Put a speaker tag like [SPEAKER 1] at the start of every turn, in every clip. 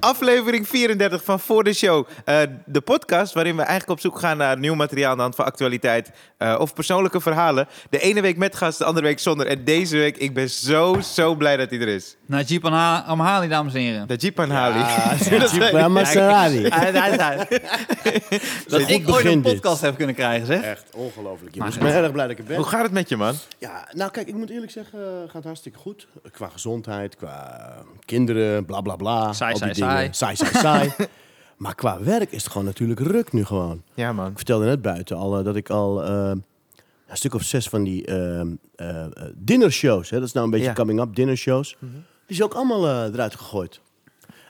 [SPEAKER 1] aflevering 34 van Voor de Show. Eh, de podcast waarin we eigenlijk op zoek gaan naar nieuw materiaal aan de hand van actualiteit eh, of persoonlijke verhalen. De ene week met gast, de andere week zonder. En deze week, ik ben zo, zo blij dat hij er is.
[SPEAKER 2] Najib Anha- Amhali, dames en heren.
[SPEAKER 1] De Jeep Hali.
[SPEAKER 3] Bij Maserati.
[SPEAKER 2] Hij- hij- hij- dat
[SPEAKER 3] Goed
[SPEAKER 2] ik ooit
[SPEAKER 3] begin
[SPEAKER 2] een
[SPEAKER 3] dit.
[SPEAKER 2] podcast heb kunnen krijgen, zeg.
[SPEAKER 3] Echt ongelooflijk. jongens. Ik ben erg blij dat ik er ben.
[SPEAKER 1] Hoe gaat het met je, man?
[SPEAKER 3] Ja, nou kijk, ik moet eerlijk zeggen, eh, gaat hartstikke goed. Qua gezondheid, qua eh, kinderen, bla bla bla.
[SPEAKER 2] Saai,
[SPEAKER 3] al die
[SPEAKER 2] saai,
[SPEAKER 3] dingen. Saai, saai, saai. maar qua werk is het gewoon natuurlijk ruk nu gewoon.
[SPEAKER 1] Ja, man.
[SPEAKER 3] Ik vertelde net buiten al eh, dat ik al eh, een stuk of zes van die eh, eh, eh, dinnershows, hè, dat is nou een beetje
[SPEAKER 1] Ja.
[SPEAKER 3] coming-up dinnershows,
[SPEAKER 2] Mhm.
[SPEAKER 3] die is ook allemaal eh, eruit gegooid.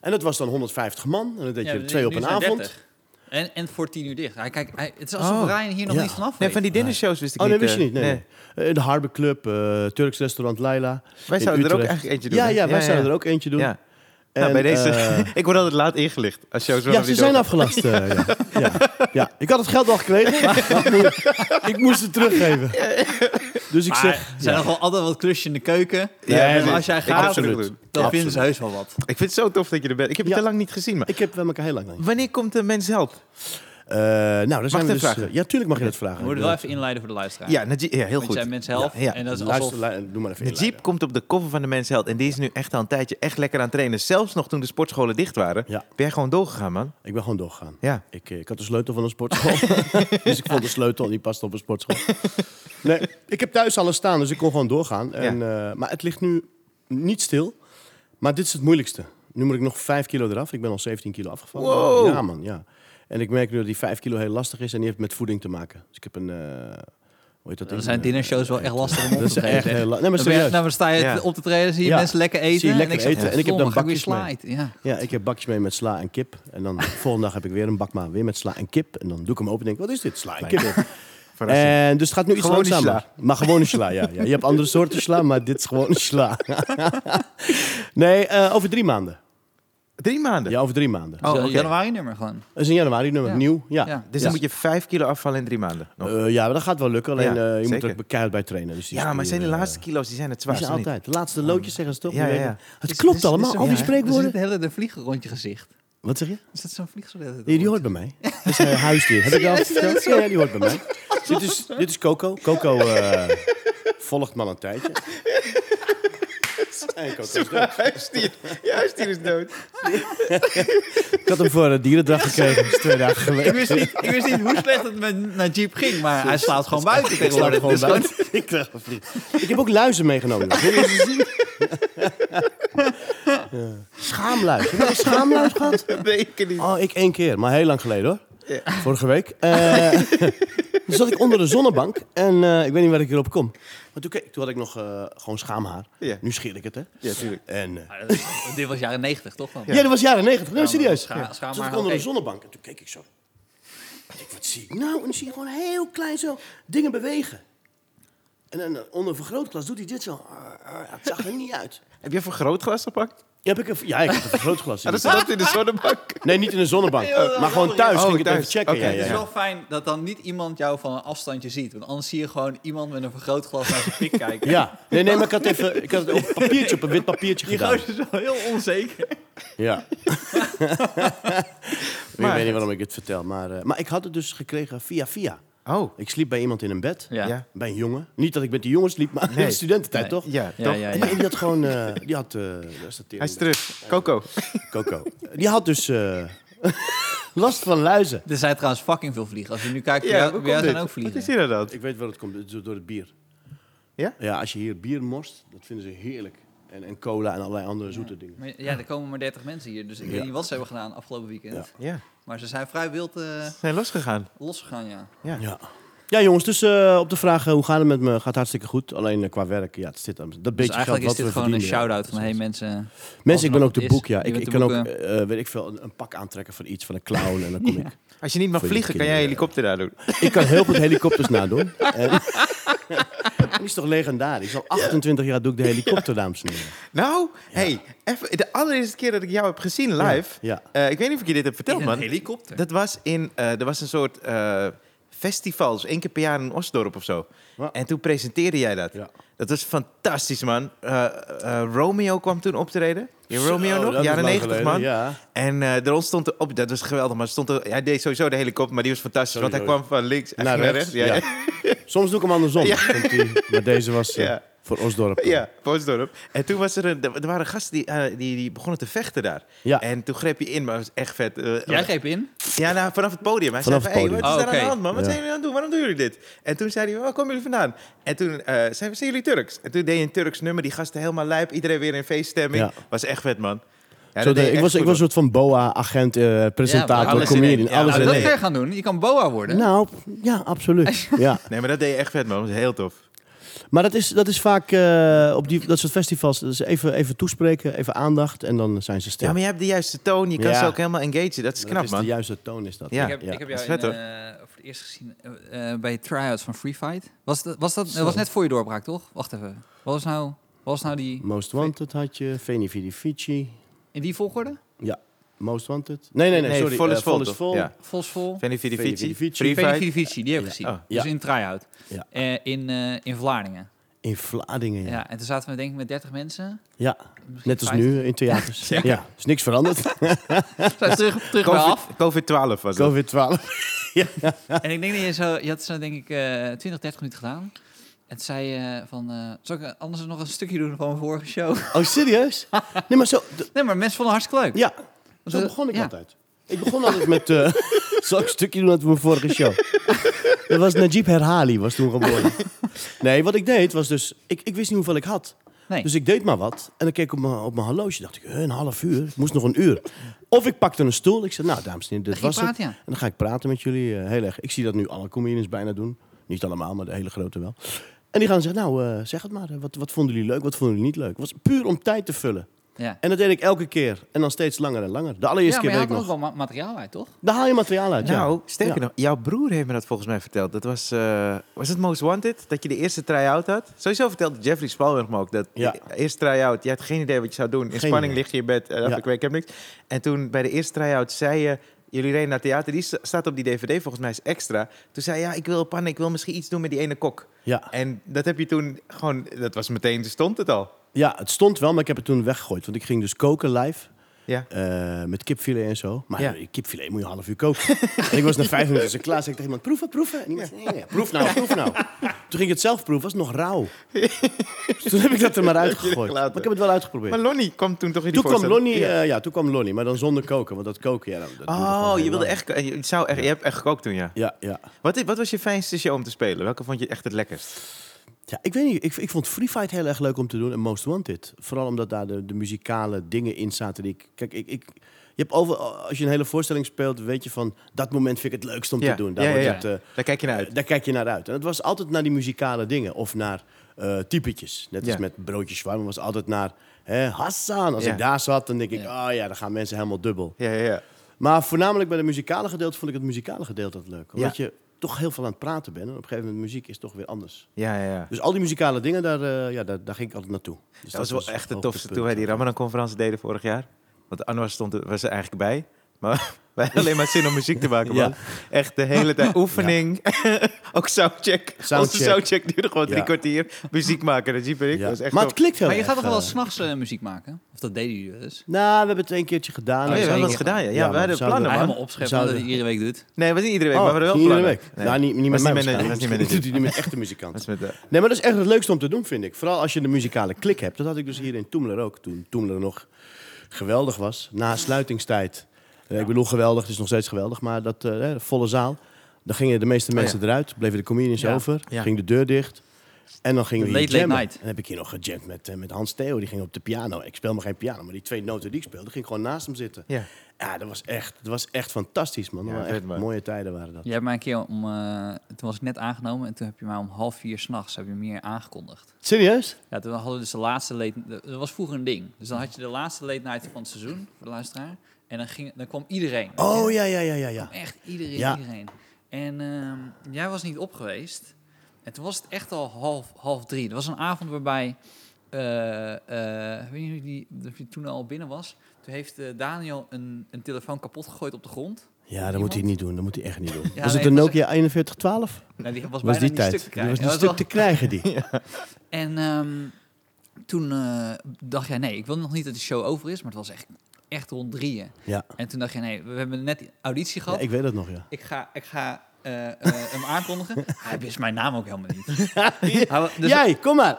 [SPEAKER 3] En dat was dan 150 man, en dat deed je
[SPEAKER 2] Ja,
[SPEAKER 3] twee op
[SPEAKER 2] nu
[SPEAKER 3] een
[SPEAKER 2] zijn
[SPEAKER 3] avond.
[SPEAKER 2] 30. En, en voor tien uur dicht. Hij, kijk, hij, het is alsof
[SPEAKER 1] Oh.
[SPEAKER 2] Ryan hier nog
[SPEAKER 3] Ja.
[SPEAKER 2] niets van af
[SPEAKER 1] Nee,
[SPEAKER 2] weet.
[SPEAKER 1] van die dinnershows wist ik
[SPEAKER 3] Oh, nee,
[SPEAKER 1] niet.
[SPEAKER 3] wist je
[SPEAKER 1] eh,
[SPEAKER 3] niet. Nee, nee. Eh, de Harbor Club, eh, Turks restaurant Laila.
[SPEAKER 1] Wij
[SPEAKER 3] in
[SPEAKER 1] zouden er ook
[SPEAKER 3] Utrecht.
[SPEAKER 1] eigenlijk eentje doen.
[SPEAKER 3] Ja,
[SPEAKER 1] hè?
[SPEAKER 3] ja, wij zouden er ook eentje doen.
[SPEAKER 1] Ja. Nou, bij deze,
[SPEAKER 3] eh,
[SPEAKER 1] ik word altijd laat ingelicht. Als shows wel
[SPEAKER 3] ja,
[SPEAKER 1] of
[SPEAKER 3] ze
[SPEAKER 1] niet
[SPEAKER 3] zijn
[SPEAKER 1] doorgaan.
[SPEAKER 3] afgelast. eh, ja. Ja. Ja. Ik had het geld al gekregen, maar ik moest het teruggeven. Dus ik
[SPEAKER 2] Maar
[SPEAKER 3] zeg...
[SPEAKER 2] er zijn nog wel altijd wat klusjes in de keuken.
[SPEAKER 1] Ja,
[SPEAKER 2] Ja,
[SPEAKER 1] precies.
[SPEAKER 2] als jij
[SPEAKER 1] Ik
[SPEAKER 2] gaat,
[SPEAKER 1] absoluut.
[SPEAKER 2] dan
[SPEAKER 3] Absoluut.
[SPEAKER 2] vinden ze heus wel wat.
[SPEAKER 1] Ik vind het zo tof dat je er bent. Ik heb je
[SPEAKER 3] Ja.
[SPEAKER 1] te lang niet gezien, maar
[SPEAKER 3] Ik heb wel elkaar heel lang niet.
[SPEAKER 1] wanneer komt de mens help?
[SPEAKER 3] Eh, nou, dan zijn
[SPEAKER 1] ik
[SPEAKER 3] we
[SPEAKER 1] het
[SPEAKER 3] dus...
[SPEAKER 1] vragen?
[SPEAKER 3] eh, ja, tuurlijk mag je
[SPEAKER 2] We
[SPEAKER 3] dat vragen.
[SPEAKER 2] moeten wel even inleiden voor de luisteraar.
[SPEAKER 1] Ja, Najib, ja heel
[SPEAKER 2] Want
[SPEAKER 1] goed.
[SPEAKER 2] jij mensen helft.
[SPEAKER 1] Ja, ja.
[SPEAKER 2] En dat is alsof...
[SPEAKER 3] Luister, lu- doe maar even
[SPEAKER 1] Najib komt op de koffer van de mens helpt en die is nu echt al een tijdje echt lekker aan het trainen. Zelfs nog toen de sportscholen dicht waren,
[SPEAKER 3] Ja.
[SPEAKER 1] ben jij gewoon doorgegaan, man.
[SPEAKER 3] Ik ben gewoon doorgegaan.
[SPEAKER 1] Ja.
[SPEAKER 3] Ik, eh, ik had de sleutel van een sportschool. dus ik vond de sleutel en die past op een sportschool. nee, ik heb thuis alles staan, dus ik kon gewoon doorgaan. En, eh, maar het ligt nu niet stil. Maar dit is het moeilijkste. Nu moet ik nog 5 kilo eraf. Ik ben al 17 kilo afgevallen.
[SPEAKER 1] Wow.
[SPEAKER 3] Ja, man. Ja. En ik merk nu dat die 5 kilo heel lastig is en die heeft met voeding te maken. Dus ik heb een. eh, hoe heet dat?
[SPEAKER 2] Dan
[SPEAKER 3] ding?
[SPEAKER 2] zijn dinnershows wel echt lastig om op
[SPEAKER 3] Dat is
[SPEAKER 2] te
[SPEAKER 3] echt
[SPEAKER 2] geven.
[SPEAKER 3] heel
[SPEAKER 2] hè.
[SPEAKER 3] la- Nee, maar
[SPEAKER 2] Dan ben je-
[SPEAKER 3] serieus.
[SPEAKER 2] nou, dan sta je
[SPEAKER 1] Ja.
[SPEAKER 2] op te treden, zie je
[SPEAKER 3] Ja.
[SPEAKER 2] mensen lekker eten.
[SPEAKER 3] Zie je lekker
[SPEAKER 2] en ik
[SPEAKER 3] eten en ik heb dan bakjes
[SPEAKER 2] slide. Ja.
[SPEAKER 3] Ja, ik heb bakjes mee met sla en kip. En dan de volgende dag heb ik weer een bak maar weer met sla en kip. En dan doe ik hem open en denk wat is dit? Sla en kip.
[SPEAKER 1] Verrassing.
[SPEAKER 3] En dus het gaat nu iets
[SPEAKER 1] Gewone
[SPEAKER 3] langzamer. Maar gewone sla, ja, ja. Je hebt andere soorten sla, maar dit is gewoon sla. nee, eh, over drie maanden.
[SPEAKER 1] Drie maanden.
[SPEAKER 3] Ja, over drie maanden.
[SPEAKER 1] Oh,
[SPEAKER 2] Oh,
[SPEAKER 1] oké.
[SPEAKER 2] januari nummer gewoon.
[SPEAKER 3] Dat is in januari nummer
[SPEAKER 2] Ja.
[SPEAKER 3] nieuw. Ja.
[SPEAKER 2] Ja.
[SPEAKER 1] Dus
[SPEAKER 3] Ja.
[SPEAKER 1] dan moet je vijf kilo afvallen in drie maanden. Nog.
[SPEAKER 3] Eh, ja, maar dat gaat wel lukken. Alleen
[SPEAKER 1] Ja,
[SPEAKER 3] eh, je moet
[SPEAKER 1] zeker.
[SPEAKER 3] er ook keihard bij trainen. Dus die
[SPEAKER 1] ja,
[SPEAKER 3] is
[SPEAKER 1] maar
[SPEAKER 3] nu,
[SPEAKER 1] zijn de
[SPEAKER 3] eh,
[SPEAKER 1] laatste kilo's, die zijn het
[SPEAKER 3] die
[SPEAKER 1] zwaarst.
[SPEAKER 3] zijn
[SPEAKER 1] of niet?
[SPEAKER 3] altijd. De laatste loodjes zeggen ze toch?
[SPEAKER 1] Ja,
[SPEAKER 3] Je
[SPEAKER 1] ja,
[SPEAKER 3] weet
[SPEAKER 1] ja.
[SPEAKER 3] het. Het klopt allemaal. al die
[SPEAKER 2] Er zit
[SPEAKER 3] spreekwoorden.
[SPEAKER 2] de hele de vliegen rond je gezicht.
[SPEAKER 3] Wat zeg je?
[SPEAKER 2] Is dat zo'n vliegsoort?
[SPEAKER 3] Nee, die hoort bij mij. Dat is een huisdier. Heb ik dat al verteld? Ja, ja, die hoort bij mij. Dit is, dit is Coco. Coco eh, volgt me al een tijdje. En Coco is dood.
[SPEAKER 1] Huisdier. Je huisdier is dood.
[SPEAKER 3] Ik had hem voor een dierendag gekregen. Dat is twee dagen
[SPEAKER 2] Ik
[SPEAKER 3] geleden.
[SPEAKER 2] wist, niet, ik wist niet hoe slecht het met naar Jeep ging, maar hij slaat gewoon buiten
[SPEAKER 3] Ik sla er
[SPEAKER 2] tegenwoordig.
[SPEAKER 3] gewoon
[SPEAKER 2] Dus gewoon-
[SPEAKER 3] buiten. Ik dacht, wat vriend. Ik heb ook luizen meegenomen. Wil je ze zien? Ja. Schaamluis. Heb je wel schaamluis gehad?
[SPEAKER 1] Dat weet ik niet.
[SPEAKER 3] Oh, ik één keer, maar heel lang geleden hoor. Vorige week. Eh toen zat ik onder de zonnebank en eh, ik weet niet waar ik hierop kom. Maar toen, keek, toen had ik nog eh, gewoon schaamhaar.
[SPEAKER 1] Ja.
[SPEAKER 3] Nu scheer ik het, hè?
[SPEAKER 1] Ja, tuurlijk.
[SPEAKER 3] En, eh,
[SPEAKER 2] Maar dat is- Dit was jaren 90, toch? Dan?
[SPEAKER 3] ja. dat was jaren negentig. Nee, serieus.
[SPEAKER 2] scha-
[SPEAKER 3] Ja.
[SPEAKER 2] schaamhaar,
[SPEAKER 3] Toen zat ik onder
[SPEAKER 2] oké.
[SPEAKER 3] de zonnebank en toen keek ik zo. Ik denk, wat zie ik nou? En dan zie je gewoon heel klein zo dingen bewegen. En dan eh, onder een vergrootglas doet hij dit zo. Ah, ah, Het zag er niet uit.
[SPEAKER 1] Heb je voor grootglas gepakt?
[SPEAKER 3] Ja, heb ik een, ja, ik heb een vergrootglas. in.
[SPEAKER 1] Ah, dat staat in de zonnebank.
[SPEAKER 3] Nee, niet in de zonnebank.
[SPEAKER 2] Heel erg
[SPEAKER 3] Maar gewoon eh, thuis dus
[SPEAKER 1] Oh,
[SPEAKER 3] ging ik het
[SPEAKER 1] thuis.
[SPEAKER 3] even checken.
[SPEAKER 1] Oké,
[SPEAKER 3] ja,
[SPEAKER 2] Het
[SPEAKER 3] ja,
[SPEAKER 2] is
[SPEAKER 3] ja.
[SPEAKER 2] wel fijn dat dan niet iemand jou van een afstandje ziet. Want anders zie je gewoon iemand met een vergrootglas naar zijn pik kijken.
[SPEAKER 3] Ja, nee, nee, maar ik had, even, ik had het op papiertje, op een wit papiertje
[SPEAKER 2] Die
[SPEAKER 3] gedaan.
[SPEAKER 2] gozer is wel heel onzeker.
[SPEAKER 3] Ja. ik
[SPEAKER 1] Maar-
[SPEAKER 3] weet niet waarom ik het vertel, maar, eh, maar ik had het dus gekregen via via.
[SPEAKER 1] Oh.
[SPEAKER 3] Ik sliep bij iemand in een bed,
[SPEAKER 2] Ja.
[SPEAKER 1] Ja.
[SPEAKER 3] bij een jongen. Niet dat ik met die jongens sliep, maar in
[SPEAKER 1] Nee.
[SPEAKER 3] de studententijd,
[SPEAKER 2] Nee.
[SPEAKER 3] toch?
[SPEAKER 1] Ja, toch?
[SPEAKER 2] Ja, ja,
[SPEAKER 3] En
[SPEAKER 2] ja.
[SPEAKER 3] die, die had gewoon, eh, die had, eh, daar is dat
[SPEAKER 1] Hij is
[SPEAKER 3] tering-
[SPEAKER 1] terug. Coco.
[SPEAKER 3] Coco. Die had dus eh, last van luizen.
[SPEAKER 2] Er zijn trouwens fucking veel vliegen. Als je nu kijkt,
[SPEAKER 1] Ja,
[SPEAKER 2] ja,
[SPEAKER 1] hoe komt
[SPEAKER 2] jij zijn
[SPEAKER 1] dit?
[SPEAKER 2] ook
[SPEAKER 1] Wat is
[SPEAKER 2] vliegen.
[SPEAKER 1] hier aan de hand?
[SPEAKER 3] Ik weet waar het komt, het is door het bier.
[SPEAKER 1] Ja?
[SPEAKER 3] Ja, als je hier bier morst, dat vinden ze heerlijk. En, en cola en allerlei andere zoete dingen.
[SPEAKER 2] Maar ja, er komen maar 30 mensen hier. Dus ik weet
[SPEAKER 3] Ja.
[SPEAKER 2] niet wat ze hebben gedaan afgelopen weekend.
[SPEAKER 3] Ja.
[SPEAKER 1] Ja.
[SPEAKER 2] Maar ze zijn vrij wild eh,
[SPEAKER 1] Zijn losgegaan.
[SPEAKER 2] losgegaan, ja.
[SPEAKER 3] Ja. Ja, jongens, dus eh, op de vraag eh, hoe gaat het met me, gaat hartstikke goed. Alleen eh, qua werk, ja, het zit aan. Dat beetje
[SPEAKER 2] Dus eigenlijk
[SPEAKER 3] geld
[SPEAKER 2] is
[SPEAKER 3] wat
[SPEAKER 2] dit
[SPEAKER 3] we
[SPEAKER 2] gewoon een
[SPEAKER 3] verdienen, ja.
[SPEAKER 2] shout-out van... hey mensen,
[SPEAKER 3] Mensen, ik ben
[SPEAKER 2] Als
[SPEAKER 3] ook
[SPEAKER 2] er nog
[SPEAKER 3] de
[SPEAKER 2] wat
[SPEAKER 3] boek,
[SPEAKER 2] is,
[SPEAKER 3] ja.
[SPEAKER 2] je
[SPEAKER 3] Ik,
[SPEAKER 2] bent
[SPEAKER 3] ik
[SPEAKER 2] de
[SPEAKER 3] kan ook,
[SPEAKER 2] boek,
[SPEAKER 3] eh, weet ik veel, een, een pak aantrekken van iets, van een clown. En dan kom ik.
[SPEAKER 1] Als je niet mag
[SPEAKER 3] Voor jullie
[SPEAKER 1] vliegen, kan jij
[SPEAKER 3] kinderen.
[SPEAKER 1] helikopter daar doen.
[SPEAKER 3] Ik kan heel goed helikopters nadoen. En, die is toch legendarisch? Al 28 jaar doe ik de helikopter, dames en heren.
[SPEAKER 1] Nou, hey, even de allereerste keer dat ik jou heb gezien live.
[SPEAKER 3] Ja.
[SPEAKER 1] eh, ik weet niet of ik je dit heb verteld,
[SPEAKER 2] in een
[SPEAKER 1] man.
[SPEAKER 2] helikopter.
[SPEAKER 1] Dat was in, eh, er was een soort eh festival, dus één keer per jaar in Osdorp of zo.
[SPEAKER 3] Ja.
[SPEAKER 1] En toen presenteerde jij dat.
[SPEAKER 3] Ja.
[SPEAKER 1] Dat was fantastisch, man. Eh, eh, Romeo kwam toen optreden. Je Romeo
[SPEAKER 3] Zo, dat
[SPEAKER 1] nog?
[SPEAKER 3] is
[SPEAKER 1] Jaren
[SPEAKER 3] lang
[SPEAKER 1] 90,
[SPEAKER 3] geleden,
[SPEAKER 1] man.
[SPEAKER 3] Ja.
[SPEAKER 1] En eh er ontstond er op, dat was geweldig, maar stond er, hij deed sowieso de hele kop, maar die was fantastisch, want hij
[SPEAKER 3] Sowieso.
[SPEAKER 1] kwam van links en
[SPEAKER 3] Naar
[SPEAKER 1] naar
[SPEAKER 3] rechts,
[SPEAKER 1] rechts. Ja, ja.
[SPEAKER 3] Soms doe ik hem andersom. komt die. maar deze was eh,
[SPEAKER 1] Ja.
[SPEAKER 3] voor Osdorp.
[SPEAKER 1] ja Boosdorp. En toen was er, een, er waren gasten die, eh, die, die begonnen te vechten daar.
[SPEAKER 3] Ja.
[SPEAKER 1] En toen greep je in, maar het was echt vet. Eh,
[SPEAKER 2] Jij greep in.
[SPEAKER 1] Ja, nou, vanaf het podium. Hij
[SPEAKER 3] Vanaf
[SPEAKER 1] zei
[SPEAKER 3] het
[SPEAKER 1] van, hey, wat is
[SPEAKER 2] podium.
[SPEAKER 1] daar
[SPEAKER 2] Oh,
[SPEAKER 1] aan de hand,
[SPEAKER 2] oké.
[SPEAKER 1] man? Wat
[SPEAKER 3] Ja.
[SPEAKER 1] zijn jullie aan het doen? Waarom doen jullie dit? En toen zei hij, waar komen jullie vandaan? En toen eh, zei we, zijn jullie Turks? En toen deed je een Turks nummer, die gasten helemaal lijp. Iedereen weer in feeststemming.
[SPEAKER 3] Ja.
[SPEAKER 1] Was echt vet, man. Ja,
[SPEAKER 3] Zo
[SPEAKER 1] dat deed
[SPEAKER 3] de-
[SPEAKER 1] je
[SPEAKER 3] ik,
[SPEAKER 1] echt
[SPEAKER 3] was, ik
[SPEAKER 1] goed,
[SPEAKER 3] was een soort van boa-agent, eh,
[SPEAKER 2] maar
[SPEAKER 3] presentator,
[SPEAKER 1] alles in één.
[SPEAKER 3] comedian,
[SPEAKER 1] Ja,
[SPEAKER 3] alles
[SPEAKER 1] nou,
[SPEAKER 3] in
[SPEAKER 2] dat
[SPEAKER 1] nee.
[SPEAKER 2] kun
[SPEAKER 3] één.
[SPEAKER 2] je gaan doen. Je kan boa worden.
[SPEAKER 3] Nou, ja, absoluut. ja.
[SPEAKER 1] hoor. Nee, maar dat deed je echt vet, man. Dat was heel tof.
[SPEAKER 3] Maar dat is, dat is vaak eh, op die, dat soort festivals. Dus even, even toespreken, even aandacht en dan zijn ze stil.
[SPEAKER 1] Ja, maar je hebt de juiste toon. Je kan
[SPEAKER 3] Ja.
[SPEAKER 1] ze ook helemaal engagen. Dat is
[SPEAKER 3] Dat
[SPEAKER 1] knap,
[SPEAKER 3] is
[SPEAKER 1] man.
[SPEAKER 3] de juiste toon is dat.
[SPEAKER 1] Ja.
[SPEAKER 3] Ja,
[SPEAKER 2] ik, heb, ik heb jou
[SPEAKER 1] dat is vet,
[SPEAKER 2] in, eh, voor het eerst gezien eh, eh, bij tryouts van Free Fight. Was dat, was dat eh, was net voor je doorbraak, toch? Wacht even. Wat was nou, wat was nou die...
[SPEAKER 3] Most Wanted had je, Veni Vidi Vici.
[SPEAKER 2] In die volgorde?
[SPEAKER 3] Ja, Most Wanted. Nee, nee, nee,
[SPEAKER 1] Nee,
[SPEAKER 3] sorry.
[SPEAKER 1] Vol is
[SPEAKER 3] eh,
[SPEAKER 1] Vol,
[SPEAKER 3] Vol is
[SPEAKER 1] toch?
[SPEAKER 3] Vol.
[SPEAKER 1] Ja.
[SPEAKER 2] Vosvol?
[SPEAKER 1] Fanny Vidi
[SPEAKER 3] Fanny
[SPEAKER 1] Vici.
[SPEAKER 3] Vidi Vici.
[SPEAKER 1] Free
[SPEAKER 2] Fanny
[SPEAKER 1] Fight.
[SPEAKER 2] Vidi Vici, die heb ik gezien.
[SPEAKER 1] Oh.
[SPEAKER 2] Dus
[SPEAKER 3] Ja.
[SPEAKER 2] in try-out.
[SPEAKER 3] Ja.
[SPEAKER 2] Eh, in, eh, in Vlaardingen.
[SPEAKER 3] In Vlaardingen,
[SPEAKER 2] Ja.
[SPEAKER 3] ja.
[SPEAKER 2] en toen zaten we denk ik met 30 mensen.
[SPEAKER 3] Ja,
[SPEAKER 2] Misschien
[SPEAKER 3] net als
[SPEAKER 2] 50.
[SPEAKER 3] nu in theaters.
[SPEAKER 2] Ja.
[SPEAKER 3] ja. is niks veranderd.
[SPEAKER 2] Zijn we terug, terug bij af.
[SPEAKER 1] COVID- COVID-12 was dat.
[SPEAKER 3] Covid-12.
[SPEAKER 2] En ik denk dat je zo, je had zo denk ik eh 20, 30 minuten gedaan. En toen zei je van, eh zal ik eh, anders nog een stukje doen van mijn vorige show?
[SPEAKER 3] Oh, serieus? Nee, maar zo... d-
[SPEAKER 2] Nee, maar mensen vonden het hartstikke leuk.
[SPEAKER 3] Ja, zo
[SPEAKER 2] eh,
[SPEAKER 3] begon ik
[SPEAKER 2] ja.
[SPEAKER 3] altijd. Ik begon altijd met... eh zal ik een stukje doen uit mijn vorige show? Dat was Najib Herhali, was toen geboren. Nee, wat ik deed was dus... Ik, ik wist niet hoeveel ik had.
[SPEAKER 2] Nee.
[SPEAKER 3] Dus ik deed maar wat. En dan keek ik op mijn, op mijn horloge. dacht ik, eh, een half uur? Ik moest nog een uur. Of ik pakte een stoel. Ik zei, nou, dames en heren, dit
[SPEAKER 2] Dan ging
[SPEAKER 3] was
[SPEAKER 2] je
[SPEAKER 3] het.
[SPEAKER 2] praten, ja.
[SPEAKER 3] En dan ga ik praten met jullie eh, heel erg. Ik zie dat nu alle comedians bijna doen. Niet allemaal, maar de hele grote wel. En die gaan zeggen, nou, eh, zeg het maar. Wat, wat vonden jullie leuk, wat vonden jullie niet leuk? Het was puur om tijd te vullen.
[SPEAKER 2] Ja.
[SPEAKER 3] En dat deed ik elke keer. En dan steeds langer en langer. De allereerste
[SPEAKER 2] ja, maar
[SPEAKER 3] keer
[SPEAKER 2] je
[SPEAKER 3] deed
[SPEAKER 2] had
[SPEAKER 3] ik
[SPEAKER 2] ook
[SPEAKER 3] nog.
[SPEAKER 2] wel ma- materiaal uit, toch?
[SPEAKER 3] Daar haal je materiaal uit, ja.
[SPEAKER 1] Nou, sterker
[SPEAKER 3] Ja.
[SPEAKER 1] nog, jouw broer heeft me dat volgens mij verteld. Dat was, eh, was het Most Wanted, dat je de eerste try-out had? Sowieso vertelde Jeffrey Spalberg me ook dat
[SPEAKER 3] Ja.
[SPEAKER 1] de eerste try-out, je had geen idee wat je zou doen. In
[SPEAKER 3] Geen
[SPEAKER 1] spanning
[SPEAKER 3] idee.
[SPEAKER 1] lig je in bed en dacht
[SPEAKER 3] Ja.
[SPEAKER 1] ik, ik heb niks. En toen bij de eerste try-out zei je, jullie reden naar theater, die sta- staat op die dvd volgens mij is extra. Toen zei je, ja, ik wil op pannen, ik wil misschien iets doen met die ene kok.
[SPEAKER 3] Ja.
[SPEAKER 1] En dat heb je toen gewoon, dat was meteen, stond het al.
[SPEAKER 3] ja, het stond wel, maar ik heb het toen weggegooid. Want ik ging dus koken live.
[SPEAKER 1] Ja.
[SPEAKER 3] eh, met kipfilet en zo. Maar
[SPEAKER 1] Ja.
[SPEAKER 3] eh, kipfilet moet je een half uur koken. en ik was na vijf minuten dus klaar. Zei ik tegen iemand, proeven, proeven. En iemand zei, nee, nee, proef nou, proef nou. Toen ging ik het zelf proeven, was het nog rauw. Dus toen heb ik dat er maar uitgegooid.
[SPEAKER 1] gelaten.
[SPEAKER 3] Maar ik heb het wel uitgeprobeerd.
[SPEAKER 1] Maar Lonnie kwam toen toch in die
[SPEAKER 3] toen kwam
[SPEAKER 1] voorstelling?
[SPEAKER 3] Lonnie,
[SPEAKER 1] Ja.
[SPEAKER 3] eh, ja, toen kwam Lonnie, maar dan zonder koken. Want dat koken, ja, dat duurde gewoon
[SPEAKER 1] Oh,
[SPEAKER 3] heel
[SPEAKER 1] je wilde
[SPEAKER 3] lang.
[SPEAKER 1] echt, je, zou echt, je hebt echt gekookt toen, ja.
[SPEAKER 3] Ja, ja.
[SPEAKER 1] Wat, i- wat was je fijnste show om te spelen? Welke vond je echt het lekkerst?
[SPEAKER 3] Ja, ik weet niet. Ik, ik vond Free Fight heel erg leuk om te doen en Most Wanted. Vooral omdat daar de, de muzikale dingen in zaten die ik... Kijk, ik, ik, je hebt over, als je een hele voorstelling speelt, weet je van... Dat moment vind ik het leukst om
[SPEAKER 1] Ja,
[SPEAKER 3] te doen. Daar,
[SPEAKER 1] ja, ja,
[SPEAKER 3] wordt
[SPEAKER 1] ja.
[SPEAKER 3] het, eh,
[SPEAKER 1] Daar kijk je naar uit.
[SPEAKER 3] daar kijk je naar uit. En het was altijd naar die muzikale dingen of naar eh, typetjes. Net
[SPEAKER 1] Ja.
[SPEAKER 3] als met Broodjes Warm was altijd naar... Hè, Hassan, als
[SPEAKER 1] Ja.
[SPEAKER 3] ik daar zat, dan denk ik...
[SPEAKER 2] Ja.
[SPEAKER 3] Oh ja, dan gaan mensen helemaal dubbel.
[SPEAKER 1] Ja, ja, ja.
[SPEAKER 3] Maar voornamelijk bij de muzikale gedeelte vond ik het muzikale gedeelte het leuk.
[SPEAKER 1] Ja.
[SPEAKER 3] Omdat je toch heel veel aan het praten bent. En op een gegeven moment muziek is toch weer anders.
[SPEAKER 1] ja, ja, ja.
[SPEAKER 3] Dus al die muzikale dingen, daar, eh, ja, daar, daar ging ik altijd naartoe. Dus
[SPEAKER 1] Dat was wel echt het tofste toen
[SPEAKER 3] hoogtepunt.
[SPEAKER 1] wij die Ramadan-conferentie deden vorig jaar. Want Anwar stond er, was er eigenlijk bij. Maar wij hadden alleen maar zin om muziek te maken, man.
[SPEAKER 3] Ja.
[SPEAKER 1] Echt de hele tijd oefening. Ook soundcheck. Onze
[SPEAKER 3] Soundcheck.
[SPEAKER 1] soundcheck duurde gewoon drie
[SPEAKER 3] Ja.
[SPEAKER 1] kwartier. Muziek maken, dat zie ik.
[SPEAKER 3] Ja.
[SPEAKER 1] Dat was echt
[SPEAKER 3] maar
[SPEAKER 1] top.
[SPEAKER 3] het klikt heel
[SPEAKER 2] Maar je gaat
[SPEAKER 3] erg,
[SPEAKER 2] toch wel
[SPEAKER 3] eh.
[SPEAKER 2] s'nachts nachts eh, muziek maken? Of dat deden jullie dus?
[SPEAKER 3] Nou, we hebben het een keertje gedaan.
[SPEAKER 1] Oh, ja, we
[SPEAKER 3] We
[SPEAKER 1] hebben
[SPEAKER 3] zijn-
[SPEAKER 1] dat gedaan, ja.
[SPEAKER 3] Ja,
[SPEAKER 1] ja we
[SPEAKER 3] maar
[SPEAKER 1] hadden
[SPEAKER 3] zouden-
[SPEAKER 1] plannen, man.
[SPEAKER 2] Helemaal opschrijven
[SPEAKER 3] Zouden-
[SPEAKER 2] dat je iedere week doet.
[SPEAKER 1] Nee, het was niet iedere week,
[SPEAKER 3] Oh,
[SPEAKER 1] maar we hadden wel
[SPEAKER 3] niet iedere
[SPEAKER 1] plannen.
[SPEAKER 3] week.
[SPEAKER 1] Nee.
[SPEAKER 3] Nou, niet, niet
[SPEAKER 1] Was
[SPEAKER 3] met mij
[SPEAKER 1] niet met-
[SPEAKER 3] waarschijnlijk.
[SPEAKER 1] was niet met dit.
[SPEAKER 3] Doet hij niet met echte
[SPEAKER 1] Dat is
[SPEAKER 3] muzikanten.
[SPEAKER 1] met, eh,
[SPEAKER 3] Nee, maar dat is echt het leukste om te doen, vind ik. Vooral als je de muzikale klik hebt. Dat had ik dus hier in Toemler ook. Toen Toemler nog geweldig was. Na sluitingstijd. Eh, Ik bedoel, geweldig. Het is nog steeds geweldig. Maar dat eh, de volle zaal. Dan gingen de meeste mensen eruit. Bleven de comedians
[SPEAKER 2] Ja.
[SPEAKER 3] over.
[SPEAKER 1] Ja.
[SPEAKER 3] Ging de deur dicht. En dan gingen we
[SPEAKER 2] Late,
[SPEAKER 3] hier
[SPEAKER 2] late
[SPEAKER 3] jammen.
[SPEAKER 2] night.
[SPEAKER 3] En dan heb ik hier nog gejamd met, eh, met Hans Theo. Die ging op de piano. Ik speel maar geen piano. Maar die twee noten die ik speelde, ging ik gewoon naast hem zitten.
[SPEAKER 1] ja.
[SPEAKER 3] Ja, dat was echt, dat was echt fantastisch, man. Dat
[SPEAKER 1] Ja,
[SPEAKER 3] waren
[SPEAKER 1] vet,
[SPEAKER 3] echt
[SPEAKER 1] man.
[SPEAKER 3] mooie tijden waren dat.
[SPEAKER 2] Jij hebt mij een keer om... eh, toen was ik net aangenomen en toen heb je mij om half vier s'nachts meer aangekondigd.
[SPEAKER 3] Serieus?
[SPEAKER 2] Ja, toen hadden we dus de laatste late... Dat was vroeger een ding. Dus dan had je de laatste late night van het seizoen, voor de luisteraar. En dan, ging, dan kwam iedereen. weet je.
[SPEAKER 3] Oh, ja, ja, ja, ja. ja.
[SPEAKER 2] Echt iedereen,
[SPEAKER 3] Ja.
[SPEAKER 2] iedereen. En ehm, jij was niet op geweest. En toen was het echt al half, half drie. Dat was een avond waarbij... eh, eh, ik weet niet of die, of die toen al binnen was. Toen heeft eh, Daniel een, een telefoon kapot gegooid op de grond.
[SPEAKER 3] Ja, dat moet hij niet doen. Dat moet hij echt niet doen.
[SPEAKER 2] Ja,
[SPEAKER 3] was het
[SPEAKER 2] nee,
[SPEAKER 3] een
[SPEAKER 2] was-
[SPEAKER 3] Nokia 4112?
[SPEAKER 2] Nou, die was,
[SPEAKER 3] Was
[SPEAKER 2] bijna
[SPEAKER 3] die
[SPEAKER 2] niet
[SPEAKER 3] tijd.
[SPEAKER 2] stuk te
[SPEAKER 3] Die
[SPEAKER 2] krijgen. Ja,
[SPEAKER 3] was
[SPEAKER 2] dat
[SPEAKER 3] niet stuk
[SPEAKER 2] was
[SPEAKER 3] te krijgen, die.
[SPEAKER 2] wel- En ehm, toen eh, dacht jij, nee, ik wil nog niet dat de show over is, maar het was echt, echt rond drieën.
[SPEAKER 3] Ja.
[SPEAKER 2] En toen dacht je, nee, we hebben net auditie
[SPEAKER 3] Ja,
[SPEAKER 2] gehad.
[SPEAKER 3] ik weet dat nog, ja.
[SPEAKER 2] ik ga, ik ga eh, eh, hem aankondigen. Hij wist mijn naam ook helemaal niet. Hij wa- dus,
[SPEAKER 3] Jij, kom maar.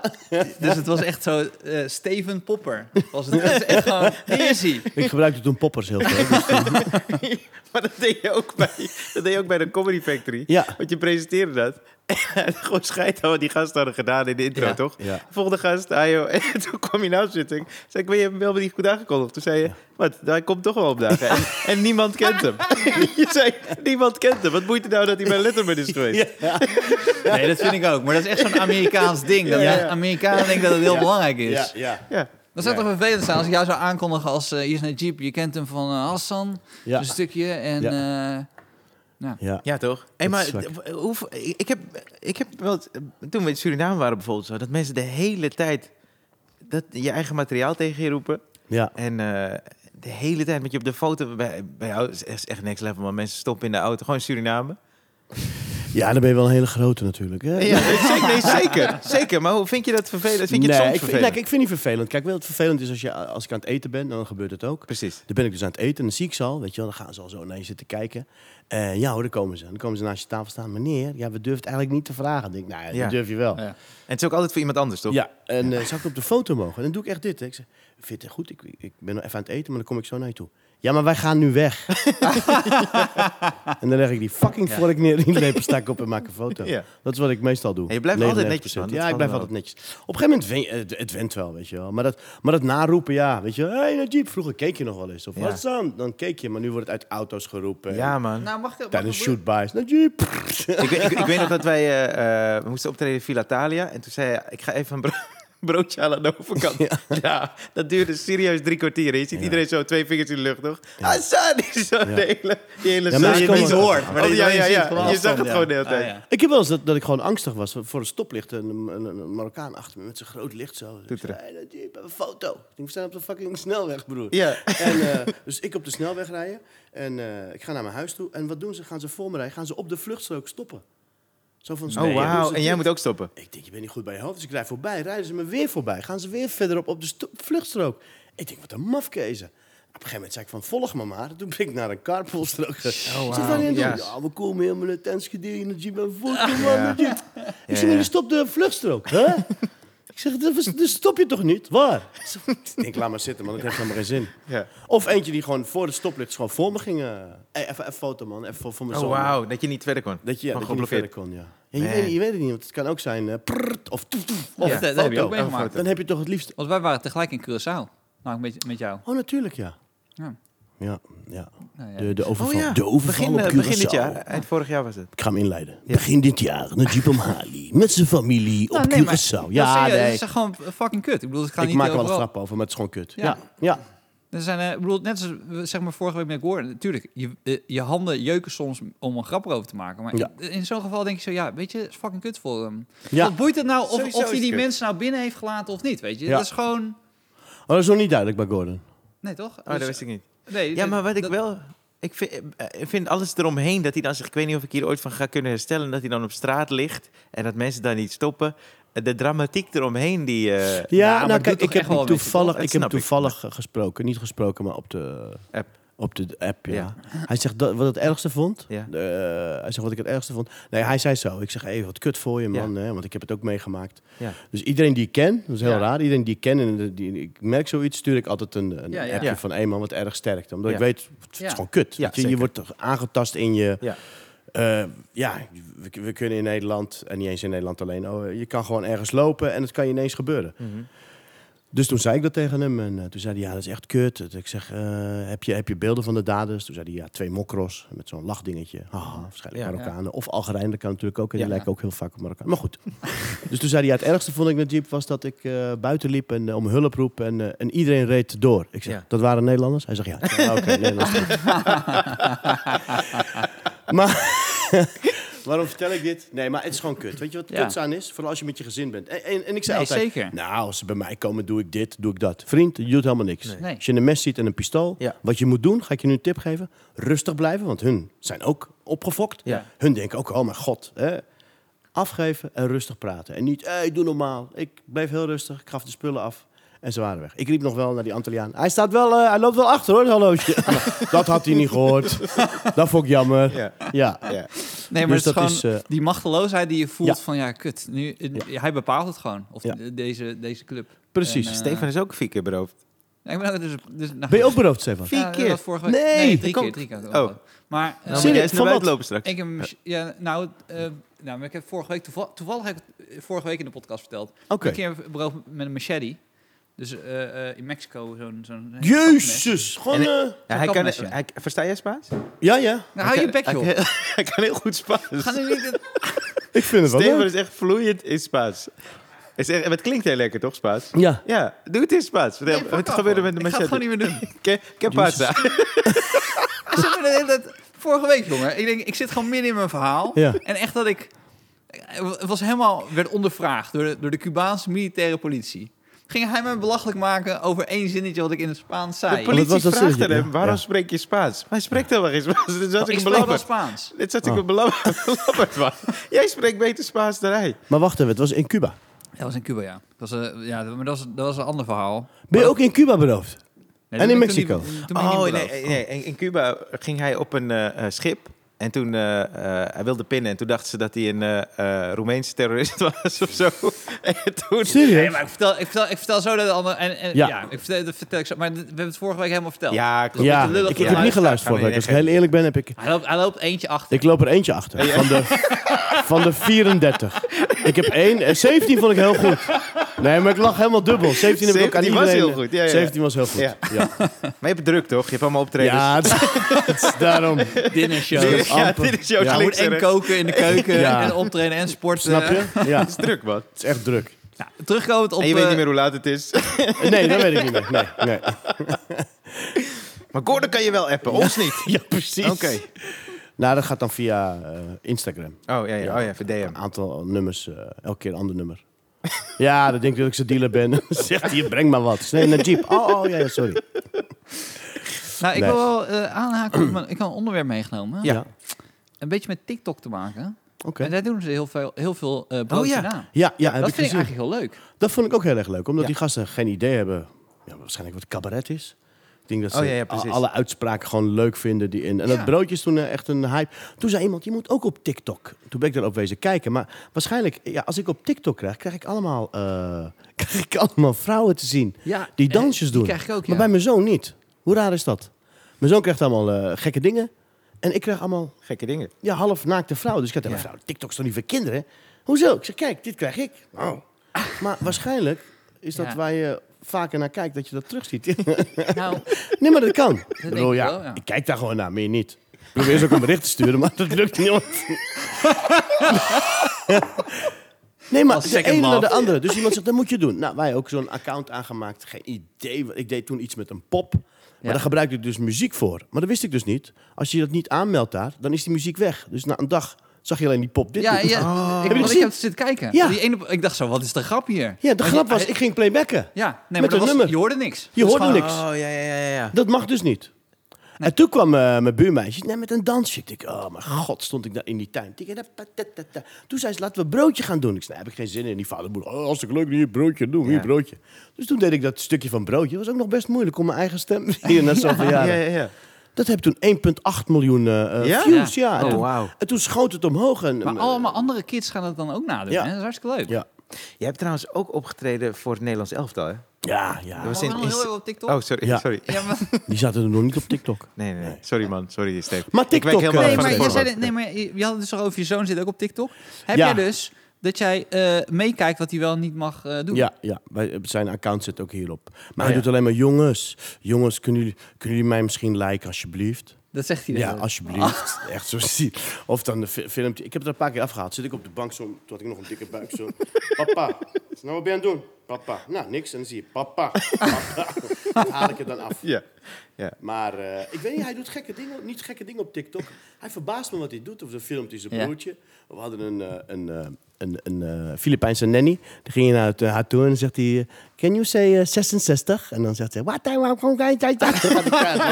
[SPEAKER 2] dus het was echt zo, eh, Steven Popper. Was het Het is echt gewoon, hier is hij.
[SPEAKER 3] Ik gebruikte toen poppers heel veel. dus-
[SPEAKER 1] Maar dat deed, je ook bij, dat deed je ook bij de Comedy Factory.
[SPEAKER 3] Ja.
[SPEAKER 1] Want je presenteerde dat. En gewoon scheid aan wat die gasten hadden gedaan in de intro,
[SPEAKER 2] Ja.
[SPEAKER 1] toch?
[SPEAKER 3] ja.
[SPEAKER 1] Volgende gast, Ajo. En toen kwam je naast zitten. Ik zei, ik ben je wel niet goed aangekondigd. Toen zei je, wat, hij komt toch wel opdagen. En, en niemand kent hem. je zei, niemand kent hem. Wat boeit het nou dat hij bij Letterman is geweest?
[SPEAKER 2] Nee, dat vind ik ook. Maar dat is echt zo'n Amerikaans ding. Dat
[SPEAKER 1] Ja, ja.
[SPEAKER 2] de Amerikanen denken dat het heel belangrijk is.
[SPEAKER 3] Ja, ja.
[SPEAKER 1] Ja.
[SPEAKER 2] Dat zou toch vervelend zijn als ik jou zou aankondigen als... eh, hier is een Jeep, je kent hem van eh, Hassan.
[SPEAKER 3] Ja.
[SPEAKER 2] Een stukje. En
[SPEAKER 3] Ja.
[SPEAKER 2] eh,
[SPEAKER 3] ja.
[SPEAKER 1] Ja, toch? Hey,
[SPEAKER 3] Dat
[SPEAKER 1] maar
[SPEAKER 3] is zwak.
[SPEAKER 1] d- hoe, ik, heb, ik heb wel... Toen we in Suriname waren bijvoorbeeld zo... dat mensen de hele tijd dat, je eigen materiaal tegen je roepen.
[SPEAKER 3] ja.
[SPEAKER 1] En eh, de hele tijd met je op de foto... bij, bij jou is echt, echt next level, maar mensen stoppen in de auto. Gewoon Suriname.
[SPEAKER 3] Ja, dan ben je wel een hele grote natuurlijk. Hè?
[SPEAKER 1] Ja, zeker, nee, zeker, zeker. Maar hoe vind je dat vervelend? Vind je het
[SPEAKER 3] Nee,
[SPEAKER 1] soms
[SPEAKER 3] ik vind,
[SPEAKER 1] vervelend?
[SPEAKER 3] nee, ik vind niet vervelend. Kijk, wel het vervelend is als, je, als ik aan het eten ben, dan gebeurt het ook.
[SPEAKER 1] Precies.
[SPEAKER 3] Dan ben ik dus aan het eten en dan zie ik ze al, weet je wel. Dan gaan ze al zo naar je zitten kijken. En ja hoor, dan komen ze. Dan komen ze naast je tafel staan. Meneer, ja, we durven het eigenlijk niet te vragen. Dan denk ik, nou ja,
[SPEAKER 1] Ja.
[SPEAKER 3] dat durf je wel.
[SPEAKER 2] ja.
[SPEAKER 1] En het is ook altijd voor iemand anders, toch?
[SPEAKER 3] Ja, en eh, zou ik op de foto mogen? En dan doe ik echt dit. Hè. Ik zeg, vind je het goed? Ik, ik ben nog even aan het eten, maar dan kom ik zo naar je toe. Ja, maar wij gaan nu weg. en dan leg ik die fucking
[SPEAKER 2] Ja.
[SPEAKER 3] vork neer in die lepelstak op en maak een foto.
[SPEAKER 1] Ja.
[SPEAKER 3] Dat is wat ik meestal doe.
[SPEAKER 1] En je blijft altijd netjes,
[SPEAKER 3] 99%.
[SPEAKER 1] man. Dat
[SPEAKER 3] Ja, ik
[SPEAKER 1] valt
[SPEAKER 3] blijf
[SPEAKER 1] wel
[SPEAKER 3] altijd netjes. Op een gegeven moment, wen- eh, het, het went wel, weet je wel. Maar dat, maar dat naroepen, ja, weet je wel. Hey, Najib, vroeger keek je nog wel eens. Of
[SPEAKER 1] Ja.
[SPEAKER 3] wat dan? Dan keek je, maar nu wordt het uit auto's geroepen.
[SPEAKER 1] Ja,
[SPEAKER 3] En
[SPEAKER 1] man.
[SPEAKER 2] Nou, mag ik... mag
[SPEAKER 3] Tijdens
[SPEAKER 2] ik-
[SPEAKER 3] shootbys. Najib.
[SPEAKER 1] ik, weet- ik, ik weet nog dat wij eh, eh, we moesten optreden in Villa Thalia. En toen zei hij, ik ga even een bro- broodje halen aan de overkant. Ja. dat duurde serieus drie kwartier. Je ziet iedereen zo twee vingers in de lucht, toch? Ah, zo, die, zo, de hele, die hele
[SPEAKER 3] Ja, maar
[SPEAKER 1] zaal.
[SPEAKER 3] je
[SPEAKER 1] Oh,
[SPEAKER 3] niet
[SPEAKER 2] hoort, maar dat je
[SPEAKER 1] ja,
[SPEAKER 2] alleen
[SPEAKER 1] ja,
[SPEAKER 2] ziet
[SPEAKER 1] ja.
[SPEAKER 2] van
[SPEAKER 1] Je
[SPEAKER 2] afstand,
[SPEAKER 1] zag het
[SPEAKER 2] ja.
[SPEAKER 1] gewoon de hele
[SPEAKER 2] Ah,
[SPEAKER 1] tijd.
[SPEAKER 2] ja.
[SPEAKER 3] Ik heb wel eens dat, dat ik gewoon angstig was voor een stoplicht. En Een, een, een Marokkaan achter me met zijn groot licht zo. Ik zei,
[SPEAKER 1] Toeteren.
[SPEAKER 3] hey, dat diep, een foto. Ik denk, we zijn op de fucking snelweg, broer.
[SPEAKER 1] Ja.
[SPEAKER 3] En, eh, dus ik op de snelweg rijden. En eh, ik ga naar mijn huis toe. En wat doen ze? Gaan ze voor me rijden? Gaan ze op de vluchtstrook stoppen? Zo van,
[SPEAKER 1] Oh,
[SPEAKER 3] nee, doen
[SPEAKER 1] wauw.
[SPEAKER 3] ze
[SPEAKER 1] En jij
[SPEAKER 3] dit.
[SPEAKER 1] moet ook stoppen.
[SPEAKER 3] Ik denk, je bent niet goed bij je hoofd. Dus ik rijd voorbij. Rijden ze me weer voorbij. Gaan ze weer verderop op de sto- vluchtstrook. Ik denk, wat een mafkezen. Op een gegeven moment zei ik van, volg me maar. Toen ben ik naar een carpoolstrook. gegaan.
[SPEAKER 1] wauw.
[SPEAKER 3] Ik zeg, wanneer doen?
[SPEAKER 1] Ja. Ah,
[SPEAKER 3] Ja, we komen helemaal uit Enschede in de jeep en voeten, man.
[SPEAKER 1] Ja.
[SPEAKER 3] de jeep. Ik zeg,
[SPEAKER 1] Ja,
[SPEAKER 3] maar
[SPEAKER 1] ja.
[SPEAKER 3] je stopt de vluchtstrook. Hè? ik zeg, dat was- dus stop je toch niet? Waar? Ik zeg, Ik denk, laat maar zitten, man. Dat heeft helemaal geen zin.
[SPEAKER 1] Ja.
[SPEAKER 3] Of eentje die gewoon voor de stoplicht gewoon voor me ging. eh, hey, even even foto, man. Even voor, voor mijn
[SPEAKER 1] Oh,
[SPEAKER 3] zoon.
[SPEAKER 1] wauw. Dat je niet verder kon.
[SPEAKER 3] Dat je, ja,
[SPEAKER 1] Gewoon
[SPEAKER 3] dat je niet verder
[SPEAKER 1] geblokkeerd.
[SPEAKER 3] kon, ja. ja je,
[SPEAKER 1] Nee.
[SPEAKER 3] weet, je weet het niet, want het kan ook zijn eh, prrrt, of toef, toef, of
[SPEAKER 2] Ja, dat-
[SPEAKER 1] oh,
[SPEAKER 2] dat heb je
[SPEAKER 3] foto.
[SPEAKER 2] ook meegemaakt.
[SPEAKER 3] Dan heb je toch het liefst...
[SPEAKER 2] Want wij waren tegelijk in Curaçao. Nou, met, met jou.
[SPEAKER 3] Oh, natuurlijk, ja.
[SPEAKER 2] Ja.
[SPEAKER 3] Ja, ja.
[SPEAKER 2] Nou, ja.
[SPEAKER 3] De, de overval,
[SPEAKER 1] Oh ja,
[SPEAKER 3] de overval
[SPEAKER 1] begin,
[SPEAKER 3] op
[SPEAKER 1] eh, begin dit
[SPEAKER 3] Curaçao.
[SPEAKER 1] jaar. Eind vorig jaar was het.
[SPEAKER 3] Ik ga hem inleiden. Begin dit jaar, Najib Amhali met zijn familie op
[SPEAKER 2] Nou, nee, maar-
[SPEAKER 3] Curaçao.
[SPEAKER 2] Maar
[SPEAKER 3] ja,
[SPEAKER 2] serieus,
[SPEAKER 3] nee.
[SPEAKER 2] Het is echt gewoon fucking kut. Ik bedoel, het gaat
[SPEAKER 3] ik
[SPEAKER 2] niet
[SPEAKER 3] maak er wel een
[SPEAKER 2] overal-
[SPEAKER 3] grap over, maar het is gewoon kut.
[SPEAKER 2] Ja.
[SPEAKER 3] Ja, ja.
[SPEAKER 2] Er zijn, eh, ik bedoel, net als we, zeg maar vorige week met Gordon. Natuurlijk, je, eh, je handen jeuken soms om een grap erover te maken. Maar
[SPEAKER 3] Ja.
[SPEAKER 2] in, in zo'n geval denk je zo, ja, weet je, het is fucking kut voor hem.
[SPEAKER 3] Ja.
[SPEAKER 2] Wat boeit het nou of,
[SPEAKER 1] Sowieso
[SPEAKER 2] of
[SPEAKER 1] is
[SPEAKER 2] hij
[SPEAKER 1] het
[SPEAKER 2] die
[SPEAKER 1] kut.
[SPEAKER 2] mensen nou binnen heeft gelaten of niet, weet je?
[SPEAKER 3] Ja.
[SPEAKER 2] Dat is gewoon...
[SPEAKER 3] Oh, dat is nog niet duidelijk bij Gordon.
[SPEAKER 2] Nee, toch? Dus-
[SPEAKER 1] Oh, dat wist ik niet.
[SPEAKER 2] Nee,
[SPEAKER 1] Ja,
[SPEAKER 2] dit-
[SPEAKER 1] maar wat ik
[SPEAKER 2] dat-
[SPEAKER 1] wel... Ik vind, eh, ik vind alles eromheen dat hij dan zegt... Ik weet niet of ik hier ooit van ga kunnen herstellen. Dat hij dan op straat ligt en dat mensen daar niet stoppen. Eh, De dramatiek eromheen die... eh,
[SPEAKER 3] Ja,
[SPEAKER 2] maar
[SPEAKER 3] nou
[SPEAKER 2] het doet
[SPEAKER 3] kijk,
[SPEAKER 2] toch
[SPEAKER 3] ik heb
[SPEAKER 2] echt wel
[SPEAKER 3] hem
[SPEAKER 2] een
[SPEAKER 1] toch?
[SPEAKER 2] beetje,
[SPEAKER 3] toevallig,
[SPEAKER 1] Dat
[SPEAKER 3] ik heb hem
[SPEAKER 1] snap ik.
[SPEAKER 3] toevallig eh, gesproken. Niet gesproken, maar op de
[SPEAKER 1] App.
[SPEAKER 3] Op de app, ja.
[SPEAKER 1] Ja.
[SPEAKER 3] Hij zegt dat, wat het ergste vond.
[SPEAKER 1] Ja.
[SPEAKER 3] Eh, hij zegt wat ik het ergste vond. Nee, hij zei zo. Ik zeg, hey, wat kut voor je, man. Hè, want ik heb het ook meegemaakt.
[SPEAKER 1] Ja.
[SPEAKER 3] Dus iedereen die ik ken, dat is heel
[SPEAKER 2] Ja.
[SPEAKER 3] raar. Iedereen die ik ken, en de- die, ik merk zoiets, stuur ik altijd een, een
[SPEAKER 2] Ja, ja.
[SPEAKER 3] appje
[SPEAKER 1] Ja.
[SPEAKER 3] van, hé man, wat erg sterkte. Omdat
[SPEAKER 1] Ja.
[SPEAKER 3] ik weet, het is
[SPEAKER 2] Ja.
[SPEAKER 3] gewoon kut.
[SPEAKER 1] Ja,
[SPEAKER 3] Weet je, je
[SPEAKER 1] zeker.
[SPEAKER 3] wordt toch aangetast in je...
[SPEAKER 1] Ja.
[SPEAKER 3] Eh, ja, we, we kunnen in Nederland, en niet eens in Nederland alleen, oh, je kan gewoon ergens lopen en het kan je ineens gebeuren.
[SPEAKER 1] Mhm.
[SPEAKER 3] Dus toen zei ik dat tegen hem en eh, toen zei hij, ja, dat is echt kut. Het- Ik zeg, eh, heb, je, heb je beelden van de daders? Toen zei hij, ja, twee mokros met zo'n lachdingetje. Haha, waarschijnlijk
[SPEAKER 1] Ja.
[SPEAKER 3] Marokkanen. Of Algerijnen, dat kan natuurlijk ook. En die
[SPEAKER 1] Ja.
[SPEAKER 3] lijken ook heel vaak op Marokkanen. Maar goed. dus toen zei hij, ja, het ergste vond ik met Jeep was dat ik eh, buiten liep en eh, om hulp roep en, eh, en iedereen reed door. Ik zeg,
[SPEAKER 1] Ja.
[SPEAKER 3] dat waren Nederlanders? Hij zegt, ja. Ik zeg, "Ah, Oké, Nederlanders. maar... Waarom vertel ik dit? Nee, maar het is gewoon kut. Weet je wat
[SPEAKER 2] Ja.
[SPEAKER 3] kut aan is? Vooral als je met je gezin bent. En, en, en ik zei
[SPEAKER 2] Nee,
[SPEAKER 3] altijd...
[SPEAKER 2] zeker.
[SPEAKER 3] Nou, als ze bij mij komen, doe ik dit, doe ik dat. Vriend, je doet helemaal niks.
[SPEAKER 2] Nee.
[SPEAKER 3] Als je een mes ziet en een pistool,
[SPEAKER 1] Ja.
[SPEAKER 3] wat je moet doen, ga ik je nu een tip geven. Rustig blijven, want hun zijn ook opgefokt.
[SPEAKER 1] Ja.
[SPEAKER 3] Hun denken ook, oh mijn god. Hè? Afgeven en rustig praten. En niet, hey, doe normaal. Ik bleef heel rustig, ik gaf de spullen af. En ze waren weg. Ik riep nog wel naar die Antilliaan. Hij staat wel, eh, hij loopt wel achter hoor, dat hallootje. Maar dat had hij niet gehoord. Dat vond ik jammer. Ja.
[SPEAKER 1] Ja. Ja.
[SPEAKER 2] Nee, maar
[SPEAKER 3] Dus
[SPEAKER 2] het is
[SPEAKER 3] dat
[SPEAKER 2] gewoon
[SPEAKER 3] is, eh,
[SPEAKER 2] die machteloosheid die je voelt
[SPEAKER 3] Ja.
[SPEAKER 2] van ja, kut. Nu, Hij bepaalt het gewoon. Of
[SPEAKER 3] Ja.
[SPEAKER 2] de- deze, deze club.
[SPEAKER 3] Precies.
[SPEAKER 2] En, eh,
[SPEAKER 1] Stefan is ook vier keer beroofd.
[SPEAKER 2] ja, ik ben ook dus, dus, nou,
[SPEAKER 3] Ben je ook beroofd, Stefan?
[SPEAKER 1] Vier
[SPEAKER 2] ja, dat
[SPEAKER 1] keer?
[SPEAKER 2] was vorige week.
[SPEAKER 3] Nee,
[SPEAKER 2] nee,
[SPEAKER 1] dat
[SPEAKER 2] drie
[SPEAKER 1] kan-
[SPEAKER 2] keer. Drie keer.
[SPEAKER 1] Oh.
[SPEAKER 2] Oh. Maar eh,
[SPEAKER 1] Nou,
[SPEAKER 3] Serieus?
[SPEAKER 1] moet jij eens naar
[SPEAKER 3] Van wat?
[SPEAKER 1] buiten lopen straks.
[SPEAKER 2] ik heb, hem- ja, nou, eh, nou, maar ik heb vorige week toeval- toevallig heb ik het, eh, vorige week in de podcast verteld.
[SPEAKER 3] Oké.
[SPEAKER 2] Een keer beroofd met een machete. Dus eh, eh, in Mexico zo'n zo'n.
[SPEAKER 3] Jezus, gewoon...
[SPEAKER 1] En-
[SPEAKER 3] eh,
[SPEAKER 1] Ja, hij kan,
[SPEAKER 2] kapmesje.
[SPEAKER 1] hij, versta jij Spaans?
[SPEAKER 3] ja, ja.
[SPEAKER 2] Nou, hou je bek,
[SPEAKER 1] Hij
[SPEAKER 2] joh.
[SPEAKER 1] kan- Hij kan heel goed Spaans.
[SPEAKER 2] Ga nu niet.
[SPEAKER 3] Ik vind het wel
[SPEAKER 1] Stefan
[SPEAKER 3] leuk.
[SPEAKER 1] is echt vloeiend in Spaans. Is echt, het klinkt heel lekker, toch, Spaans?
[SPEAKER 3] Ja.
[SPEAKER 1] Ja, doe het in Spaans. Vertel,
[SPEAKER 2] Nee,
[SPEAKER 1] wat
[SPEAKER 2] fuck
[SPEAKER 1] gebeurde
[SPEAKER 2] off,
[SPEAKER 1] met de
[SPEAKER 2] man. Ik ga het
[SPEAKER 1] machete?
[SPEAKER 2] gewoon niet meer doen.
[SPEAKER 1] Ke, ke pasa?
[SPEAKER 2] Ze hebben de hele tijd- vorige week, jongen. Ik denk, ik zit gewoon midden in mijn verhaal.
[SPEAKER 3] Ja.
[SPEAKER 2] En echt dat ik... Het was helemaal... werd ondervraagd door de, door de Cubaanse militaire politie. Ging hij mij belachelijk maken over één zinnetje wat ik in het Spaans zei?
[SPEAKER 1] De politie
[SPEAKER 3] was dat
[SPEAKER 1] vraagt aan
[SPEAKER 3] zinnetje?
[SPEAKER 1] hem, waarom
[SPEAKER 3] Ja.
[SPEAKER 1] spreek je Spaans? Maar hij spreekt helemaal geen Spaans. Dit zat
[SPEAKER 2] ik
[SPEAKER 1] ik
[SPEAKER 2] spreek wel
[SPEAKER 1] belabberd.
[SPEAKER 2] Spaans.
[SPEAKER 1] Dit zat ik een belabberd man. Jij spreekt beter Spaans dan hij.
[SPEAKER 3] Maar wacht even, het was in Cuba.
[SPEAKER 2] Dat was in Cuba, ja. Dat was, eh, ja, maar dat was, dat was een ander verhaal.
[SPEAKER 3] Ben je ook in Cuba beroofd?
[SPEAKER 2] Nee,
[SPEAKER 3] En
[SPEAKER 2] toen
[SPEAKER 3] in
[SPEAKER 2] ben ik toen
[SPEAKER 3] Mexico?
[SPEAKER 2] niet- toen ben ik niet
[SPEAKER 1] Oh,
[SPEAKER 2] beloofd.
[SPEAKER 1] nee, nee. In, in Cuba ging hij op een eh, eh, schip. En toen eh, eh, hij wilde pinnen. En toen dachten ze dat hij een eh, eh, Roemeense terrorist was of zo. En toen...
[SPEAKER 2] Nee,
[SPEAKER 3] Serieus?
[SPEAKER 2] maar ik vertel, ik vertel, ik vertel zo dat de ander... En, en, ja.
[SPEAKER 3] Ja.
[SPEAKER 2] ik vertel, dat vertel ik zo. Maar we hebben het vorige week helemaal verteld.
[SPEAKER 1] Ja, klopt.
[SPEAKER 3] Ja,
[SPEAKER 2] Met de lul op
[SPEAKER 3] ik,
[SPEAKER 2] de
[SPEAKER 3] ik heb
[SPEAKER 2] lijst.
[SPEAKER 3] niet geluisterd
[SPEAKER 1] Kan
[SPEAKER 3] vorige week.
[SPEAKER 1] niet
[SPEAKER 3] Als ik heel eerlijk ben, heb ik...
[SPEAKER 2] Hij, loopt, hij loopt eentje achter.
[SPEAKER 3] Ik loop er eentje achter. Van, de, van de 34. Ik heb één. eh, 17 vond ik heel goed. Nee, maar ik lag helemaal dubbel. 17, heb ik ook aan
[SPEAKER 1] 17 was
[SPEAKER 3] iedereen-
[SPEAKER 1] heel goed, ja, ja.
[SPEAKER 3] 17 was heel goed.
[SPEAKER 1] Ja.
[SPEAKER 3] Ja, ja.
[SPEAKER 1] Maar je hebt druk, toch? Je hebt allemaal optredens.
[SPEAKER 3] het, het is daarom.
[SPEAKER 2] Dinnershow.
[SPEAKER 3] Dit
[SPEAKER 1] Ja,
[SPEAKER 3] is amper.
[SPEAKER 1] dit is jouw
[SPEAKER 3] Ja.
[SPEAKER 2] Hij Nou, moet
[SPEAKER 1] slinkse
[SPEAKER 2] en
[SPEAKER 1] recht.
[SPEAKER 2] koken in de keuken
[SPEAKER 3] Ja.
[SPEAKER 2] en optreden en sporten.
[SPEAKER 3] Snap je? Ja, het
[SPEAKER 1] Het is druk, man.
[SPEAKER 3] is echt druk. Eh,
[SPEAKER 2] Nou, terugkomend op...
[SPEAKER 1] En je weet
[SPEAKER 2] eh,
[SPEAKER 1] niet meer hoe laat het is.
[SPEAKER 3] Nee, dat weet ik niet meer. Nee, nee.
[SPEAKER 1] Maar Gordon kan je wel appen, ons niet.
[SPEAKER 3] Ja, precies.
[SPEAKER 1] Oké.
[SPEAKER 3] Nou, dat gaat dan via eh, Instagram.
[SPEAKER 1] Oh, ja, ja. Oh, ja, voor DM.
[SPEAKER 3] Een aantal nummers, eh, elke keer een ander nummer. Ja, dan denk ik dat ik zijn dealer ben. Zegt hij, breng maar wat. Nee, naar Jeep. Oh, oh ja, ja, sorry.
[SPEAKER 2] nou, ik
[SPEAKER 3] Nee.
[SPEAKER 2] wil wel eh, aanhaken. op mijn- ik had een onderwerp meegenomen.
[SPEAKER 1] Ja.
[SPEAKER 2] Een beetje met TikTok te maken.
[SPEAKER 3] Oké. Oh
[SPEAKER 2] En daar doen ze heel veel, heel veel eh broodje
[SPEAKER 1] ja.
[SPEAKER 2] na.
[SPEAKER 3] Ja, ja, heb
[SPEAKER 2] Dat
[SPEAKER 3] ik
[SPEAKER 2] vind ik
[SPEAKER 3] gezien.
[SPEAKER 2] eigenlijk heel leuk.
[SPEAKER 3] Dat vond ik ook heel erg leuk, omdat
[SPEAKER 2] Ja.
[SPEAKER 3] die gasten geen idee hebben. Ja, waarschijnlijk wat cabaret is. Ik denk dat ze
[SPEAKER 1] Oh, ja, ja,
[SPEAKER 3] a-
[SPEAKER 1] precies.
[SPEAKER 3] alle uitspraken gewoon leuk vinden. Die in. En
[SPEAKER 2] Ja.
[SPEAKER 3] dat broodje is toen eh, echt een hype. Toen zei iemand, je moet ook op TikTok. Toen ben ik daarop wezen kijken. Maar waarschijnlijk, ja, als ik op TikTok krijg, krijg ik allemaal, eh, krijg ik allemaal vrouwen te zien.
[SPEAKER 2] Ja,
[SPEAKER 3] Die dansjes doen.
[SPEAKER 2] Die krijg ik ook, ja.
[SPEAKER 3] Maar bij mijn zoon niet. Hoe raar is dat? Mijn zoon krijgt allemaal eh, gekke dingen. En ik krijg allemaal
[SPEAKER 1] Gekke dingen.
[SPEAKER 3] ja, half naakte vrouwen. Dus ik had tegen mijn vrouw, TikTok is toch niet voor kinderen? Hoezo? Ik zeg, kijk, dit krijg ik. Wow. Maar waarschijnlijk is dat
[SPEAKER 2] Oh. Ja.
[SPEAKER 3] waar je vaker naar kijkt, dat je dat terugziet.
[SPEAKER 2] Nou,
[SPEAKER 3] nee, maar dat kan. Ik
[SPEAKER 2] ik
[SPEAKER 3] bedoel, ja,
[SPEAKER 2] wel, ja.
[SPEAKER 3] ik kijk daar gewoon naar, meer niet. Ik probeer ze ook een bericht te sturen, maar dat lukt niet. want- nee, maar
[SPEAKER 2] Als
[SPEAKER 3] de
[SPEAKER 2] second
[SPEAKER 3] ene naar
[SPEAKER 2] love.
[SPEAKER 3] de andere. Dus iemand zegt, dat moet je doen. Nou, wij ook zo'n account aangemaakt. Geen idee. wat- Ik deed toen iets met een pop.
[SPEAKER 2] Ja.
[SPEAKER 3] Maar daar gebruikte ik dus muziek voor. Maar dat wist ik dus niet. Als je dat niet aanmeldt daar, dan is die muziek weg. Dus na een dag zag je alleen die pop dit
[SPEAKER 2] ja,
[SPEAKER 3] doen.
[SPEAKER 2] ja ik,
[SPEAKER 3] je
[SPEAKER 2] want ik
[SPEAKER 3] gezien?
[SPEAKER 2] heb zitten kijken.
[SPEAKER 3] Ja.
[SPEAKER 2] Die ene, ik dacht zo, wat is de grap hier?
[SPEAKER 3] Ja, de
[SPEAKER 2] Maar
[SPEAKER 3] grap
[SPEAKER 2] die-
[SPEAKER 3] was,
[SPEAKER 2] hij-
[SPEAKER 3] ik ging playbacken.
[SPEAKER 2] Ja, nee, maar
[SPEAKER 3] met
[SPEAKER 2] dat
[SPEAKER 3] een
[SPEAKER 2] was,
[SPEAKER 3] nummer.
[SPEAKER 2] je hoorde niks.
[SPEAKER 3] Je
[SPEAKER 2] Dus
[SPEAKER 3] hoorde
[SPEAKER 2] gewoon-
[SPEAKER 3] niks.
[SPEAKER 1] Oh, ja, ja, ja, ja.
[SPEAKER 3] Dat mag dus niet. En toen kwam eh, mijn buurmeisje nee, met een dansje. Ik dacht, oh mijn god, stond ik daar in die tuin. eh, Tikkedapatatatata. Toen zei ze, laten we broodje gaan doen. Ik zei, nou, heb ik geen zin in. Die vader moet, oh, als ik leuk hier broodje doen,
[SPEAKER 1] Ja.
[SPEAKER 3] hier broodje. Dus toen deed ik dat stukje van broodje. Dat was ook nog best moeilijk om mijn eigen stem hier na zoveel
[SPEAKER 1] Ja,
[SPEAKER 3] jaren.
[SPEAKER 1] ja, ja.
[SPEAKER 3] Dat heb toen 1,8 miljoen eh, eh,
[SPEAKER 1] Ja?
[SPEAKER 3] views. Ja. En,
[SPEAKER 1] Oh,
[SPEAKER 3] toen,
[SPEAKER 1] wauw.
[SPEAKER 3] en toen schoot het omhoog. En,
[SPEAKER 2] Maar allemaal andere kids gaan dat dan ook nadoen.
[SPEAKER 3] Ja.
[SPEAKER 2] Hè? Dat is hartstikke leuk.
[SPEAKER 3] Ja,
[SPEAKER 1] Je hebt trouwens ook opgetreden voor het Nederlands elftal, hè?
[SPEAKER 3] ja, ja.
[SPEAKER 1] was
[SPEAKER 2] We
[SPEAKER 1] in
[SPEAKER 2] gaan
[SPEAKER 1] Insta-
[SPEAKER 2] heel even op TikTok.
[SPEAKER 1] Oh, sorry,
[SPEAKER 3] Ja.
[SPEAKER 1] sorry.
[SPEAKER 2] Ja, maar...
[SPEAKER 3] Die zaten er nog niet op TikTok.
[SPEAKER 1] Nee, nee, nee. Sorry, man. Sorry, Steve.
[SPEAKER 3] Maar
[SPEAKER 1] Ik werk
[SPEAKER 3] TikTok,
[SPEAKER 1] helemaal
[SPEAKER 3] eh,
[SPEAKER 2] Nee,
[SPEAKER 1] van
[SPEAKER 2] maar,
[SPEAKER 1] de
[SPEAKER 2] je,
[SPEAKER 1] voorkant.
[SPEAKER 2] zei, net- nee, maar je, je had het dus toch over je zoon zit ook op TikTok. Heb
[SPEAKER 3] Ja.
[SPEAKER 2] jij dus dat jij eh, meekijkt wat hij wel niet mag eh, doen?
[SPEAKER 3] Ja, ja. Wij, zijn account zit ook hierop. Maar hij
[SPEAKER 1] ja.
[SPEAKER 3] doet alleen maar jongens. Jongens, kunnen jullie, kunnen jullie mij misschien liken alsjeblieft?
[SPEAKER 2] Dat zegt hij.
[SPEAKER 3] Ja,
[SPEAKER 2] Ja,
[SPEAKER 3] alsjeblieft. Echt zo zie. Of dan de fi- filmpje. Ik heb het er een paar keer afgehaald. Zit ik op de bank zo, toen had ik nog een dikke buik zo. Papa, wat is nou wat ben je aan het doen? Papa. Nou, niks. En dan zie je papa. papa. Dan haal ik het dan af.
[SPEAKER 1] Ja.
[SPEAKER 3] Maar eh, ik weet niet, hij doet gekke dingen, niet gekke dingen op TikTok. Hij verbaast me wat hij doet. Of dan filmt hij zijn
[SPEAKER 2] Ja.
[SPEAKER 3] broertje. We hadden een, eh, een, eh, een, een eh, Filipijnse nanny. Die ging je naar het, eh, haar toe en dan zegt hij... eh, Can you say eh, 66? En dan zegt ze... What time I'm going to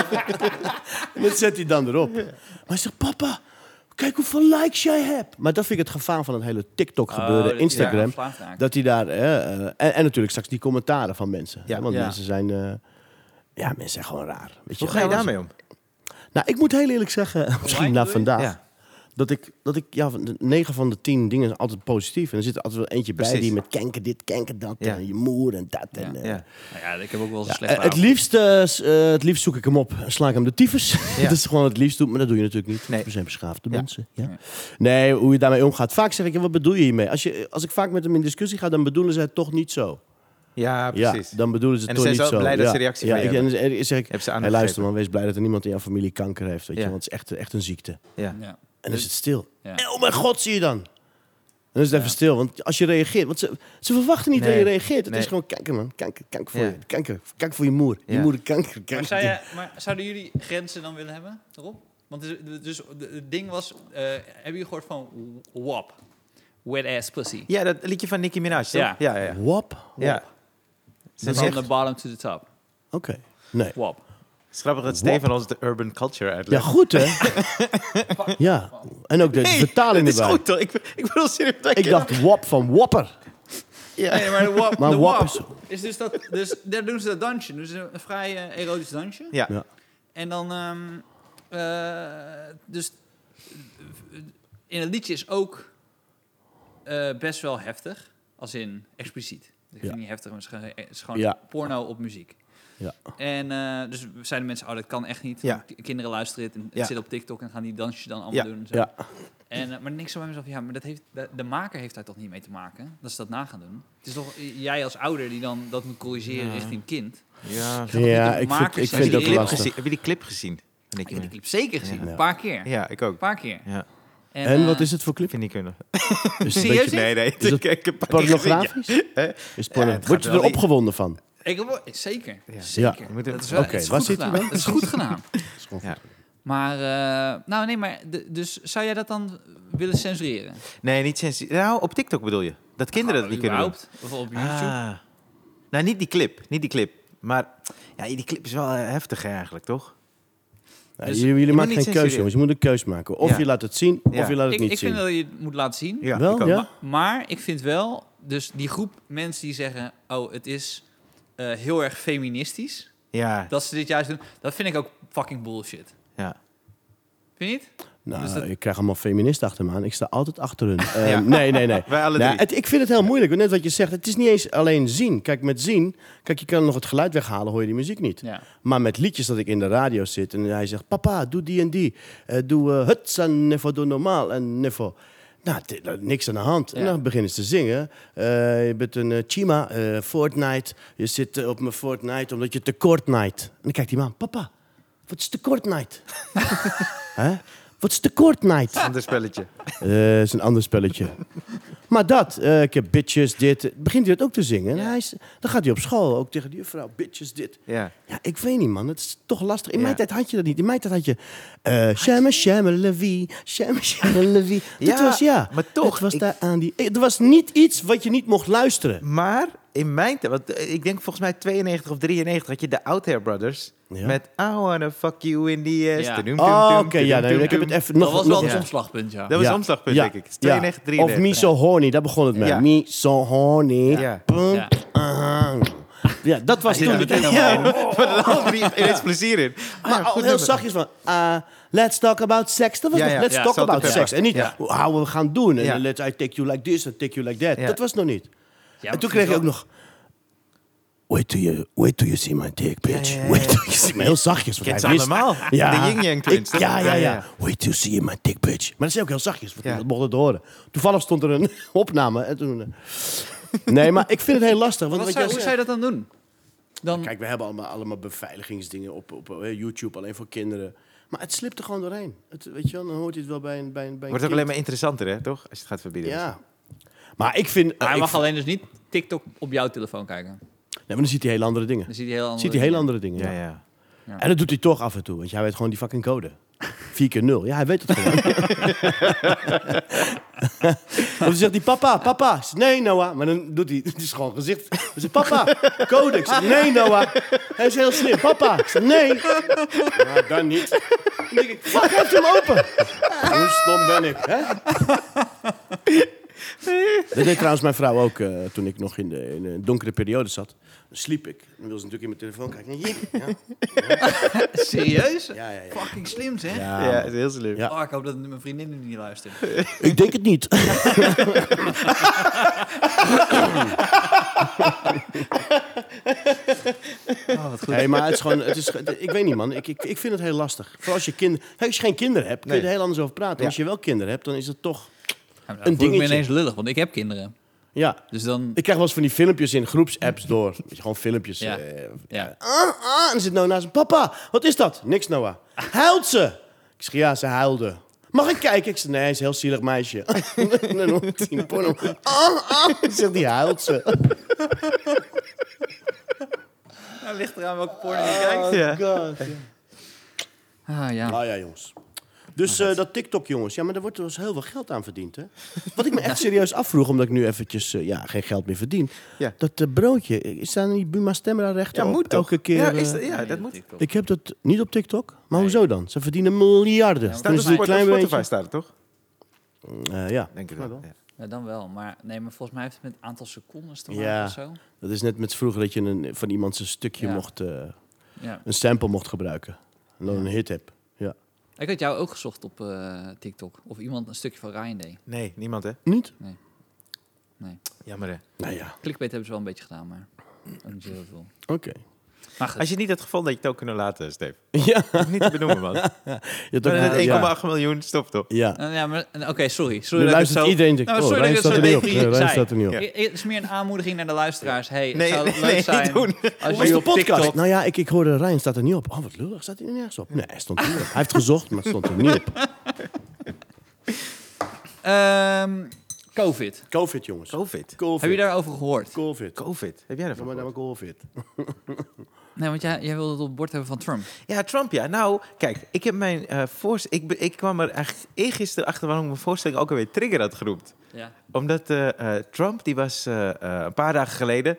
[SPEAKER 3] En dat zet hij dan erop. Maar hij zegt... Papa, kijk hoeveel likes jij hebt. Maar dat vind ik het gevaar van het hele TikTok gebeuren.
[SPEAKER 2] Oh,
[SPEAKER 3] Instagram.
[SPEAKER 2] dat- ja, slaafraak.
[SPEAKER 3] Dat hij daar... eh, eh, en, en natuurlijk straks die commentaren van mensen.
[SPEAKER 1] Ja.
[SPEAKER 3] hè, want
[SPEAKER 2] Ja.
[SPEAKER 3] mensen zijn... eh, ja, mensen zijn gewoon raar. Weet
[SPEAKER 1] Hoe ga je
[SPEAKER 3] Ja,
[SPEAKER 1] daarmee om?
[SPEAKER 3] nou, ik moet heel eerlijk zeggen, misschien
[SPEAKER 2] bedoel
[SPEAKER 3] na
[SPEAKER 2] je?
[SPEAKER 3] vandaag,
[SPEAKER 1] Ja.
[SPEAKER 3] dat ik, dat ik ja, 9 van de 10 dingen zijn altijd positief. En er zit er altijd wel eentje bij
[SPEAKER 1] Precies.
[SPEAKER 3] die met kenken dit, kenken dat,
[SPEAKER 1] Ja.
[SPEAKER 3] en je moer en dat.
[SPEAKER 2] Ja.
[SPEAKER 3] En, eh,
[SPEAKER 1] Ja.
[SPEAKER 2] Nou ja, ik heb ook wel eens een
[SPEAKER 3] ja,
[SPEAKER 2] slecht
[SPEAKER 3] eh, het,
[SPEAKER 2] verhaal.
[SPEAKER 3] liefst, eh, s- eh, het liefst zoek ik hem op en sla ik hem de tyfus.
[SPEAKER 1] Ja.
[SPEAKER 3] dat is gewoon het liefst doen, maar dat doe je natuurlijk niet.
[SPEAKER 1] Nee.
[SPEAKER 3] We zijn beschaafde
[SPEAKER 1] Ja.
[SPEAKER 3] mensen. Ja.
[SPEAKER 2] Nee.
[SPEAKER 3] Nee, hoe je daarmee omgaat. Vaak zeg ik, ja, wat bedoel je hiermee? Als, je, als ik vaak met hem in discussie ga, dan bedoelen ze het toch niet zo.
[SPEAKER 1] Ja,
[SPEAKER 3] Ja,
[SPEAKER 1] precies.
[SPEAKER 3] dan bedoelen ze
[SPEAKER 1] En
[SPEAKER 3] het
[SPEAKER 1] dan zijn
[SPEAKER 3] toch niet
[SPEAKER 1] ze
[SPEAKER 3] zo.
[SPEAKER 1] ook blij dat
[SPEAKER 3] ja.
[SPEAKER 1] ze reactie
[SPEAKER 3] ja,
[SPEAKER 1] van je
[SPEAKER 3] ik, en dan zeg ik,
[SPEAKER 1] Heb ze
[SPEAKER 3] hey,
[SPEAKER 1] aangegeven.
[SPEAKER 3] luister man, wees blij dat er niemand in jouw familie kanker heeft. Weet
[SPEAKER 1] Ja.
[SPEAKER 3] je, want het is echt, echt een ziekte.
[SPEAKER 1] Ja.
[SPEAKER 2] Ja.
[SPEAKER 3] En dan is het stil.
[SPEAKER 2] Ja.
[SPEAKER 3] Eh, Oh mijn god, zie je dan? En dan is het even stil, want als je reageert... Want ze, ze verwachten niet dat
[SPEAKER 1] Nee.
[SPEAKER 3] je reageert. Het
[SPEAKER 1] Nee.
[SPEAKER 3] is gewoon kanker, man. Kanker, kanker voor
[SPEAKER 1] Ja.
[SPEAKER 3] je. Kanker, kanker voor je moer. Je
[SPEAKER 1] Ja.
[SPEAKER 3] moeder kanker. kanker.
[SPEAKER 2] Maar, zou jij- maar zouden jullie grenzen dan willen hebben erop? Want dus, dus de- het ding was, eh, hebben jullie gehoord van WAP? Wet ass pussy.
[SPEAKER 1] Ja, dat liedje van Nicki Minaj, toch?
[SPEAKER 2] Ja.
[SPEAKER 1] Ja, ja. ja.
[SPEAKER 3] Wap.
[SPEAKER 1] ja. Ze
[SPEAKER 2] From
[SPEAKER 1] zegt,
[SPEAKER 2] the bottom to the top.
[SPEAKER 3] Oké. Nee.
[SPEAKER 2] WAP.
[SPEAKER 1] het is grappig dat Steven ons de urban culture
[SPEAKER 3] Ja,
[SPEAKER 1] uitlegt.
[SPEAKER 3] goed, hè? ja. En ook de
[SPEAKER 1] Hey,
[SPEAKER 3] vertaling
[SPEAKER 1] dat is
[SPEAKER 3] erbij.
[SPEAKER 1] goed, toch? Ik, ik bedoel serieus. dat
[SPEAKER 3] Ik dacht wap van wapper.
[SPEAKER 2] Nee, maar de WAP,
[SPEAKER 3] Maar
[SPEAKER 2] de
[SPEAKER 3] WAP
[SPEAKER 2] WAP
[SPEAKER 3] is-
[SPEAKER 2] is... dus dat, dus daar doen ze dat dansje. Dus een vrij eh, erotisch dansje.
[SPEAKER 1] Ja.
[SPEAKER 3] Ja.
[SPEAKER 2] En dan, ehm, eh, dus eh, in het liedje is ook eh, best wel heftig, als in expliciet. Ik vind
[SPEAKER 3] Ja.
[SPEAKER 2] het niet heftig, maar het is gewoon- het is gewoon
[SPEAKER 3] Ja.
[SPEAKER 2] porno op muziek.
[SPEAKER 3] Ja.
[SPEAKER 2] En eh, dus zeiden mensen, oh, dat kan echt niet.
[SPEAKER 1] Ja.
[SPEAKER 2] K- Kinderen luisteren het en het
[SPEAKER 1] Ja.
[SPEAKER 2] zit op TikTok en gaan die dansjes dan allemaal
[SPEAKER 1] Ja.
[SPEAKER 2] doen. en zo.
[SPEAKER 3] Ja.
[SPEAKER 2] En, eh, maar niks zo bij mezelf, ja, maar dat heeft, de, de maker heeft daar toch niet mee te maken? Dat ze dat na gaan doen. Het is toch eh, jij als ouder die dan dat moet corrigeren
[SPEAKER 1] Ja.
[SPEAKER 2] richting kind?
[SPEAKER 1] ja.
[SPEAKER 3] Ja,
[SPEAKER 2] de
[SPEAKER 3] ik
[SPEAKER 2] makers
[SPEAKER 3] vind, ik
[SPEAKER 2] zijn
[SPEAKER 1] Heb
[SPEAKER 3] vind
[SPEAKER 1] je
[SPEAKER 3] het
[SPEAKER 1] die
[SPEAKER 3] ook
[SPEAKER 2] heel
[SPEAKER 1] clip
[SPEAKER 3] lastig.
[SPEAKER 1] gezien- Heb je die clip gezien? van
[SPEAKER 2] Ik
[SPEAKER 1] Nicki
[SPEAKER 2] heb die
[SPEAKER 1] Minaj?
[SPEAKER 2] clip zeker gezien,
[SPEAKER 3] Ja.
[SPEAKER 2] een paar keer.
[SPEAKER 1] Ja, ik
[SPEAKER 2] Een
[SPEAKER 1] ook.
[SPEAKER 2] paar keer.
[SPEAKER 1] Ja.
[SPEAKER 3] En wat
[SPEAKER 2] eh,
[SPEAKER 3] is het voor
[SPEAKER 1] Ik
[SPEAKER 3] clip?
[SPEAKER 1] vind niet kunnen.
[SPEAKER 3] Is het een
[SPEAKER 2] Serieus?
[SPEAKER 3] beetje
[SPEAKER 1] Nee, nee.
[SPEAKER 3] Is dat
[SPEAKER 1] ik heb een paar keer gezien, ja.
[SPEAKER 3] pornografisch? Is het Dus porno-
[SPEAKER 1] het gaat
[SPEAKER 3] Word je
[SPEAKER 1] wel
[SPEAKER 3] er
[SPEAKER 1] die-
[SPEAKER 3] opgewonden van?
[SPEAKER 2] Ik heb wel- zeker.
[SPEAKER 1] Ja.
[SPEAKER 2] Zeker.
[SPEAKER 1] Ja. Moet er-
[SPEAKER 2] Dat is wel
[SPEAKER 3] Oké,
[SPEAKER 2] het is
[SPEAKER 3] waar
[SPEAKER 2] goed
[SPEAKER 3] zit hij
[SPEAKER 2] gedaan.
[SPEAKER 3] dan?
[SPEAKER 2] Het is goed gedaan.
[SPEAKER 3] Dat is gewoon
[SPEAKER 1] Ja.
[SPEAKER 2] Maar, eh, nou nee, maar de- dus zou jij dat dan willen censureren?
[SPEAKER 1] Nee, niet sensie. Nou, op TikTok bedoel je? Dat kinderen dat niet kunnen doen.
[SPEAKER 2] Ah, Überhaupt? Of op YouTube?
[SPEAKER 1] Ah. Nou, niet die clip. Niet die clip. Maar ja, die clip is wel eh, heftig hè, eigenlijk, toch?
[SPEAKER 3] Ja,
[SPEAKER 2] Dus
[SPEAKER 3] jullie
[SPEAKER 1] je
[SPEAKER 3] jullie
[SPEAKER 1] moet
[SPEAKER 3] maken
[SPEAKER 1] niet
[SPEAKER 3] geen keuze,
[SPEAKER 1] censureren.
[SPEAKER 3] jongens. Je moet een keuze maken. Of
[SPEAKER 1] Ja.
[SPEAKER 3] je laat het zien, of
[SPEAKER 1] Ja.
[SPEAKER 3] je laat het
[SPEAKER 2] Ik,
[SPEAKER 3] niet
[SPEAKER 2] ik
[SPEAKER 3] zien.
[SPEAKER 2] vind dat je het moet laten zien.
[SPEAKER 1] Ja,
[SPEAKER 3] Wel,
[SPEAKER 1] ik ook.
[SPEAKER 3] ja?
[SPEAKER 2] Ma- Maar ik vind wel, dus die groep mensen die zeggen... oh, het is eh, heel erg feministisch
[SPEAKER 1] Ja,
[SPEAKER 2] dat ze dit juist doen... dat vind ik ook fucking bullshit.
[SPEAKER 1] ja.
[SPEAKER 2] Vind je niet?
[SPEAKER 3] Nou,
[SPEAKER 2] Dus dat-
[SPEAKER 3] ik krijg allemaal feministen achter me aan. Ik sta altijd achter hun. Eh,
[SPEAKER 1] Ja.
[SPEAKER 3] Nee, nee, nee.
[SPEAKER 1] Wij alle
[SPEAKER 3] Nou,
[SPEAKER 1] drie.
[SPEAKER 3] het, ik vind het heel moeilijk. want Net wat je zegt, het is niet eens alleen zien. Kijk, met zien, kijk, je kan nog het geluid weghalen, hoor je die muziek niet.
[SPEAKER 2] Ja.
[SPEAKER 3] Maar met liedjes dat ik in de radio zit en hij zegt... Papa, doe die en die. Eh, doe eh, huts en nevo, doe normaal en nevo. Nou, dit- nou, niks aan de hand. En
[SPEAKER 2] Ja.
[SPEAKER 3] dan beginnen ze te zingen. Eh, je bent een eh, chima, eh, Fortnite. Je zit eh, op mijn Fortnite omdat je tekort night. En dan kijkt die man, papa, wat is tekort night? Hè? Wat is tekort night?
[SPEAKER 1] Ander spelletje.
[SPEAKER 3] Eh, is een ander spelletje. maar dat, eh, ik heb bitches, dit. Begint hij dat ook te zingen?
[SPEAKER 2] Ja.
[SPEAKER 3] En hij is, dan gaat hij op school ook tegen die juffrouw, bitches, dit.
[SPEAKER 1] Ja.
[SPEAKER 3] Ja, ik weet niet, man. Het is toch lastig. In
[SPEAKER 1] Ja.
[SPEAKER 3] mijn tijd had je dat niet. In mijn tijd had je... eh Shamme, Shamme, Levi. Shamme, Shamme, Levi. Dat
[SPEAKER 1] Ja,
[SPEAKER 3] was, ja.
[SPEAKER 1] maar toch,
[SPEAKER 3] Het was
[SPEAKER 1] ik-
[SPEAKER 3] daar aan die... eh, Er was niet iets wat je niet mocht luisteren.
[SPEAKER 1] Maar in mijn tijd, want eh, ik denk volgens mij 92 of 93 had je de Outhair Brothers
[SPEAKER 3] Ja.
[SPEAKER 1] met I wanna fuck you in the ass.
[SPEAKER 2] Ja.
[SPEAKER 1] Tudum, tudum,
[SPEAKER 3] Oh, oké.
[SPEAKER 1] tudum,
[SPEAKER 3] ja, nee,
[SPEAKER 1] tudum,
[SPEAKER 3] ik heb het
[SPEAKER 1] tudum.
[SPEAKER 3] even... Nog,
[SPEAKER 2] dat was
[SPEAKER 3] nog-
[SPEAKER 2] wel het
[SPEAKER 1] ja.
[SPEAKER 2] omslagpunt, ja.
[SPEAKER 1] Dat was
[SPEAKER 3] Ja.
[SPEAKER 1] omslagpunt,
[SPEAKER 3] Ja.
[SPEAKER 1] denk ik. Het is
[SPEAKER 3] Ja.
[SPEAKER 1] 92, 93.
[SPEAKER 3] Of me so horny, daar begon het mee.
[SPEAKER 1] Ja.
[SPEAKER 3] Me so horny.
[SPEAKER 1] Ja.
[SPEAKER 3] Pum,
[SPEAKER 2] Ja.
[SPEAKER 3] aha. Ja, dat was
[SPEAKER 2] Ja,
[SPEAKER 3] toen.
[SPEAKER 2] dat ken ik
[SPEAKER 3] Ja.
[SPEAKER 2] wel.
[SPEAKER 1] Maar er had drie ineens plezier in. Ah,
[SPEAKER 3] Maar
[SPEAKER 1] ja,
[SPEAKER 3] al
[SPEAKER 1] goed
[SPEAKER 3] heel
[SPEAKER 1] nummer.
[SPEAKER 3] zachtjes van, ah, let's talk about sex. Dat was
[SPEAKER 1] Ja,
[SPEAKER 3] nog,
[SPEAKER 1] ja.
[SPEAKER 3] let's
[SPEAKER 1] Ja,
[SPEAKER 3] talk
[SPEAKER 1] salt and
[SPEAKER 3] about
[SPEAKER 1] pepper.
[SPEAKER 3] sex. En niet,
[SPEAKER 1] Ja.
[SPEAKER 3] hoe houden we gaan doen. En
[SPEAKER 1] Ja.
[SPEAKER 3] let's, I take you like this, I take you like that.
[SPEAKER 1] Ja.
[SPEAKER 3] Dat was nog niet.
[SPEAKER 2] Ja,
[SPEAKER 3] en
[SPEAKER 2] maar
[SPEAKER 3] toen
[SPEAKER 2] ik
[SPEAKER 3] kreeg
[SPEAKER 2] vind
[SPEAKER 3] je ook
[SPEAKER 2] wel-
[SPEAKER 3] nog... Wait till you, wait till you see my dick, bitch.
[SPEAKER 1] Ja, ja, ja.
[SPEAKER 3] Wait till you see my... Heel zachtjes. want
[SPEAKER 1] Kent ze
[SPEAKER 3] hij wist-
[SPEAKER 1] allemaal. De Yin Yang Twins.
[SPEAKER 3] Ik-
[SPEAKER 1] toch?
[SPEAKER 3] ja, ja, ja, Wait till you see my dick, bitch. Maar dat is ook heel zachtjes, want
[SPEAKER 1] Ja.
[SPEAKER 3] dat mocht het horen. Toevallig stond er een opname. En toen, eh. nee, maar ik vind het heel lastig. Want
[SPEAKER 2] Wat
[SPEAKER 3] wat
[SPEAKER 2] zou,
[SPEAKER 3] jij
[SPEAKER 2] hoe
[SPEAKER 3] zegt-
[SPEAKER 2] zou je dat dan doen? Dan,
[SPEAKER 1] Hm.
[SPEAKER 3] Kijk, we hebben allemaal, allemaal beveiligingsdingen op, op eh, YouTube, alleen voor kinderen. Maar het slipt er gewoon doorheen. Het, weet je wel, dan hoort je het wel bij een, bij een, bij een
[SPEAKER 1] Wordt ook
[SPEAKER 3] kind.
[SPEAKER 1] alleen maar interessanter, hè, toch? Als je het gaat verbieden.
[SPEAKER 3] Ja. Maar ik vind... eh,
[SPEAKER 2] Nou, hij
[SPEAKER 3] ik
[SPEAKER 2] mag
[SPEAKER 3] vind-
[SPEAKER 2] alleen dus niet TikTok op jouw telefoon kijken.
[SPEAKER 3] maar dan ziet hij hele andere dingen.
[SPEAKER 2] Dan ziet hij heel andere
[SPEAKER 3] ziet hij hele andere dingen.
[SPEAKER 1] Ja,
[SPEAKER 3] ja.
[SPEAKER 1] ja.
[SPEAKER 2] Ja.
[SPEAKER 3] En dat doet hij toch af en toe, want jij weet gewoon die fucking code. 4 keer 0. Ja, hij weet het gewoon. of dan zegt hij, papa, papa. Ik zeg, nee, Noah. Maar dan doet hij, het is gewoon gezicht. Hij zegt, papa, code. Ik zeg, nee, Noah. Hij is heel slim. Papa. Ik zeg, nee. Ja, dan niet. Dan denk ik, fuck, hij heeft hem open. Hoe stom ben ik, hè? Dat deed trouwens mijn vrouw ook eh, toen ik nog in, de, in een donkere periode zat. Dan sliep ik. Dan wil ze natuurlijk in mijn telefoon kijken. Ja,
[SPEAKER 2] Serieus?
[SPEAKER 3] ja, ja. ja.
[SPEAKER 2] Fucking slim, zeg.
[SPEAKER 3] Ja,
[SPEAKER 1] Ja, is heel slim.
[SPEAKER 3] Ja.
[SPEAKER 2] Oh, ik hoop dat mijn vriendin nu niet luistert.
[SPEAKER 3] Ik denk het niet.
[SPEAKER 2] Oh, wat goed.
[SPEAKER 3] Nee, maar het is gewoon... Het is, ik weet niet, man. Ik, ik, ik vind het heel lastig. Vooral als je, kind, als je geen kinderen hebt, kun je
[SPEAKER 1] Nee.
[SPEAKER 3] er heel anders over praten.
[SPEAKER 1] Ja.
[SPEAKER 3] Als je wel kinderen hebt, dan is het toch...
[SPEAKER 2] Ja, maar dan
[SPEAKER 3] Een
[SPEAKER 2] voel ik me
[SPEAKER 3] dingetje.
[SPEAKER 2] ineens lullig, want ik heb kinderen.
[SPEAKER 3] Ja.
[SPEAKER 2] Dus dan...
[SPEAKER 3] Ik krijg wel eens van die filmpjes in groepsapps door. Weet je, gewoon filmpjes.
[SPEAKER 2] Ja.
[SPEAKER 3] eh,
[SPEAKER 2] Ja.
[SPEAKER 3] ah, ah, en dan zit Noah naast me. Papa, wat is dat? Niks, Noah. Huilt ze? Ik zeg, ja, ze huilde. Mag ik kijken? Ik zeg, nee, ze is een heel zielig meisje. en dan hoort hij een porno. Ah, ah. Ik zeg, die huilt ze.
[SPEAKER 2] Nou, ligt eraan welke porno je kijkt.
[SPEAKER 1] Ja.
[SPEAKER 2] Ah, ja.
[SPEAKER 3] Ah ja, jongens. Dus eh, dat TikTok, jongens. Ja, maar daar wordt wel eens heel veel geld aan verdiend, hè? Wat ik me echt serieus afvroeg, omdat ik nu eventjes eh, ja, geen geld meer verdien.
[SPEAKER 1] Ja.
[SPEAKER 3] Dat eh, broodje, is daar niet Buma Stemra recht op? elke
[SPEAKER 1] toch?
[SPEAKER 3] keer?
[SPEAKER 1] Ja,
[SPEAKER 3] eh,
[SPEAKER 1] is dat- ja dat moet.
[SPEAKER 3] Ik heb dat niet op TikTok. Maar hoezo dan? Ze verdienen miljarden.
[SPEAKER 2] Ja,
[SPEAKER 1] Staat
[SPEAKER 3] Doen
[SPEAKER 1] op
[SPEAKER 3] ze dit
[SPEAKER 1] Spotify,
[SPEAKER 3] klein
[SPEAKER 1] Spotify
[SPEAKER 3] beetje?
[SPEAKER 1] staat het toch?
[SPEAKER 3] Eh, ja.
[SPEAKER 1] Denk ik
[SPEAKER 3] Ja,
[SPEAKER 1] wel.
[SPEAKER 3] wel.
[SPEAKER 1] ja.
[SPEAKER 2] Ja, dan wel. Maar, nee, maar volgens mij heeft het met een aantal secondes te maken
[SPEAKER 3] Ja.
[SPEAKER 2] of zo.
[SPEAKER 3] Dat is net met vroeger dat je een, van iemand zijn stukje
[SPEAKER 2] Ja.
[SPEAKER 3] mocht, eh,
[SPEAKER 2] Ja.
[SPEAKER 3] een sample mocht gebruiken. En dan een hit heb. Ja.
[SPEAKER 2] Ik had jou ook gezocht op eh, TikTok. Of iemand een stukje van Ryan deed.
[SPEAKER 1] Nee, niemand hè?
[SPEAKER 3] Niet?
[SPEAKER 1] Jammer hè.
[SPEAKER 3] Nou ja,
[SPEAKER 2] Clickbait hebben ze wel een beetje gedaan, maar ook niet zo heel veel.
[SPEAKER 3] oké.
[SPEAKER 2] Maar goed.
[SPEAKER 1] Als je het niet had gevonden, had je het ook kunnen laten, Steve.
[SPEAKER 3] Ja.
[SPEAKER 1] Niet te benoemen, man. We
[SPEAKER 3] Je hebt ook-
[SPEAKER 1] hadden net 1,8
[SPEAKER 3] ja.
[SPEAKER 1] miljoen, stop toch?
[SPEAKER 3] ja.
[SPEAKER 2] Eh, ja, maar, en- Oké, sorry.
[SPEAKER 3] Nu
[SPEAKER 2] Sorry dat ik het
[SPEAKER 3] luistert
[SPEAKER 2] zo...
[SPEAKER 3] iedereen denkt,
[SPEAKER 2] Nou, maar
[SPEAKER 3] oh,
[SPEAKER 2] sorry
[SPEAKER 3] Rijn
[SPEAKER 2] dat ik
[SPEAKER 3] staat er
[SPEAKER 2] het
[SPEAKER 3] niet
[SPEAKER 2] zo
[SPEAKER 3] op.
[SPEAKER 2] depressief
[SPEAKER 3] Nee,
[SPEAKER 2] zei.
[SPEAKER 3] Rijn staat er niet op.
[SPEAKER 1] Ja.
[SPEAKER 2] I- i- Het is meer een aanmoediging naar de luisteraars. Hey, het
[SPEAKER 1] Nee,
[SPEAKER 2] zou
[SPEAKER 1] nee,
[SPEAKER 2] leuk
[SPEAKER 1] nee, niet
[SPEAKER 2] zijn
[SPEAKER 1] doen.
[SPEAKER 2] als
[SPEAKER 3] Hoe is
[SPEAKER 2] jullie
[SPEAKER 3] de
[SPEAKER 2] op
[SPEAKER 3] podcast?
[SPEAKER 2] TikTok...
[SPEAKER 3] Nou ja, ik, ik hoorde Ryan staat er niet op. Oh, wat lullig, staat hij er nergens op? Nee, hij stond er niet op. Hij heeft gezocht, maar het stond er niet op.
[SPEAKER 2] Ehm, COVID.
[SPEAKER 3] Covid, jongens.
[SPEAKER 1] Covid.
[SPEAKER 3] Covid.
[SPEAKER 2] Heb je daarover gehoord?
[SPEAKER 3] Covid.
[SPEAKER 1] Covid. Heb jij ervan
[SPEAKER 3] Noem maar
[SPEAKER 1] gehoord?
[SPEAKER 3] nou Covid.
[SPEAKER 2] Nee, want jij, jij wilde het op het bord hebben van Trump.
[SPEAKER 1] Ja, Trump, ja. Nou, kijk, ik heb mijn eh voorst- Ik, be- ik kwam er eigenlijk eergisteren achter waarom ik mijn voorstelling ook alweer trigger had geroemd.
[SPEAKER 2] Ja.
[SPEAKER 1] Omdat eh, eh, Trump, die was eh, eh, een paar dagen geleden,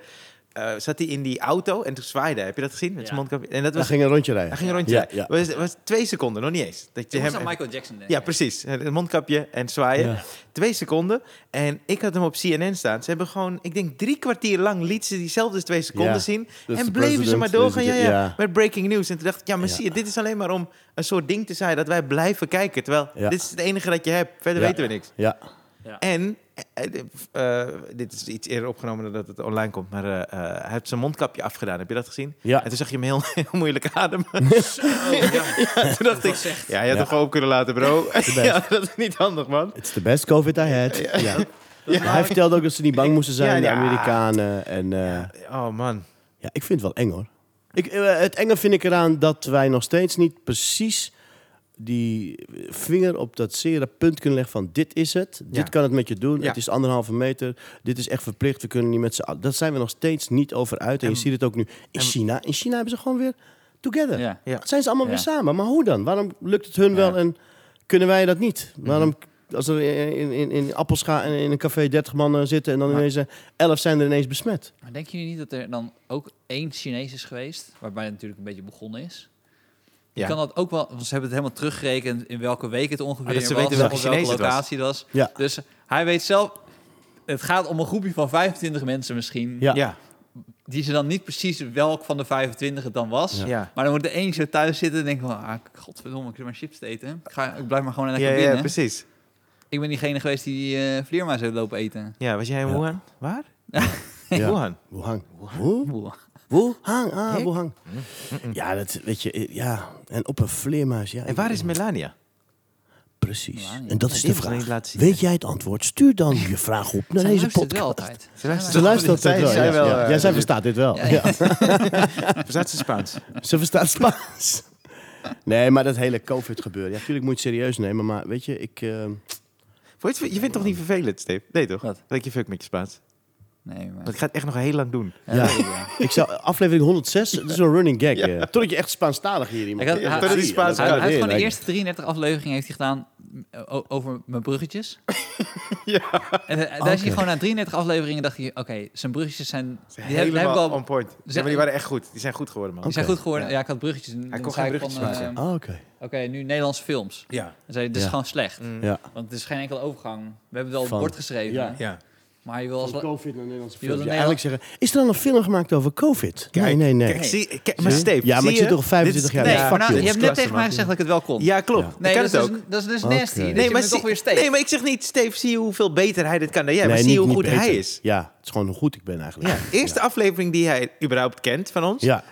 [SPEAKER 1] eh, zat hij in die auto en toen zwaaide. hij. Heb je dat gezien? Met zijn
[SPEAKER 2] Ja.
[SPEAKER 1] mondkapje. En dat
[SPEAKER 3] Hij
[SPEAKER 1] was,
[SPEAKER 3] ging een rondje rijden.
[SPEAKER 1] hij ging een rondje.
[SPEAKER 3] Ja,
[SPEAKER 1] rijden. was, was twee seconden, nog niet eens. Dat je
[SPEAKER 2] Je
[SPEAKER 1] hem,
[SPEAKER 2] moest aan Michael Jackson denken.
[SPEAKER 1] ja, precies. Een mondkapje en zwaaien.
[SPEAKER 3] Ja.
[SPEAKER 1] Twee seconden. En ik had hem op CNN staan. Ze hebben gewoon, ik denk drie kwartier lang liet ze diezelfde twee seconden
[SPEAKER 3] Ja.
[SPEAKER 1] zien.
[SPEAKER 3] Dus de
[SPEAKER 1] en bleven ze
[SPEAKER 3] president,
[SPEAKER 1] maar doorgaan. Ja, ja,
[SPEAKER 3] president, ja.
[SPEAKER 1] Met breaking news. En toen dacht ik, ja, maar
[SPEAKER 3] Ja.
[SPEAKER 1] zie je, dit is alleen maar om een soort ding te zijn dat wij blijven kijken. Terwijl
[SPEAKER 3] Ja.
[SPEAKER 1] dit is het enige dat je hebt. Verder
[SPEAKER 3] Ja.
[SPEAKER 1] weten we niks.
[SPEAKER 3] Ja.
[SPEAKER 1] En, eh, eh, eh, dit is iets eerder opgenomen dan dat het online komt, maar eh, eh, hij heeft zijn mondkapje afgedaan. Heb je dat gezien?
[SPEAKER 3] Ja.
[SPEAKER 1] En toen zag je hem heel, heel moeilijk ademen.
[SPEAKER 2] Oh, ja.
[SPEAKER 1] toen dacht ik,
[SPEAKER 2] was echt-
[SPEAKER 1] ja, je had
[SPEAKER 3] Ja.
[SPEAKER 1] hem gewoon op kunnen laten, bro. ja, dat is niet handig, man.
[SPEAKER 3] It's the best Covid I had. Ja. Hij vertelde ook dat ze niet bang moesten zijn,
[SPEAKER 1] Ja,
[SPEAKER 3] de
[SPEAKER 1] ja.
[SPEAKER 3] Amerikanen. En, eh,
[SPEAKER 1] Oh, man.
[SPEAKER 3] Ja, ik vind het wel eng hoor. Ik, eh, het enge vind ik eraan dat wij nog steeds niet precies die vinger op dat zere punt kunnen leggen van dit is het,
[SPEAKER 1] Ja.
[SPEAKER 3] dit kan het met je doen,
[SPEAKER 1] Ja.
[SPEAKER 3] het is anderhalve meter, dit is echt verplicht, we kunnen niet met z'n allen. Dat zijn we nog steeds niet over uit en, je ziet het ook nu in China. In China hebben ze gewoon weer together.
[SPEAKER 2] Ja.
[SPEAKER 1] Ja.
[SPEAKER 3] Zijn ze allemaal
[SPEAKER 2] Ja.
[SPEAKER 3] weer samen, maar hoe dan? Waarom lukt het hun wel en kunnen wij dat niet? Waarom... Als er in, in, in Appelscha en in een café 30 mannen zitten en dan ineens eh, 11 zijn er ineens besmet.
[SPEAKER 2] Maar denken jullie niet dat er dan ook één Chinees is geweest, waarbij het natuurlijk een beetje begonnen is? Je
[SPEAKER 1] Ja.
[SPEAKER 2] kan dat ook wel, want ze hebben het helemaal teruggerekend in welke week het ongeveer
[SPEAKER 1] Ah, dat ze
[SPEAKER 2] was,
[SPEAKER 1] weten welke
[SPEAKER 2] op
[SPEAKER 1] Chinees
[SPEAKER 2] welke
[SPEAKER 1] het was.
[SPEAKER 2] locatie het was.
[SPEAKER 3] Ja.
[SPEAKER 2] Dus hij weet zelf, het gaat om een groepje van 25 mensen misschien,
[SPEAKER 3] Ja.
[SPEAKER 1] Ja.
[SPEAKER 2] die ze dan niet precies welk van de 25 het dan was.
[SPEAKER 1] Ja. Ja.
[SPEAKER 2] Maar dan wordt er eentje thuis zitten en denkt van, ah, godverdomme, ik zit maar chips te eten. Ik, ga, ik blijf maar gewoon lekker
[SPEAKER 1] Ja,
[SPEAKER 2] binnen.
[SPEAKER 1] precies.
[SPEAKER 2] ik ben diegene geweest die eh vleermuis heeft lopen eten.
[SPEAKER 1] Ja, was jij in
[SPEAKER 3] Ja.
[SPEAKER 1] Wuhan? Waar?
[SPEAKER 3] Ja.
[SPEAKER 1] Wuhan.
[SPEAKER 3] Wuhan. Hoe?
[SPEAKER 2] Oeh.
[SPEAKER 3] Wuhan, ah, Wuhan. Ja, dat weet je, eh, ja. En op een vleermuis, ja.
[SPEAKER 1] En waar is Melania?
[SPEAKER 3] Precies.
[SPEAKER 2] Melania?
[SPEAKER 3] En dat is
[SPEAKER 1] Die
[SPEAKER 3] de
[SPEAKER 1] hebben ze niet laten
[SPEAKER 3] vraag.
[SPEAKER 1] zien.
[SPEAKER 3] Weet jij het antwoord? Stuur dan je vraag op naar
[SPEAKER 2] Zij
[SPEAKER 3] deze
[SPEAKER 2] luistert wel
[SPEAKER 3] podcast.
[SPEAKER 2] altijd.
[SPEAKER 1] Ze luistert
[SPEAKER 3] Ze luistert
[SPEAKER 1] Zij-
[SPEAKER 3] het wel.
[SPEAKER 1] zij
[SPEAKER 3] ja.
[SPEAKER 1] wel,
[SPEAKER 3] ja.
[SPEAKER 1] eh,
[SPEAKER 3] Ja, zij verstaat dit wel.
[SPEAKER 2] Ja, ja.
[SPEAKER 3] Ja.
[SPEAKER 1] Verstaat ze Spaans?
[SPEAKER 3] Ze verstaat Spaans. Nee, maar dat hele COVID-gebeuren. Ja, natuurlijk moet je het serieus nemen. Maar weet je, ik... eh,
[SPEAKER 1] Vond Je het- je vindt het toch niet vervelend, Steve? Nee, toch?
[SPEAKER 2] Wat?
[SPEAKER 1] Dat ik je fuck met je Spaans.
[SPEAKER 2] Nee, maar...
[SPEAKER 1] Want ik ga het echt nog heel lang doen.
[SPEAKER 2] Ja,
[SPEAKER 3] Ja.
[SPEAKER 2] dat weet ik wel.
[SPEAKER 3] Ik zou, aflevering 106, dat is een running gag. eh. Totdat je echt Spaanstalig hier iemand...
[SPEAKER 2] Ik had-
[SPEAKER 3] Ja,
[SPEAKER 2] hij-
[SPEAKER 3] zie je,
[SPEAKER 1] hij-
[SPEAKER 3] dat
[SPEAKER 1] Ja,
[SPEAKER 2] Hij, hij
[SPEAKER 3] gaat
[SPEAKER 2] heeft
[SPEAKER 3] weer,
[SPEAKER 2] gewoon de
[SPEAKER 3] lijkt me.
[SPEAKER 2] eerste 33 afleveringen heeft hij gedaan eh, o- over mijn bruggetjes. En, eh, daar is hij
[SPEAKER 3] Oké.
[SPEAKER 2] gewoon na 33 afleveringen dacht hij, oké, zijn bruggetjes zijn... Die
[SPEAKER 1] Helemaal
[SPEAKER 2] heb, die heb ik al, Oh.
[SPEAKER 1] on point. Ja, maar die waren echt goed. Die zijn goed geworden, man.
[SPEAKER 2] die zijn
[SPEAKER 3] Oké.
[SPEAKER 2] goed geworden.
[SPEAKER 1] Ja.
[SPEAKER 2] Ja. ik had bruggetjes. en dan
[SPEAKER 1] kon
[SPEAKER 2] zei
[SPEAKER 1] geen
[SPEAKER 2] ik van,
[SPEAKER 1] bruggetjes
[SPEAKER 2] eh,
[SPEAKER 1] maken.
[SPEAKER 3] Ah, oké.
[SPEAKER 2] Oké, nu Nederlandse films.
[SPEAKER 1] Ja.
[SPEAKER 2] Dan zei hij, dit is
[SPEAKER 3] Ja.
[SPEAKER 2] gewoon slecht.
[SPEAKER 1] Mm.
[SPEAKER 3] Ja.
[SPEAKER 2] Want er is geen enkele overgang. We hebben wel op
[SPEAKER 3] Van-
[SPEAKER 2] het bord geschreven.
[SPEAKER 3] Ja.
[SPEAKER 1] Ja.
[SPEAKER 2] Maar je wil als... la-
[SPEAKER 3] COVID naar Nederlandse
[SPEAKER 2] Je wilde
[SPEAKER 3] films. Ja,
[SPEAKER 2] een
[SPEAKER 3] eigenlijk zeggen, is er dan een film gemaakt over COVID?
[SPEAKER 1] Kijk,
[SPEAKER 3] nee, nee, nee.
[SPEAKER 1] Kijk, zie, kijk,
[SPEAKER 3] Zie
[SPEAKER 1] maar
[SPEAKER 3] je?
[SPEAKER 1] Steve,
[SPEAKER 3] Ja, maar
[SPEAKER 1] zie
[SPEAKER 3] ik zit
[SPEAKER 1] je?
[SPEAKER 3] er al 25
[SPEAKER 1] Dit is-
[SPEAKER 3] jaar.
[SPEAKER 1] Nee,
[SPEAKER 2] Ja,
[SPEAKER 1] fuck
[SPEAKER 2] nou, je
[SPEAKER 1] dit.
[SPEAKER 2] hebt net tegen mij
[SPEAKER 1] Klasse,
[SPEAKER 2] gezegd dat ik het wel kon.
[SPEAKER 1] Ja, klopt.
[SPEAKER 3] Ja.
[SPEAKER 1] Ik kan
[SPEAKER 2] dat,
[SPEAKER 1] het
[SPEAKER 2] is
[SPEAKER 1] ook.
[SPEAKER 2] dus- dat is dus
[SPEAKER 3] Oké.
[SPEAKER 2] nasty.
[SPEAKER 3] Nee,
[SPEAKER 2] Nee, maar
[SPEAKER 1] maar
[SPEAKER 2] het
[SPEAKER 1] zie-
[SPEAKER 2] toch weer steeds.
[SPEAKER 1] Nee, maar ik zeg niet, Steve, zie je hoeveel beter hij dit kan dan jij. maar
[SPEAKER 3] Nee,
[SPEAKER 1] zie je
[SPEAKER 3] niet-
[SPEAKER 1] hoe goed
[SPEAKER 3] niet beter.
[SPEAKER 1] hij is.
[SPEAKER 3] Ja, het is gewoon hoe goed ik ben eigenlijk.
[SPEAKER 1] Ja. Eerste aflevering die hij überhaupt kent van ons.
[SPEAKER 3] Ja.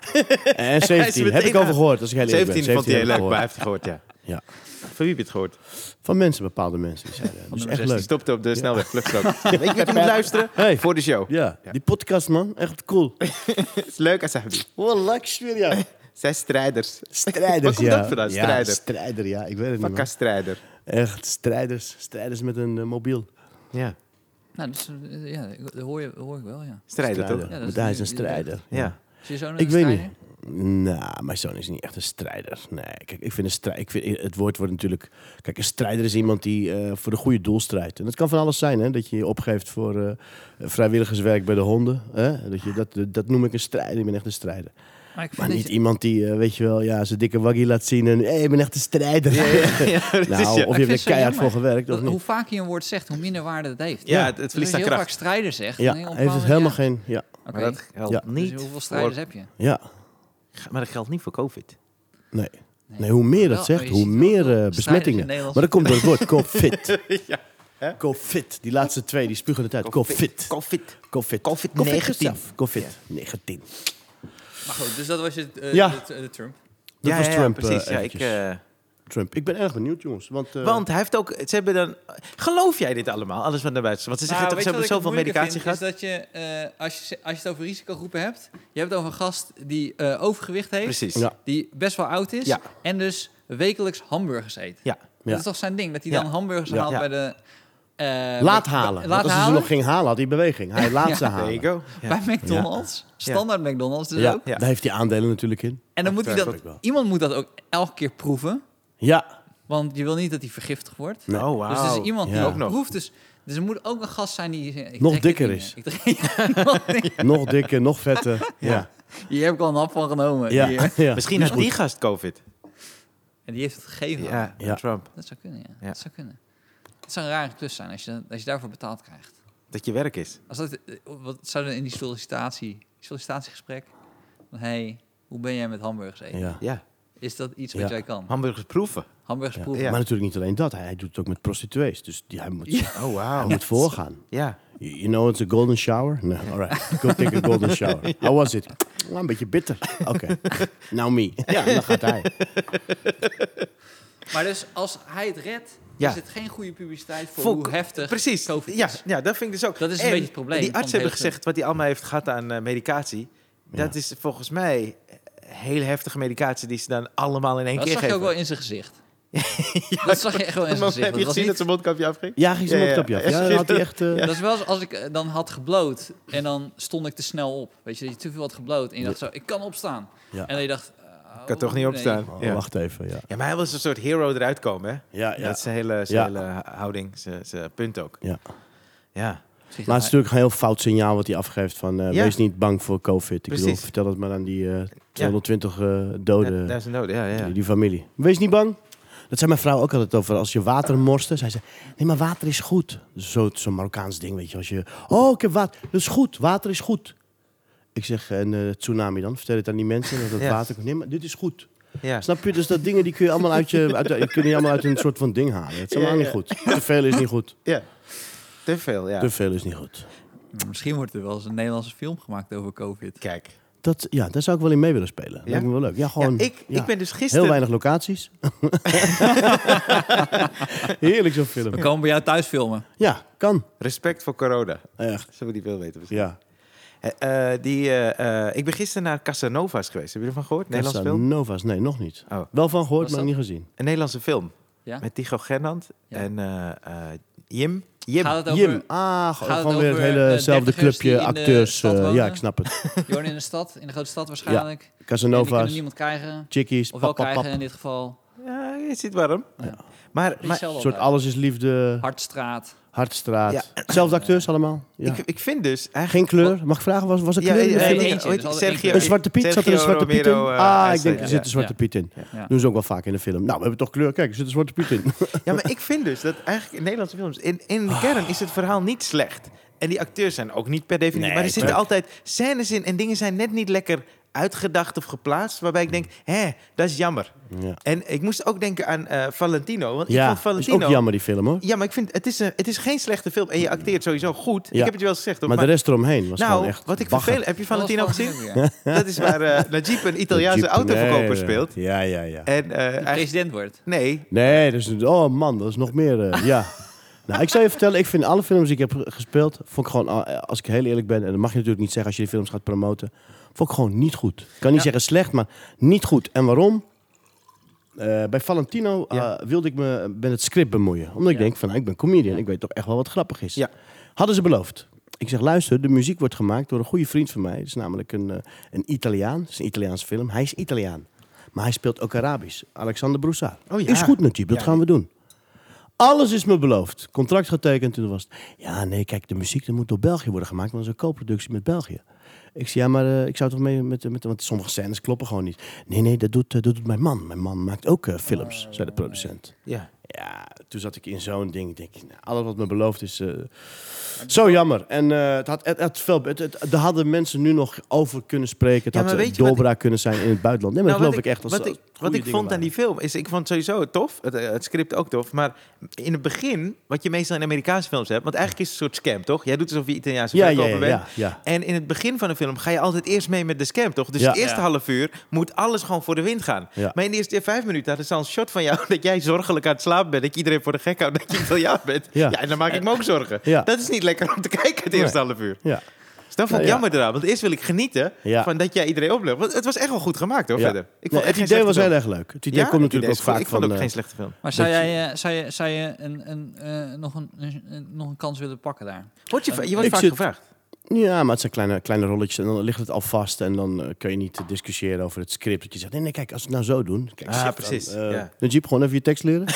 [SPEAKER 3] En 17 heb ik
[SPEAKER 1] meteen
[SPEAKER 3] over gehoord. Als ik heel eerlijk ben.
[SPEAKER 1] 17 vond hij heel
[SPEAKER 3] heb
[SPEAKER 1] leuk,
[SPEAKER 3] ik
[SPEAKER 1] maar
[SPEAKER 3] gehoord.
[SPEAKER 1] hij heeft het gehoord, ja.
[SPEAKER 3] Ja.
[SPEAKER 1] Van wie heb je het gehoord?
[SPEAKER 3] Van mensen, bepaalde mensen. die zeiden, Dat is
[SPEAKER 2] de
[SPEAKER 3] echt
[SPEAKER 1] Die
[SPEAKER 3] leuk.
[SPEAKER 1] stopte op de snelweg, vluchtstrook. Weet je wat je moet luisteren?
[SPEAKER 3] Hey.
[SPEAKER 1] Voor de show.
[SPEAKER 3] Ja, die podcast man, echt cool.
[SPEAKER 1] Het is leuk, Asabi.
[SPEAKER 3] Wat laks weer, ja.
[SPEAKER 1] Zij strijders.
[SPEAKER 3] Strijders,
[SPEAKER 1] Waar komt
[SPEAKER 3] ja.
[SPEAKER 1] dat vandaan?
[SPEAKER 3] Ja,
[SPEAKER 1] Strijder.
[SPEAKER 3] strijder, ja. Ik weet het niet,
[SPEAKER 1] Pakka
[SPEAKER 3] man.
[SPEAKER 1] strijder.
[SPEAKER 3] Echt, strijders. Strijders met een eh, mobiel.
[SPEAKER 1] Ja,
[SPEAKER 2] Nou, dus, eh, ja, ik- dat hoor, je, hoor ik wel, ja.
[SPEAKER 1] strijder
[SPEAKER 3] Strijder.
[SPEAKER 1] toch?
[SPEAKER 2] Ja, dat
[SPEAKER 3] Want
[SPEAKER 2] is
[SPEAKER 3] hij
[SPEAKER 2] nu-
[SPEAKER 3] is een
[SPEAKER 2] die- die-
[SPEAKER 3] strijder.
[SPEAKER 1] Ja.
[SPEAKER 2] Is je zoon
[SPEAKER 3] Ik
[SPEAKER 2] een
[SPEAKER 3] weet
[SPEAKER 2] strijder?
[SPEAKER 3] niet. Nou, mijn zoon is niet echt een strijder. Nee, kijk, ik vind een strij- ik vind, het woord wordt natuurlijk... Kijk, een strijder is iemand die eh, voor de goede doel strijdt. En dat kan van alles zijn, hè. Dat je je opgeeft voor eh, vrijwilligerswerk bij de honden. Hè? Dat, je, dat, dat noem ik een strijder. Ik ben echt een strijder.
[SPEAKER 2] Maar ik vind
[SPEAKER 3] Maar
[SPEAKER 2] dat
[SPEAKER 3] niet
[SPEAKER 2] je-
[SPEAKER 3] iemand die, eh, weet je wel, ja, zijn dikke waggie laat zien en... Hé, ik ben echt een strijder.
[SPEAKER 1] dat is
[SPEAKER 3] nou,
[SPEAKER 1] ja.
[SPEAKER 3] of
[SPEAKER 2] Ik vind
[SPEAKER 3] je
[SPEAKER 2] het
[SPEAKER 3] hebt
[SPEAKER 2] zo
[SPEAKER 3] er keihard
[SPEAKER 2] jammer.
[SPEAKER 3] voor gewerkt
[SPEAKER 2] Dat-
[SPEAKER 3] of
[SPEAKER 2] hoe
[SPEAKER 3] niet.
[SPEAKER 2] vaker je een woord zegt, hoe minder waarde het heeft.
[SPEAKER 1] Ja,
[SPEAKER 3] Ja.
[SPEAKER 1] het- het
[SPEAKER 2] Dus als
[SPEAKER 1] verliest
[SPEAKER 2] je
[SPEAKER 1] aan
[SPEAKER 2] heel vaak
[SPEAKER 1] kracht.
[SPEAKER 2] strijder zegt...
[SPEAKER 3] Ja,
[SPEAKER 2] dan heel
[SPEAKER 3] heeft het
[SPEAKER 2] bepaalde-
[SPEAKER 3] helemaal
[SPEAKER 2] ja,
[SPEAKER 3] geen... Ja,
[SPEAKER 2] oké.
[SPEAKER 1] Maar dat geldt
[SPEAKER 3] Ja.
[SPEAKER 2] Dus
[SPEAKER 1] niet.
[SPEAKER 2] hoeveel
[SPEAKER 1] voor,
[SPEAKER 2] strijders heb je?
[SPEAKER 3] ja.
[SPEAKER 1] maar dat geldt niet voor COVID.
[SPEAKER 3] Nee. Nee, hoe meer
[SPEAKER 2] Wel,
[SPEAKER 3] dat zegt,
[SPEAKER 2] je
[SPEAKER 3] hoe
[SPEAKER 2] ziet wel veel
[SPEAKER 3] meer eh,
[SPEAKER 2] strijders in
[SPEAKER 3] besmettingen. Maar
[SPEAKER 2] Nederland.
[SPEAKER 3] dat komt door het woord COVID. ja. COVID. Die laatste twee, die spugen het uit. COVID.
[SPEAKER 1] COVID.
[SPEAKER 3] COVID.
[SPEAKER 1] COVID-19.
[SPEAKER 3] zelf. COVID-19.
[SPEAKER 2] Maar goed, dus dat was je eh,
[SPEAKER 3] Ja.
[SPEAKER 2] de, de Trump.
[SPEAKER 1] Dus
[SPEAKER 3] Dat
[SPEAKER 1] ja,
[SPEAKER 3] was
[SPEAKER 1] ja, ja,
[SPEAKER 3] Trump,
[SPEAKER 1] precies.
[SPEAKER 3] eh,
[SPEAKER 1] ja, ik,
[SPEAKER 3] eventjes.
[SPEAKER 1] eh,
[SPEAKER 3] Trump. Ik ben erg benieuwd, jongens. Want, eh,
[SPEAKER 1] want hij heeft ook... Ze hebben dan, geloof jij dit allemaal? Alles van de buitenste. Want ze zeggen
[SPEAKER 2] Nou,
[SPEAKER 1] toch, ze
[SPEAKER 2] weet
[SPEAKER 1] hebben
[SPEAKER 2] je wat ik
[SPEAKER 1] zoveel
[SPEAKER 2] het
[SPEAKER 1] medicatie
[SPEAKER 2] moeilijke
[SPEAKER 1] gehad.
[SPEAKER 2] vind, Is dat je, eh, als, je, als je het over risicogroepen hebt, je hebt het over een gast die eh, overgewicht heeft,
[SPEAKER 1] Precies.
[SPEAKER 3] Ja.
[SPEAKER 2] die best wel oud is
[SPEAKER 1] Ja.
[SPEAKER 2] en dus wekelijks hamburgers eet.
[SPEAKER 1] Ja.
[SPEAKER 2] Dat
[SPEAKER 3] Ja.
[SPEAKER 2] is toch zijn ding, dat hij
[SPEAKER 1] Ja.
[SPEAKER 2] dan hamburgers
[SPEAKER 3] Ja.
[SPEAKER 2] haalt
[SPEAKER 1] Ja.
[SPEAKER 2] bij de... eh,
[SPEAKER 3] laat
[SPEAKER 2] bij-
[SPEAKER 3] halen.
[SPEAKER 2] Laat
[SPEAKER 3] Want
[SPEAKER 1] dus
[SPEAKER 3] als hij ze
[SPEAKER 2] halen.
[SPEAKER 3] nog ging halen, had hij beweging. Hij laat ze
[SPEAKER 1] There you
[SPEAKER 3] halen.
[SPEAKER 1] go. Ja.
[SPEAKER 2] Bij McDonald's, standaard McDonald's dus
[SPEAKER 3] Ja,
[SPEAKER 2] ook.
[SPEAKER 1] Ja.
[SPEAKER 3] daar heeft hij aandelen natuurlijk in.
[SPEAKER 2] En dan moet hij dat,
[SPEAKER 3] Tuurlijk wel.
[SPEAKER 2] iemand moet dat ook elke keer proeven,
[SPEAKER 3] Ja.
[SPEAKER 2] want je wil niet dat hij vergiftigd wordt.
[SPEAKER 3] Nee.
[SPEAKER 1] Oh, wauw.
[SPEAKER 2] Dus er is iemand die
[SPEAKER 3] Ja.
[SPEAKER 2] ook
[SPEAKER 1] Ook nog.
[SPEAKER 2] proeft, dus, dus er moet ook een gast zijn die... ik
[SPEAKER 3] Nog
[SPEAKER 2] trek dit
[SPEAKER 3] dikker
[SPEAKER 2] niet
[SPEAKER 3] is.
[SPEAKER 2] meer. Ik trek- Nog dikker.
[SPEAKER 3] Nog dikker, nog vetter. Ja.
[SPEAKER 2] Hier heb ik al een hap van genomen.
[SPEAKER 3] Ja.
[SPEAKER 2] Hier.
[SPEAKER 3] ja.
[SPEAKER 1] Misschien had die gast COVID.
[SPEAKER 2] En die heeft het gegeven.
[SPEAKER 1] Ja,
[SPEAKER 3] Ja.
[SPEAKER 1] Trump.
[SPEAKER 2] Dat zou kunnen, ja.
[SPEAKER 1] Ja.
[SPEAKER 2] Dat zou kunnen. Het zou een rare klus zijn als je, als je daarvoor betaald krijgt.
[SPEAKER 1] Dat je werk is.
[SPEAKER 2] Als dat, eh, wat zou dan in die sollicitatie, sollicitatiegesprek... Van, hey, hoe ben jij met hamburgers eten?
[SPEAKER 3] Ja.
[SPEAKER 1] Ja.
[SPEAKER 2] Is dat iets wat
[SPEAKER 3] Ja.
[SPEAKER 2] jij kan?
[SPEAKER 1] Hamburgers proeven.
[SPEAKER 2] Hamburgers
[SPEAKER 3] Ja.
[SPEAKER 2] proeven.
[SPEAKER 1] Ja.
[SPEAKER 3] Maar natuurlijk niet alleen dat. Hij, hij doet het ook met prostituees. Dus die, hij, moet,
[SPEAKER 1] Oh,
[SPEAKER 3] hij
[SPEAKER 1] wauw.
[SPEAKER 3] moet voorgaan.
[SPEAKER 1] Ja.
[SPEAKER 3] You you know it's a golden shower? No, all right. Go take a golden shower. How was it? Nou, een beetje bitter. Oké. Now me. Ja, dan gaat hij.
[SPEAKER 2] Maar dus als hij het redt,
[SPEAKER 1] Ja.
[SPEAKER 2] is het geen goede publiciteit voor
[SPEAKER 1] Vol-
[SPEAKER 2] hoe heftig
[SPEAKER 1] Precies.
[SPEAKER 2] COVID
[SPEAKER 1] Ja,
[SPEAKER 2] is.
[SPEAKER 1] ja, dat vind ik dus ook.
[SPEAKER 2] Dat is een
[SPEAKER 1] En
[SPEAKER 2] beetje het probleem
[SPEAKER 1] Die
[SPEAKER 2] van
[SPEAKER 1] artsen
[SPEAKER 2] het
[SPEAKER 1] hebben
[SPEAKER 2] hele
[SPEAKER 1] gezegd wat hij allemaal heeft gehad aan eh, medicatie. Dat is volgens mij hele heftige medicatie die ze dan allemaal in één
[SPEAKER 2] Dat
[SPEAKER 1] keer
[SPEAKER 2] zag je
[SPEAKER 1] geven.
[SPEAKER 2] ook wel in zijn gezicht. dat zag je echt wel in zijn gezicht.
[SPEAKER 1] heb je
[SPEAKER 2] Dat was
[SPEAKER 1] gezien
[SPEAKER 2] niet-
[SPEAKER 1] dat zijn mondkapje afging?
[SPEAKER 3] Ja, ging zijn
[SPEAKER 1] Ja, ja,
[SPEAKER 3] mondkapje af.
[SPEAKER 1] ja.
[SPEAKER 3] Ja, dan had hij echt... eh,
[SPEAKER 2] Dat is wel als, als ik eh, dan had gebloot en dan stond ik te snel op. Weet je, dat je te veel had gebloot en je dacht zo, ik kan opstaan.
[SPEAKER 3] Ja.
[SPEAKER 2] En dan je dacht... eh,
[SPEAKER 1] Ik kan toch niet opstaan.
[SPEAKER 3] oh,
[SPEAKER 1] ja.
[SPEAKER 3] Wacht even, ja.
[SPEAKER 1] ja, maar hij wil als een soort hero eruit komen, hè?
[SPEAKER 3] Ja, ja.
[SPEAKER 1] Dat is zijn hele, zijn
[SPEAKER 3] Ja.
[SPEAKER 1] hele houding, zijn, zijn punt ook.
[SPEAKER 3] ja.
[SPEAKER 1] Ja.
[SPEAKER 3] Maar het is natuurlijk een heel fout signaal wat hij afgeeft van... eh,
[SPEAKER 1] Ja.
[SPEAKER 3] Wees niet bang voor COVID. Ik bedoel,
[SPEAKER 1] Precies.
[SPEAKER 3] vertel dat maar aan die eh, 220 eh, doden.
[SPEAKER 1] Daar is een dode, ja, ja.
[SPEAKER 3] Die, die familie. Wees niet bang. Dat zei mijn vrouw ook altijd over als je water morste. Zij zei, nee, maar water is goed. Zo- Zo'n Marokkaans ding, weet je. Als je, oh, ik heb water. Dat is goed. Water is goed. Ik zeg, en eh, tsunami dan? Vertel het aan die mensen dat het
[SPEAKER 1] Ja.
[SPEAKER 3] water komt. Nee, maar dit is goed.
[SPEAKER 1] ja.
[SPEAKER 3] Snap je? Dus dat dingen die kun je allemaal uit, je, uit, die kun je allemaal uit een soort van ding halen. Het is allemaal
[SPEAKER 1] Ja, ja.
[SPEAKER 3] niet goed. Te veel is niet goed.
[SPEAKER 1] Ja. Te veel, ja.
[SPEAKER 3] Te veel is niet goed.
[SPEAKER 2] Misschien wordt er wel eens een Nederlandse film gemaakt over COVID.
[SPEAKER 1] Kijk.
[SPEAKER 3] Dat, ja, daar zou ik wel in mee willen spelen. Dat Lijkt me wel leuk. Ja, gewoon,
[SPEAKER 1] ja, ik,
[SPEAKER 3] ja.
[SPEAKER 1] ik ben dus
[SPEAKER 3] Heel
[SPEAKER 1] gisteren...
[SPEAKER 3] weinig locaties. Heerlijk zo'n film.
[SPEAKER 2] We komen bij jou thuis filmen.
[SPEAKER 3] Ja, kan.
[SPEAKER 1] Respect voor corona.
[SPEAKER 3] Echt.
[SPEAKER 1] Zullen we die veel weten? misschien?
[SPEAKER 3] Nou Ja.
[SPEAKER 1] Eh, eh, die, eh, eh, ik ben gisteren naar Casanova's geweest. Heb je ervan gehoord? Nederlandse film?
[SPEAKER 3] Nova's, nee, nog niet.
[SPEAKER 1] Oh.
[SPEAKER 3] Wel van
[SPEAKER 2] Wat
[SPEAKER 3] gehoord,
[SPEAKER 2] is
[SPEAKER 3] maar
[SPEAKER 2] dat?
[SPEAKER 3] niet gezien.
[SPEAKER 1] Een Nederlandse film.
[SPEAKER 2] Ja?
[SPEAKER 1] Met Tycho Gernand
[SPEAKER 2] Ja.
[SPEAKER 1] en eh, eh, Jim. Jim.
[SPEAKER 2] Gaat het over
[SPEAKER 3] Jim. Ah,
[SPEAKER 2] het
[SPEAKER 3] gewoon weer het
[SPEAKER 2] over, eh,
[SPEAKER 3] helezelfde
[SPEAKER 2] dertigers die
[SPEAKER 3] clubje
[SPEAKER 2] in de
[SPEAKER 3] acteurs.
[SPEAKER 2] stad
[SPEAKER 3] eh, ja,
[SPEAKER 2] wonen?
[SPEAKER 3] ik snap het.
[SPEAKER 2] die wonen in de stad, in de grote stad waarschijnlijk. En die kunnen
[SPEAKER 3] Casanova's,
[SPEAKER 2] niemand krijgen.
[SPEAKER 3] chickies,
[SPEAKER 2] Of wel
[SPEAKER 3] pap, pap,
[SPEAKER 2] krijgen
[SPEAKER 3] pap.
[SPEAKER 2] in dit geval.
[SPEAKER 1] Ja, je zit warm.
[SPEAKER 2] Ja.
[SPEAKER 1] Maar,
[SPEAKER 2] Een
[SPEAKER 1] maar
[SPEAKER 3] soort alles is liefde,
[SPEAKER 2] Hartstraat.
[SPEAKER 3] Hartstraat. Zelfde acteurs allemaal. Ja.
[SPEAKER 1] ik, ik vind dus eigenlijk...
[SPEAKER 3] Geen kleur. Mag ik vragen, was, was er
[SPEAKER 1] Ja,
[SPEAKER 3] kleur? in de
[SPEAKER 1] ja,
[SPEAKER 3] film?
[SPEAKER 2] eentje,
[SPEAKER 1] ja,
[SPEAKER 2] dus
[SPEAKER 1] ooit-
[SPEAKER 2] altijd
[SPEAKER 1] Sergio-
[SPEAKER 2] eentje.
[SPEAKER 3] Een zwarte piet? Zat er een
[SPEAKER 1] Sergio
[SPEAKER 3] zwarte piet in?
[SPEAKER 1] Romero, eh,
[SPEAKER 3] Ah, ik denk,
[SPEAKER 1] Einstein,
[SPEAKER 3] er
[SPEAKER 1] ja.
[SPEAKER 3] zit een zwarte
[SPEAKER 2] Ja.
[SPEAKER 3] piet in.
[SPEAKER 2] Ja.
[SPEAKER 3] Doen ze ook wel vaak in de film. Nou, we hebben toch kleur. Kijk, er zit een zwarte piet in.
[SPEAKER 1] Ja, maar ik vind dus dat eigenlijk in Nederlandse films... In, in
[SPEAKER 3] Ah.
[SPEAKER 1] de kern is het verhaal niet slecht. En die acteurs zijn ook niet per definitie...
[SPEAKER 3] Nee,
[SPEAKER 1] maar er zitten
[SPEAKER 3] tuurlijk.
[SPEAKER 1] altijd scènes in en dingen zijn net niet lekker uitgedacht of geplaatst. Waarbij ik denk, hè, dat is jammer.
[SPEAKER 3] ja,
[SPEAKER 1] En ik moest ook denken aan eh, Valentino. Want ik
[SPEAKER 3] ja
[SPEAKER 1] vond
[SPEAKER 3] is
[SPEAKER 1] Valentino...
[SPEAKER 3] ook jammer die film hoor.
[SPEAKER 1] Ja, maar ik vind, het is, een, het is geen slechte film. En je acteert sowieso goed. Ik
[SPEAKER 3] Ja.
[SPEAKER 1] heb het je wel eens gezegd. Hoor,
[SPEAKER 3] Maar de rest eromheen was
[SPEAKER 1] nou,
[SPEAKER 3] gewoon echt
[SPEAKER 1] wat ik
[SPEAKER 3] bagger.
[SPEAKER 1] vervelend... Heb je Valentino
[SPEAKER 2] Alles van-
[SPEAKER 1] gezien?
[SPEAKER 2] Ja.
[SPEAKER 1] Dat is waar eh Najib een Italiaanse
[SPEAKER 3] Jeep-
[SPEAKER 1] autoverkoper
[SPEAKER 3] nee,
[SPEAKER 1] speelt.
[SPEAKER 3] Ja, ja, ja.
[SPEAKER 1] En eh, eigenlijk...
[SPEAKER 2] President wordt.
[SPEAKER 1] Nee.
[SPEAKER 3] Nee, dus, oh man, dat is nog meer. eh, ja. Nou, ik zou je vertellen, ik vind alle films die ik heb gespeeld, vond ik gewoon, eh, als ik heel eerlijk ben, en dat mag je natuurlijk niet zeggen als je die films gaat promoten, vond ik gewoon niet goed. Ik kan niet
[SPEAKER 2] Ja.
[SPEAKER 3] zeggen slecht, maar niet goed. En waarom? Eh, bij Valentino eh,
[SPEAKER 1] Ja.
[SPEAKER 3] wilde ik me met het script bemoeien. Omdat ik
[SPEAKER 2] Ja.
[SPEAKER 3] denk van, nou, ik ben comedian, ik weet toch echt wel wat grappig is.
[SPEAKER 1] Ja.
[SPEAKER 3] Hadden ze beloofd. Ik zeg, luister, de muziek wordt gemaakt door een goede vriend van mij. Het is namelijk een, eh, een Italiaan. Het is een Italiaanse film. Hij is Italiaan. Maar hij speelt ook Arabisch. Alexander Broussard.
[SPEAKER 1] Oh ja.
[SPEAKER 3] Is goed, Najib. Dat
[SPEAKER 1] Ja.
[SPEAKER 3] gaan we doen. Alles is me beloofd. Contract getekend. Toen was het, ja, nee, kijk, de muziek dat moet door België worden gemaakt. Want dat is een co-productie met België. Ik zei, ja, maar eh, ik zou toch mee met, met... Want sommige scènes kloppen gewoon niet. Nee, nee, dat doet, eh, dat doet mijn man. Mijn man maakt ook eh, films, zei de producent.
[SPEAKER 1] Ja.
[SPEAKER 3] Ja, toen zat ik in zo'n ding. Ik denk, nou, alles wat me beloofd is... eh, zo jammer. En eh, het had, het, het, veel- het, het- daar hadden mensen nu nog over kunnen spreken. Het
[SPEAKER 1] Ja,
[SPEAKER 3] had
[SPEAKER 1] maar
[SPEAKER 3] eh,
[SPEAKER 1] weet je wat
[SPEAKER 3] doorbraak kunnen zijn in het buitenland. Nee, maar
[SPEAKER 1] Nou,
[SPEAKER 3] dat geloof ik echt. Als,
[SPEAKER 1] wat
[SPEAKER 3] als
[SPEAKER 1] ik,
[SPEAKER 3] het
[SPEAKER 1] wat
[SPEAKER 3] goede
[SPEAKER 1] ik
[SPEAKER 3] dingen
[SPEAKER 1] vond aan die film is, ik vond het sowieso tof, het, eh, het script ook tof, maar in het begin, wat je meestal in Amerikaanse films hebt, want eigenlijk is het een soort scam, toch? Jij doet alsof je Italiaanse
[SPEAKER 3] waren. ja,
[SPEAKER 1] verkoper
[SPEAKER 3] ja, ja,
[SPEAKER 1] bent.
[SPEAKER 3] ja, ja.
[SPEAKER 1] En in het begin van een film ga je altijd eerst mee met de scam, toch? Dus
[SPEAKER 3] Ja.
[SPEAKER 1] het eerste
[SPEAKER 2] Ja.
[SPEAKER 1] half uur moet alles gewoon voor de wind gaan.
[SPEAKER 3] Ja.
[SPEAKER 1] Maar in de eerste vijf minuten hadden ze al een shot van jou... dat jij zorgelijk aan het slapen bent, dat je iedereen voor de gek houdt... dat je Italiaan bent. Ja.
[SPEAKER 3] Ja.
[SPEAKER 1] en dan maak ik me ook zorgen.
[SPEAKER 3] Ja.
[SPEAKER 1] Dat is niet lekker om te kijken het eerste half uur.
[SPEAKER 3] Ja.
[SPEAKER 1] Dus dat vond ik
[SPEAKER 3] Ja, ja.
[SPEAKER 1] jammer eraan. Want eerst wil ik genieten
[SPEAKER 3] Ja.
[SPEAKER 1] van dat jij iedereen oplucht. Want het was echt wel goed gemaakt, hoor,
[SPEAKER 3] Ja.
[SPEAKER 1] verder. Ik
[SPEAKER 3] Nee,
[SPEAKER 1] echt
[SPEAKER 3] het
[SPEAKER 1] geen
[SPEAKER 3] idee
[SPEAKER 1] slechte
[SPEAKER 3] was
[SPEAKER 1] film.
[SPEAKER 3] heel erg leuk. Het idee
[SPEAKER 1] Ja,
[SPEAKER 3] komt
[SPEAKER 1] het idee
[SPEAKER 3] natuurlijk ook
[SPEAKER 1] is goed.
[SPEAKER 3] vaak
[SPEAKER 1] Ik vond
[SPEAKER 3] van...
[SPEAKER 1] ook
[SPEAKER 3] eh,
[SPEAKER 1] geen slechte film.
[SPEAKER 2] Maar zou jij, eh, zou je, zou je een, een, eh, nog, een, een- een- nog een kans willen pakken daar?
[SPEAKER 1] Word je, va- je wordt
[SPEAKER 3] Ik
[SPEAKER 1] vaak
[SPEAKER 3] zit-
[SPEAKER 1] gevraagd.
[SPEAKER 3] Ja, maar het zijn kleine, kleine rolletjes en dan ligt het al vast. En dan eh, kun je niet eh, discussiëren over het script. Dat je zegt, nee, nee, kijk, als we het nou zo doen... Kijk,
[SPEAKER 1] Ah,
[SPEAKER 3] schrift dan,
[SPEAKER 1] precies,
[SPEAKER 3] eh,
[SPEAKER 1] ja.
[SPEAKER 3] Najib, gewoon even je tekst leren.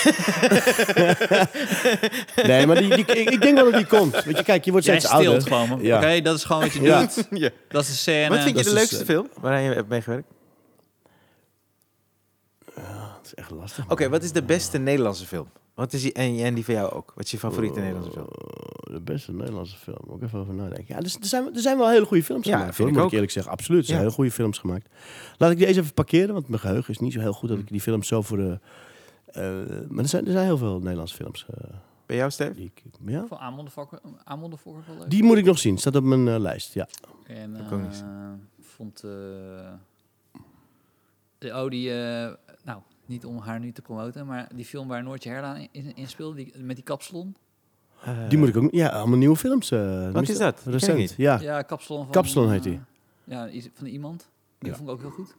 [SPEAKER 3] nee, maar die, die, ik, ik denk wel dat die komt. Weet je, kijk, je wordt
[SPEAKER 2] Jij
[SPEAKER 3] steeds ouder.
[SPEAKER 2] stilt gewoon. man. Oké,
[SPEAKER 3] Ja.
[SPEAKER 2] dat is gewoon wat je
[SPEAKER 3] Ja.
[SPEAKER 2] doet.
[SPEAKER 1] Ja.
[SPEAKER 2] Dat is de scène.
[SPEAKER 1] Wat vind je
[SPEAKER 3] dat
[SPEAKER 1] de
[SPEAKER 3] is,
[SPEAKER 1] leukste
[SPEAKER 3] eh,
[SPEAKER 1] film waar je hebt meegewerkt?
[SPEAKER 3] Dat is echt lastig.
[SPEAKER 1] Oké, wat is de beste Nederlandse film? Wat is die, en, en die van jou ook? Wat is je favoriete Nederlandse film?
[SPEAKER 3] De beste Nederlandse film. Ook even over nadenken. Ja, dus er, zijn, er zijn wel hele goede films
[SPEAKER 1] Ja,
[SPEAKER 3] gemaakt.
[SPEAKER 1] vind
[SPEAKER 3] Hoor,
[SPEAKER 1] ik
[SPEAKER 3] moet
[SPEAKER 1] ook.
[SPEAKER 3] ik eerlijk zeggen. Absoluut. Er zijn
[SPEAKER 1] Ja.
[SPEAKER 3] hele goede films gemaakt. Laat ik die eens even parkeren, want mijn geheugen is niet zo heel goed
[SPEAKER 1] Hmm.
[SPEAKER 3] dat ik die films zo voor de. eh, maar er zijn, er zijn heel veel Nederlandse films. eh,
[SPEAKER 1] Bij jou, Steve?
[SPEAKER 3] die, ik, ja.
[SPEAKER 2] Voor Amonden Fokker- Amonden Fokker wel leuk.
[SPEAKER 3] die moet ik nog zien. Staat op mijn eh, lijst. Ja.
[SPEAKER 2] En
[SPEAKER 1] Dat kan ik niet
[SPEAKER 2] eh, vond eh, de Audi, eh, nou, niet om haar nu te promoten, maar die film waar Noortje Herlaan in, in, in speelde, die, met die kapsalon.
[SPEAKER 1] Eh,
[SPEAKER 3] die moet ik ook. Ja, allemaal nieuwe films. eh,
[SPEAKER 1] Wat is dat? Ken ik
[SPEAKER 3] Recent.
[SPEAKER 1] niet.
[SPEAKER 3] Ja.
[SPEAKER 2] Ja, kapsalon van...
[SPEAKER 3] Ah. Kapsalon heet die.
[SPEAKER 2] eh, ja, iets van iemand. Die
[SPEAKER 3] Ja.
[SPEAKER 2] vond ik ook heel goed.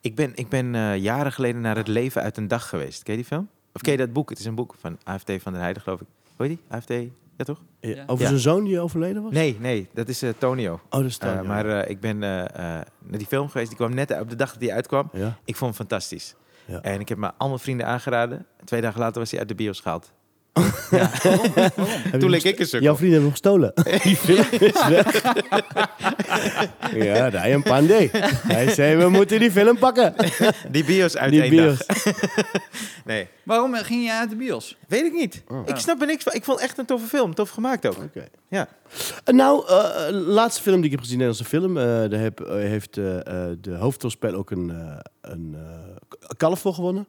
[SPEAKER 1] Ik ben, ik ben eh, jaren geleden naar Het Leven uit een Dag geweest. Ken je die film? Of ken je dat boek? Het is een boek van AFT van der Heijden, geloof ik. Hoe heet die? AFT? Ja, toch?
[SPEAKER 3] Eh,
[SPEAKER 2] Ja.
[SPEAKER 3] Over
[SPEAKER 1] Ja.
[SPEAKER 3] zijn zoon die overleden was?
[SPEAKER 1] Nee, nee. Dat is eh, Tonio.
[SPEAKER 3] Oh, dat staat.
[SPEAKER 1] Eh, maar eh, ik ben eh, eh, naar die film geweest. Die kwam net op de dag dat die uitkwam.
[SPEAKER 3] ja.
[SPEAKER 1] Ik vond hem fantastisch.
[SPEAKER 3] Ja.
[SPEAKER 1] En ik heb me allemaal vrienden aangeraden. Twee dagen later was hij uit de bios gehaald.
[SPEAKER 3] Heb je
[SPEAKER 1] Toen
[SPEAKER 3] nog
[SPEAKER 1] leek ik een sukkel.
[SPEAKER 3] Jouw vrienden hebben hem gestolen. Die film is weg. ja, Ryan Pandey. Hij zei, we moeten die film pakken.
[SPEAKER 1] Die bios uit
[SPEAKER 3] die
[SPEAKER 1] één
[SPEAKER 3] bios.
[SPEAKER 1] dag. Nee,
[SPEAKER 2] Waarom eh, ging je uit de bios?
[SPEAKER 1] weet ik niet.
[SPEAKER 3] Oh.
[SPEAKER 1] Ik snap er niks van. Ik vond het echt een toffe film. Tof gemaakt ook.
[SPEAKER 3] Oké.
[SPEAKER 1] Ja.
[SPEAKER 3] Eh, Nou, eh, eh, laatste film die ik heb gezien, Nederlandse film. eh, daar heb, eh, heeft eh, eh, de hoofdrolspeler ook een, eh een eh, kalf voor gewonnen.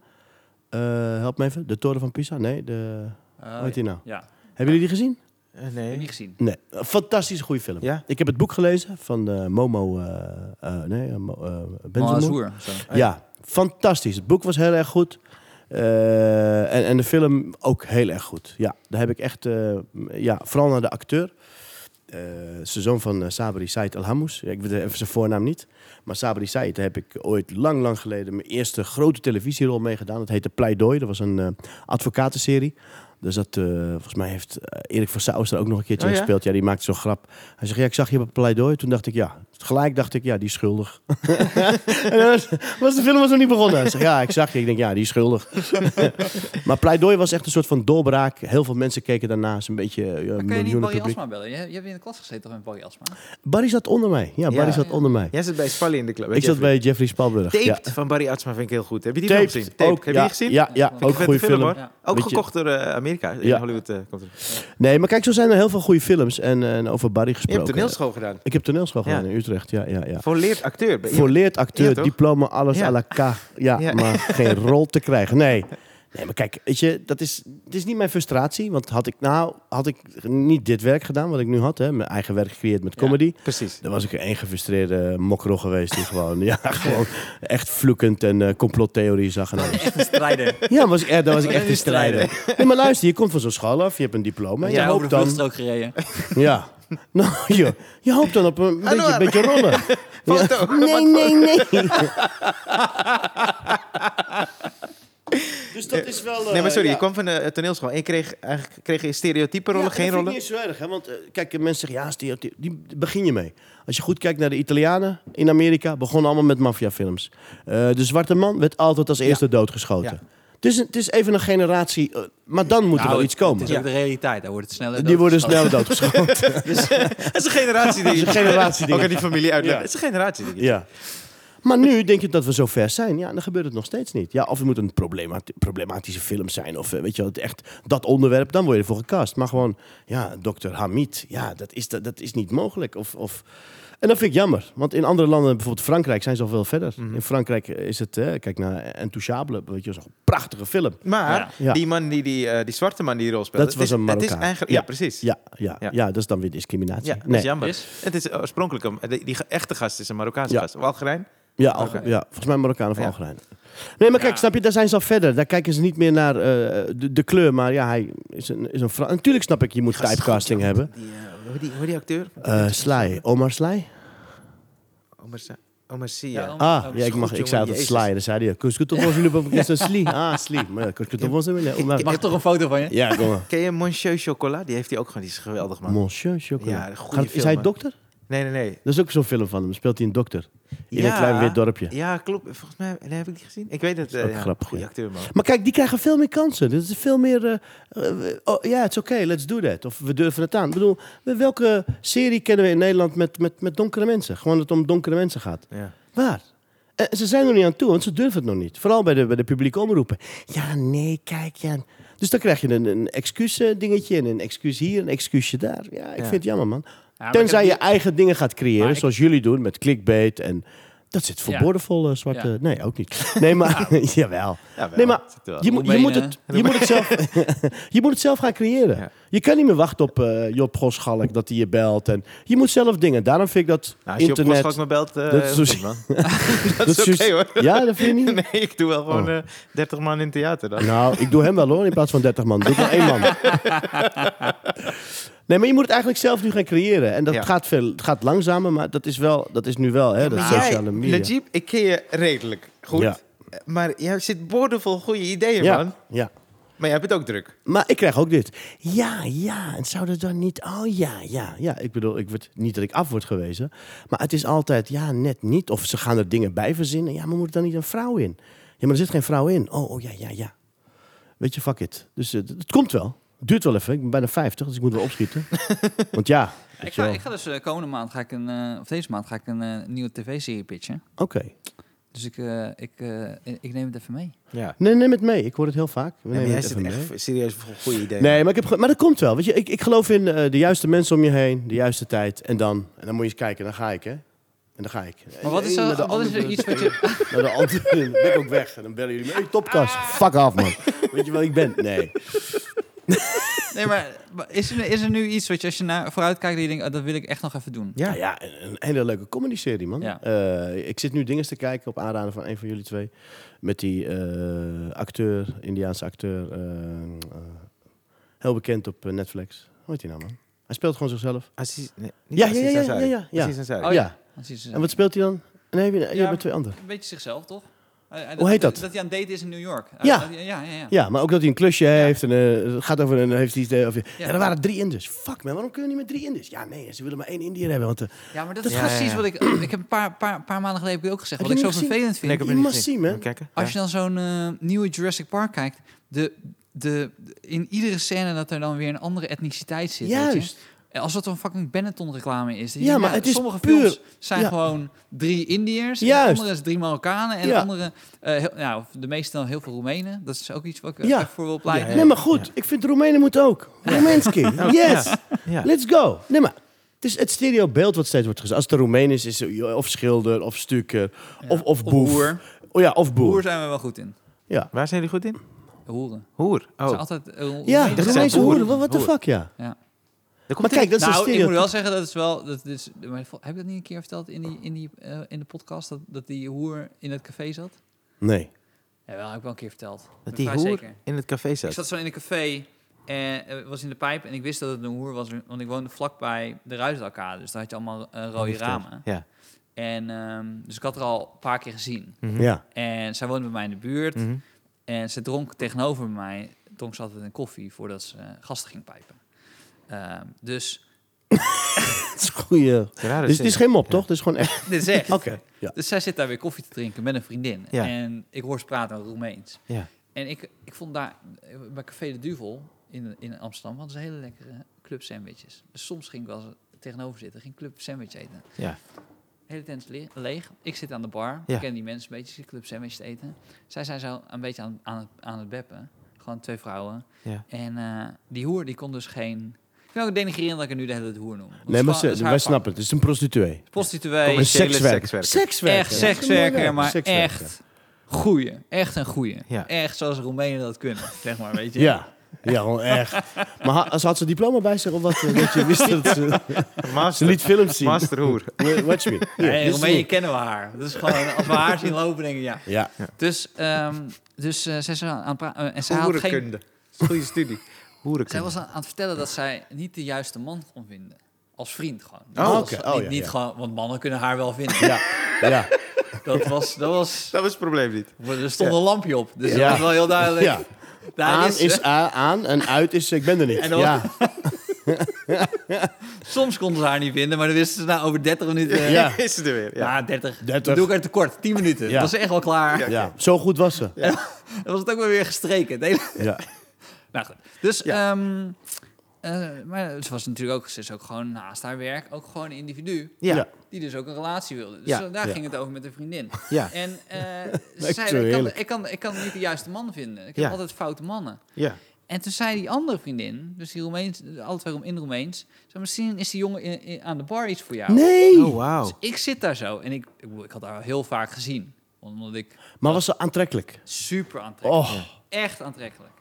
[SPEAKER 3] Eh, help me even. De Toren van Pisa? Nee, de...
[SPEAKER 2] Eh,
[SPEAKER 3] hoe heet die nou?
[SPEAKER 2] Ja, heb
[SPEAKER 3] Hebben jullie die gezien?
[SPEAKER 1] Eh,
[SPEAKER 2] ik
[SPEAKER 1] nee.
[SPEAKER 2] niet gezien.
[SPEAKER 3] Nee. Een fantastische goede film.
[SPEAKER 1] Ja?
[SPEAKER 3] Ik heb het boek gelezen van eh, Momo... eh eh, nee, eh, Mo- eh, Benzemoer.
[SPEAKER 2] Mazoer. zo.
[SPEAKER 3] Ja, fantastisch. Het boek was heel erg goed. Eh, en, en de film ook heel erg goed. Ja, daar heb ik echt... eh, m- ja, vooral naar de acteur. Eh zijn zoon van eh, Sabri Said Alhamous. Ja, ik weet even zijn voornaam niet. Maar Sabri Said daar heb ik ooit lang, lang geleden... mijn eerste grote televisierol meegedaan. Dat heette Pleidooi. Dat was een eh, advocatenserie. Dus dat, eh, volgens mij heeft eh, Erik van Souws er ook nog een keertje
[SPEAKER 1] Oh,
[SPEAKER 3] in
[SPEAKER 1] ja?
[SPEAKER 3] gespeeld. Ja, die maakte zo'n grap. Hij zegt, ja, ik zag je op het pleidooi. Toen dacht ik, ja. Gelijk dacht ik, ja, die is schuldig. en dan was, was de film was nog niet begonnen. Hij zegt, ja, ik zag je. Ik denk, ja, die is schuldig. maar pleidooi was echt een soort van doorbraak. Heel veel mensen keken daarnaast. Een beetje eh,
[SPEAKER 2] Maar
[SPEAKER 3] een
[SPEAKER 2] kan je niet
[SPEAKER 3] miljoenen
[SPEAKER 2] Barry
[SPEAKER 3] publiek.
[SPEAKER 2] Asma bellen? Je, je hebt in de klas gezeten toch met Barry Asma?
[SPEAKER 3] Barry zat onder mij. Ja,
[SPEAKER 1] Ja.
[SPEAKER 3] Barry zat
[SPEAKER 2] Ja.
[SPEAKER 3] onder mij.
[SPEAKER 1] Jij zat bij Spalli in de club. hè,
[SPEAKER 3] Ik zat
[SPEAKER 1] Jeffrey?
[SPEAKER 3] bij Jeffrey Spalburg. Ja.
[SPEAKER 1] Taped van Barry Atsma vind ik heel goed. Heb je die film gezien? Taped.
[SPEAKER 3] ook,
[SPEAKER 1] Heb
[SPEAKER 3] ja,
[SPEAKER 1] je die gezien?
[SPEAKER 3] Ja, ja
[SPEAKER 2] Vind ik
[SPEAKER 3] ook een goede film.
[SPEAKER 1] hoor.
[SPEAKER 2] Ja.
[SPEAKER 1] Ook
[SPEAKER 3] Beetje-
[SPEAKER 1] gekocht door eh, Amerika. In
[SPEAKER 3] Ja.
[SPEAKER 1] Hollywood eh, komt het.
[SPEAKER 3] Nee, maar kijk, zo zijn er heel veel goede films. En, en over Barry
[SPEAKER 1] Je
[SPEAKER 3] gesproken.
[SPEAKER 1] hebt toneelschool gedaan.
[SPEAKER 3] Ik heb toneelschool
[SPEAKER 1] Ja.
[SPEAKER 3] gedaan in Utrecht, ja, ja, ja.
[SPEAKER 1] Volleerd acteur. ben je.
[SPEAKER 3] Volleerd acteur,
[SPEAKER 1] Ja, toch?
[SPEAKER 3] diploma, alles
[SPEAKER 1] Ja.
[SPEAKER 3] à la ka. Ja,
[SPEAKER 1] Ja.
[SPEAKER 3] maar geen rol te krijgen. Nee. Nee, maar kijk, weet je, dat is, het is niet mijn frustratie. Want had ik nou, had ik niet dit werk gedaan wat ik nu had, hè, mijn eigen werk gecreëerd met
[SPEAKER 2] Ja.
[SPEAKER 3] comedy,
[SPEAKER 1] Precies.
[SPEAKER 3] dan was ik een gefrustreerde mokro geweest die gewoon, ja, gewoon echt vloekend en eh, complottheorie zag en alles.
[SPEAKER 2] Echt een strijder.
[SPEAKER 3] Ja, was ik, eh, dan was ik
[SPEAKER 2] Dan
[SPEAKER 3] echt een
[SPEAKER 2] is het strijden.
[SPEAKER 3] strijder. Nee, maar luister, je komt van zo'n school af, je hebt een diploma.
[SPEAKER 2] Maar
[SPEAKER 3] Je
[SPEAKER 2] jij over
[SPEAKER 3] hoopt
[SPEAKER 2] de
[SPEAKER 3] dan,
[SPEAKER 2] vluchtstrook gereden.
[SPEAKER 3] ja. Nou, joh, je hoopt dan op een beetje,
[SPEAKER 1] Anouar.
[SPEAKER 3] beetje rollen.
[SPEAKER 1] Foto.
[SPEAKER 3] Nee, nee, nee. dus dat is wel...
[SPEAKER 1] Nee, maar sorry. Je kwam van de eh, toneelschool en je kreeg, eigenlijk kreeg je stereotype rollen, geen rollen.
[SPEAKER 3] Dat vind ik niet zo erg, hè? want eh, kijk, mensen zeggen, ja, stereotype, die begin je mee. Als je goed kijkt naar de Italianen in Amerika, begonnen allemaal met maffiafilms. Eh, de zwarte man werd altijd als eerste doodgeschoten. Het is, een- het is even een generatie, eh, maar dan moet er wel
[SPEAKER 2] Nou,
[SPEAKER 3] iets komen.
[SPEAKER 2] Het is ook de realiteit. Daar wordt het sneller
[SPEAKER 3] Die worden
[SPEAKER 2] doodgeschoten.
[SPEAKER 3] snel doodgeschoten.
[SPEAKER 1] Dat is een generatie die
[SPEAKER 3] Dat is een generatieding.
[SPEAKER 1] Ook aan die familie uitleggen.
[SPEAKER 3] Ja.
[SPEAKER 1] Dat is een generatie ding.
[SPEAKER 3] ja. Maar nu denk je dat we zo ver zijn. Ja, dan gebeurt het nog steeds niet. Ja, of het moet een problemati- problematische film zijn. Of eh, weet je wel, het echt dat onderwerp. Dan word je ervoor gecast. Maar gewoon, ja, dokter Hamid. Ja, dat is, dat, dat is niet mogelijk. Of, of... En dat vind ik jammer. Want in andere landen, bijvoorbeeld Frankrijk, zijn ze al veel verder. In Frankrijk is het, eh, kijk naar Intouchable. Weet je, wel, zo'n prachtige film.
[SPEAKER 1] Maar
[SPEAKER 2] Ja.
[SPEAKER 3] Ja.
[SPEAKER 1] die man, die, die, eh, die zwarte man die die rol speelde...
[SPEAKER 3] Dat was
[SPEAKER 1] het is-
[SPEAKER 3] een
[SPEAKER 1] Het
[SPEAKER 3] Marokkaan.
[SPEAKER 1] is eigenlijk... Ja,
[SPEAKER 3] Ja.
[SPEAKER 1] precies. Ja.
[SPEAKER 3] Ja, ja,
[SPEAKER 1] Ja.
[SPEAKER 3] ja. dat is dan weer discriminatie.
[SPEAKER 1] dat
[SPEAKER 3] Nee.
[SPEAKER 1] is jammer.
[SPEAKER 2] Is?
[SPEAKER 1] Het is oorspronkelijk een... Die, die ge- echte gast is een Marokkaanse
[SPEAKER 3] Ja.
[SPEAKER 1] gast. Of Algerijn?
[SPEAKER 3] Ja, Alge-
[SPEAKER 2] Algerijn.
[SPEAKER 3] ja, volgens mij Marokkaan of
[SPEAKER 1] Ja.
[SPEAKER 3] Algerijn. Nee, maar kijk,
[SPEAKER 2] Ja.
[SPEAKER 3] snap je, daar zijn ze al verder. Daar kijken ze niet meer naar eh, de, de kleur, maar ja, hij is een, is een Fra- Natuurlijk snap ik, je moet
[SPEAKER 1] Gast is
[SPEAKER 3] typecasting hebben.
[SPEAKER 1] Die, eh, hoe, die, hoe die acteur?
[SPEAKER 3] Eh Sly, Omar
[SPEAKER 1] Oh,
[SPEAKER 3] Sly?
[SPEAKER 1] Omar, Sa- Omar Sy,
[SPEAKER 2] Ja,
[SPEAKER 1] ja.
[SPEAKER 2] om-
[SPEAKER 3] Ah,
[SPEAKER 2] om-
[SPEAKER 3] ja, ik, mag,
[SPEAKER 1] goed,
[SPEAKER 3] ik zei
[SPEAKER 1] jongen,
[SPEAKER 3] altijd
[SPEAKER 1] Jezus.
[SPEAKER 3] Sly, dan zei hij, kun je het ons jullie op een Sly? Ah, Sly. Maar ja, kun je het ons willen? Omar-
[SPEAKER 2] Mag ik toch een foto van je?
[SPEAKER 3] Ja, kom maar.
[SPEAKER 1] Ken je Monsieur Chocolat? Die heeft hij ook gewoon. Die is geweldig, man.
[SPEAKER 3] Monsieur Chocolat.
[SPEAKER 1] Ja, een goede
[SPEAKER 3] Gaat- is
[SPEAKER 1] film,
[SPEAKER 3] hij
[SPEAKER 1] man.
[SPEAKER 3] dokter?
[SPEAKER 1] nee, nee, nee.
[SPEAKER 3] Dat is ook zo'n film van hem. Speelt hij een dokter? In
[SPEAKER 1] Ja.
[SPEAKER 3] een klein wit dorpje.
[SPEAKER 1] Ja, klopt. Volgens mij nee, heb ik die gezien. Ik weet het.
[SPEAKER 3] is
[SPEAKER 1] eh,
[SPEAKER 3] ook
[SPEAKER 1] ja.
[SPEAKER 3] grappig,
[SPEAKER 1] Goeie
[SPEAKER 3] ja.
[SPEAKER 1] acteur, man.
[SPEAKER 3] Maar kijk, die krijgen veel meer kansen. Dit is veel meer. eh, eh, oh, ja, het is oké, let's do that. Of we durven het aan. Ik bedoel, welke serie kennen we in Nederland met, met, met donkere mensen? Gewoon dat het om donkere mensen gaat.
[SPEAKER 1] Ja.
[SPEAKER 3] Waar? Eh, ze zijn er niet aan toe, want ze durven het nog niet. Vooral bij de, bij de publieke omroepen. Ja, nee, kijk, ja. Dus dan krijg je een, een excuus eh, dingetje en een excuus hier, een excuusje daar. Ja, ik
[SPEAKER 1] Ja.
[SPEAKER 3] vind het jammer, man.
[SPEAKER 2] Ja, maar
[SPEAKER 3] Tenzij
[SPEAKER 2] ik
[SPEAKER 3] je
[SPEAKER 2] heb
[SPEAKER 3] eigen dingen gaat creëren,
[SPEAKER 2] Maar ik-
[SPEAKER 3] zoals jullie doen met clickbait en... Dat zit verborgen vol eh, zwarte...
[SPEAKER 2] Ja.
[SPEAKER 3] Nee, ook niet. Nee, maar... jawel.
[SPEAKER 1] Ja, wel.
[SPEAKER 3] Nee, maar
[SPEAKER 1] Zit er wel. Nou,
[SPEAKER 3] je, moet- je, moet
[SPEAKER 2] Roemenen.
[SPEAKER 3] het, je, moet het zelf, je moet het zelf gaan creëren.
[SPEAKER 1] Ja.
[SPEAKER 3] Je kan niet meer wachten op eh, Job Goschalk dat hij je belt. En je moet zelf dingen. Daarom vind ik dat
[SPEAKER 1] Nou, als je op
[SPEAKER 3] internet...
[SPEAKER 1] Postgas me belt, eh,
[SPEAKER 3] Dat is zo-
[SPEAKER 1] goed, man. dat is oké,
[SPEAKER 3] juist-
[SPEAKER 1] hoor.
[SPEAKER 3] Ja, dat vind je niet?
[SPEAKER 1] Nee, ik doe wel gewoon
[SPEAKER 3] Oh.
[SPEAKER 1] eh 30 man in het theater dan.
[SPEAKER 3] Nou, ik doe hem wel hoor, in plaats van 30 man. Doe ik wel één man. Nee, maar je moet het eigenlijk zelf nu gaan creëren. En dat
[SPEAKER 1] Ja.
[SPEAKER 3] gaat, veel, het gaat langzamer, maar dat is, wel, dat is nu wel, hè, dat
[SPEAKER 1] Maar
[SPEAKER 3] sociale
[SPEAKER 1] jij,
[SPEAKER 3] media.
[SPEAKER 1] Najib, ik ken je redelijk goed.
[SPEAKER 3] Ja.
[SPEAKER 1] Maar jij zit boordevol goede ideeën,
[SPEAKER 3] ja,
[SPEAKER 1] man.
[SPEAKER 3] ja.
[SPEAKER 1] Maar jij hebt het ook druk.
[SPEAKER 3] Maar ik krijg ook dit. Ja, ja. En zou dat dan niet. Oh ja, ja, ja. Ik bedoel, ik word, niet dat ik af word gewezen. Maar het is altijd. Ja, net niet. Of ze gaan er dingen bij verzinnen. Ja, maar moet er dan niet een vrouw in? Ja, maar er zit geen vrouw in. Oh, oh ja, ja, ja. Weet je, fuck it. Dus eh, het, het komt wel. Duurt wel even. Ik ben bijna 50, dus ik moet wel opschieten. Want ja. weet
[SPEAKER 2] Ik
[SPEAKER 3] je
[SPEAKER 2] ga,
[SPEAKER 3] wel.
[SPEAKER 2] ik ga dus eh, komende maand, ga ik een, eh, of deze maand, ga ik een eh, nieuwe tv-serie pitchen.
[SPEAKER 3] Oké.
[SPEAKER 2] Dus ik, eh, ik, eh, ik neem het even mee.
[SPEAKER 1] Ja.
[SPEAKER 3] Nee, neem het mee. Ik hoor het heel vaak. We
[SPEAKER 1] Nee, maar
[SPEAKER 3] nemen
[SPEAKER 1] jij
[SPEAKER 3] het
[SPEAKER 1] zit
[SPEAKER 3] even mee.
[SPEAKER 1] echt serieus voor goede ideeën.
[SPEAKER 3] Nee, maar, ik heb ge- maar dat komt wel. Weet je, ik, ik geloof in eh, de juiste mensen om je heen, de juiste tijd. En dan, en dan moet je eens kijken, dan ga ik, hè. En dan ga ik.
[SPEAKER 2] Maar wat is
[SPEAKER 3] Eén
[SPEAKER 2] er,
[SPEAKER 3] naar de
[SPEAKER 2] wat is er
[SPEAKER 3] andere-
[SPEAKER 2] iets wat je...
[SPEAKER 3] Naar de andere, dan ben ik ook weg. En dan bellen jullie me, hey, topkast, fuck af, man. Weet je wel, ik ben? Nee.
[SPEAKER 2] Nee, maar maar is er, is er nu iets wat je, als je naar vooruit kijkt, dat je denkt, oh, dat wil ik echt nog even doen?
[SPEAKER 3] Ja, Nou ja een, een hele leuke comedy-serie, man.
[SPEAKER 2] Ja.
[SPEAKER 3] Eh, ik zit nu dingen te kijken op aanraden van een van jullie twee. Met die eh, acteur, Indiaanse acteur. eh, eh, heel bekend op eh, Netflix. Hoe heet hij nou, man? Hij speelt gewoon zichzelf.
[SPEAKER 1] Aziz, nee, niet
[SPEAKER 3] Ja, ja,
[SPEAKER 1] Aziz
[SPEAKER 3] ja, ja,
[SPEAKER 1] Ansari.
[SPEAKER 3] ja, ja, ja.
[SPEAKER 1] Aziz Ansari.
[SPEAKER 2] Oh,
[SPEAKER 3] ja.
[SPEAKER 2] Dat is, eh,
[SPEAKER 3] En wat speelt hij dan? Nee, je, je
[SPEAKER 2] Ja.
[SPEAKER 3] hebt twee anderen.
[SPEAKER 2] Een beetje zichzelf, toch? Hij- hij-
[SPEAKER 3] Hoe heet dat?
[SPEAKER 2] Dat hij aan het daten is in New York.
[SPEAKER 3] Ja.
[SPEAKER 2] Hij- ja, ja, ja.
[SPEAKER 3] Ja, maar ook dat hij een klusje heeft en eh, het gaat over een... Heeft hij, iets, eh, of, ja.
[SPEAKER 2] Ja.
[SPEAKER 3] er waren drie Inders. Fuck man, waarom kunnen we niet met drie Inders? Ja, nee, ze willen maar één Indiër hebben. Want, eh,
[SPEAKER 2] Ja, maar dat,
[SPEAKER 1] Dat-
[SPEAKER 2] is
[SPEAKER 1] Ja, ja,
[SPEAKER 2] precies
[SPEAKER 1] ja.
[SPEAKER 2] wat ik... oh, Ik heb een paar, paar, paar maanden geleden heb ik ook gezegd.
[SPEAKER 3] Heb
[SPEAKER 2] wat ik
[SPEAKER 3] je
[SPEAKER 2] zo
[SPEAKER 3] hem gezien?
[SPEAKER 2] vervelend vind.
[SPEAKER 1] Nee, ik heb
[SPEAKER 3] You
[SPEAKER 1] het niet
[SPEAKER 3] must
[SPEAKER 1] gezien.
[SPEAKER 3] see, man.
[SPEAKER 1] Moet ik Kijken.
[SPEAKER 2] Als
[SPEAKER 1] Ja.
[SPEAKER 2] je dan zo'n eh, nieuwe Jurassic Park kijkt... De, de, in iedere scène dat er dan weer een andere etniciteit zit. weet je.
[SPEAKER 3] juist.
[SPEAKER 2] En Als dat een fucking Benetton-reclame is. dan
[SPEAKER 3] Ja,
[SPEAKER 2] denk je,
[SPEAKER 3] maar het is
[SPEAKER 2] sommige
[SPEAKER 3] puur-
[SPEAKER 2] films zijn
[SPEAKER 3] ja.
[SPEAKER 2] gewoon drie Indiërs. En de
[SPEAKER 3] Juist.
[SPEAKER 2] andere is drie Marokkanen. En de
[SPEAKER 3] Ja.
[SPEAKER 2] andere, eh, heel- nou, de meeste dan heel veel Roemenen. Dat is ook iets wat ik
[SPEAKER 3] Ja.
[SPEAKER 2] ja. voor wil pleiten.
[SPEAKER 3] Nee, maar goed. Ik vind Roemenen moeten ook. Roemeenski. Yes.
[SPEAKER 1] Ja.
[SPEAKER 3] Let's go. Nee, maar het is het stereobeeld wat steeds wordt gezegd. Als het een Roemeen is, is het of schilder, of stukker, of, of boef.
[SPEAKER 2] Hoer.
[SPEAKER 3] Oh ja, of boer.
[SPEAKER 2] Hoer zijn we wel goed in.
[SPEAKER 3] Ja.
[SPEAKER 1] Waar zijn jullie goed in?
[SPEAKER 2] Hoeren.
[SPEAKER 1] Hoer.
[SPEAKER 2] Ze zijn
[SPEAKER 1] Oh,
[SPEAKER 2] altijd... eh,
[SPEAKER 3] Ja,
[SPEAKER 2] Roemenen
[SPEAKER 3] de
[SPEAKER 2] zijn
[SPEAKER 3] Roemeense
[SPEAKER 1] hoer.
[SPEAKER 3] hoeren. Wat- What the
[SPEAKER 1] Hoer.
[SPEAKER 3] fuck, ja.
[SPEAKER 2] Ja.
[SPEAKER 1] daar
[SPEAKER 3] Maar
[SPEAKER 1] komt
[SPEAKER 3] kijk, dat is een
[SPEAKER 2] nou, ik moet
[SPEAKER 3] stereotype.
[SPEAKER 2] wel zeggen, dat is wel... Dat, dit is, maar vol- heb ik dat niet een keer verteld in, die, in, die, eh, in de podcast? Dat, dat die hoer in het café zat?
[SPEAKER 3] Nee.
[SPEAKER 2] Ja, wel, heb ik wel een keer verteld.
[SPEAKER 1] dat
[SPEAKER 2] Dat
[SPEAKER 1] die
[SPEAKER 2] vrij
[SPEAKER 1] hoer
[SPEAKER 2] zeker.
[SPEAKER 1] in het café
[SPEAKER 2] Ik
[SPEAKER 1] zat.
[SPEAKER 2] zat zo in een café en eh, was in de pijp. En ik wist dat het een hoer was, want ik woonde vlakbij de ruisalkade. Dus daar had je allemaal eh, rode ramen.
[SPEAKER 1] Ja.
[SPEAKER 2] En, ehm, dus ik had er al een paar keer gezien.
[SPEAKER 3] Ja.
[SPEAKER 2] En zij woonde bij mij in de buurt.
[SPEAKER 1] Mhm.
[SPEAKER 2] En ze dronk tegenover mij, dronk ze altijd een koffie voordat ze eh, gasten ging pijpen. Ehm, dus,
[SPEAKER 3] Het is een goeie...
[SPEAKER 1] Rare
[SPEAKER 3] Dus het is
[SPEAKER 1] zin.
[SPEAKER 3] geen mop, toch? Het is gewoon echt...
[SPEAKER 2] dit is echt.
[SPEAKER 3] Oké. Ja.
[SPEAKER 2] Dus zij zit daar weer koffie te drinken met een vriendin.
[SPEAKER 1] Ja.
[SPEAKER 2] En ik hoor ze praten in Roemeens.
[SPEAKER 1] Ja.
[SPEAKER 2] En ik, ik vond daar, eh, bij Café de Duvel in, in Amsterdam, hadden ze hele lekkere club sandwiches. Dus soms ging ik wel eens tegenover zitten, ging club sandwich eten.
[SPEAKER 1] Ja.
[SPEAKER 2] De hele tent is le- leeg. Ik zit aan de bar,
[SPEAKER 1] Ja.
[SPEAKER 2] ik ken die mensen een beetje, ik zit club sandwich te eten. Zij zijn zo een beetje aan, aan, het, aan het beppen. Gewoon twee vrouwen.
[SPEAKER 1] Ja.
[SPEAKER 2] En eh, die hoer, die kon dus geen... Ik vind het ook denigrerend dat ik het nu de hele tijd hoer noem. Want het
[SPEAKER 3] Nee,
[SPEAKER 2] is
[SPEAKER 3] maar
[SPEAKER 2] gewoon-
[SPEAKER 3] ze-
[SPEAKER 2] het is haar
[SPEAKER 3] wij
[SPEAKER 2] vak.
[SPEAKER 3] snappen het. Het is een prostituee.
[SPEAKER 2] Prostituee.
[SPEAKER 3] Een
[SPEAKER 1] Commerciële
[SPEAKER 3] sekswerker.
[SPEAKER 1] sekswerker.
[SPEAKER 3] Sekswerker.
[SPEAKER 2] Echt
[SPEAKER 3] Ja, dat is een mooi
[SPEAKER 2] sekswerker, maar
[SPEAKER 3] woord. Sekswerker.
[SPEAKER 2] echt goeie. Echt een goeie.
[SPEAKER 1] Ja.
[SPEAKER 2] Echt zoals Roemenen dat kunnen, zeg maar, weet je.
[SPEAKER 3] Ja. Ja, gewoon echt. Maar ha- ze had ze diploma bij zich of wat? eh, Dat je wist dat ze... Ze
[SPEAKER 1] Master,
[SPEAKER 3] liet films zien.
[SPEAKER 1] master hoer.
[SPEAKER 3] Watch me.
[SPEAKER 2] Ja,
[SPEAKER 3] Hier,
[SPEAKER 2] in
[SPEAKER 3] dit is
[SPEAKER 2] Roemenië
[SPEAKER 3] het.
[SPEAKER 2] kennen we haar. Dat is gewoon, als we haar zien lopen, denk ik, ja.
[SPEAKER 3] Ja.
[SPEAKER 2] Dus, ehm dus eh, zij is aan het praten. en zij, had geen,
[SPEAKER 1] Hoerenkunde. Dat is een Goede studie.
[SPEAKER 2] zij
[SPEAKER 1] Hoerenkunde.
[SPEAKER 2] was aan aan het vertellen dat zij niet de juiste man kon vinden. Als vriend gewoon.
[SPEAKER 1] Oh,
[SPEAKER 2] Als-
[SPEAKER 3] oké. Oh,
[SPEAKER 2] niet,
[SPEAKER 3] ja,
[SPEAKER 2] niet
[SPEAKER 3] ja.
[SPEAKER 2] gewoon, want mannen kunnen haar wel vinden.
[SPEAKER 3] Ja. Ja.
[SPEAKER 2] Dat was, dat was,
[SPEAKER 1] Dat was het probleem niet.
[SPEAKER 2] er stond een lampje op. Dus
[SPEAKER 3] Ja.
[SPEAKER 2] dat was wel heel duidelijk.
[SPEAKER 3] ja.
[SPEAKER 2] Daar
[SPEAKER 3] Aan
[SPEAKER 2] is
[SPEAKER 3] is,
[SPEAKER 2] ze.
[SPEAKER 3] eh, aan en uit is eh, ik ben er niet.
[SPEAKER 2] En dan-
[SPEAKER 3] ja.
[SPEAKER 2] Soms konden ze haar niet vinden, maar dan wisten ze nou over 30 minuten. eh,
[SPEAKER 3] Ja.
[SPEAKER 1] Is het er weer. Ja.
[SPEAKER 2] Ja, 30.
[SPEAKER 3] 30.
[SPEAKER 2] Dat doe ik er tekort. 10 minuten.
[SPEAKER 3] Ja.
[SPEAKER 2] Dat was echt wel klaar.
[SPEAKER 1] Ja.
[SPEAKER 3] ja. Zo goed was ze. Ja.
[SPEAKER 2] Dan was het ook wel weer gestreken. Het hele- Nou goed. Dus,
[SPEAKER 3] Ja.
[SPEAKER 2] ehm, eh, maar ze was natuurlijk ook, ze is ook gewoon naast haar werk ook gewoon een individu.
[SPEAKER 1] Ja.
[SPEAKER 3] Ja.
[SPEAKER 2] Die dus ook een relatie wilde. Dus
[SPEAKER 1] Ja.
[SPEAKER 2] daar
[SPEAKER 3] Ja.
[SPEAKER 2] ging het over met een vriendin.
[SPEAKER 1] Ja.
[SPEAKER 2] En eh, ze
[SPEAKER 3] Lijkt
[SPEAKER 2] zei,
[SPEAKER 3] zo
[SPEAKER 2] ik kan,
[SPEAKER 3] heerlijk.
[SPEAKER 2] ik, kan, ik kan niet de juiste man vinden. Ik
[SPEAKER 1] Ja.
[SPEAKER 2] heb altijd foute mannen.
[SPEAKER 1] Ja.
[SPEAKER 2] En toen zei die andere vriendin, dus die Roemeens, alle twee in Roemeens... zei, misschien is die jongen in- in- aan de bar iets voor jou.
[SPEAKER 3] Nee.
[SPEAKER 1] Oh, wauw.
[SPEAKER 2] Dus ik zit daar zo en ik, ik, bedoel, ik had haar heel vaak gezien. Omdat ik
[SPEAKER 3] Maar was ze aantrekkelijk?
[SPEAKER 2] super aantrekkelijk.
[SPEAKER 3] Oh.
[SPEAKER 2] Echt aantrekkelijk.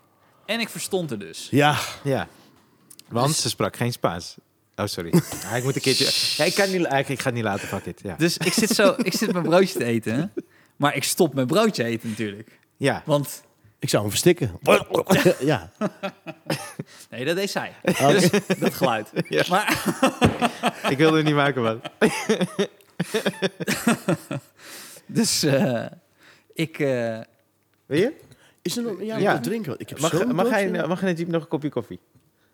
[SPEAKER 2] En ik verstond er dus.
[SPEAKER 3] Ja.
[SPEAKER 1] Ja. Want ze sprak geen Spaans. Oh, sorry. Ja, ik moet een keertje... Ja, ik, kan niet, ik, ik ga het niet laten, fuck it. Ja.
[SPEAKER 2] Dus ik zit zo, ik zit mijn broodje te eten. Maar ik stop mijn broodje eten natuurlijk.
[SPEAKER 1] ja.
[SPEAKER 2] Want,
[SPEAKER 3] Ik zou hem verstikken. Ja.
[SPEAKER 2] nee, dat deed zij. Dus, dat geluid.
[SPEAKER 1] Ja.
[SPEAKER 2] Maar,
[SPEAKER 1] Ik wilde het niet maken, man.
[SPEAKER 2] dus, eh, ik, eh,
[SPEAKER 1] Wil je?
[SPEAKER 3] Is er nog ja,
[SPEAKER 1] Ja.
[SPEAKER 3] wat drinken? Want Ik heb
[SPEAKER 1] Mag,
[SPEAKER 3] zo'n
[SPEAKER 1] mag,
[SPEAKER 3] broodje.
[SPEAKER 1] hij, mag hij nog een kopje koffie?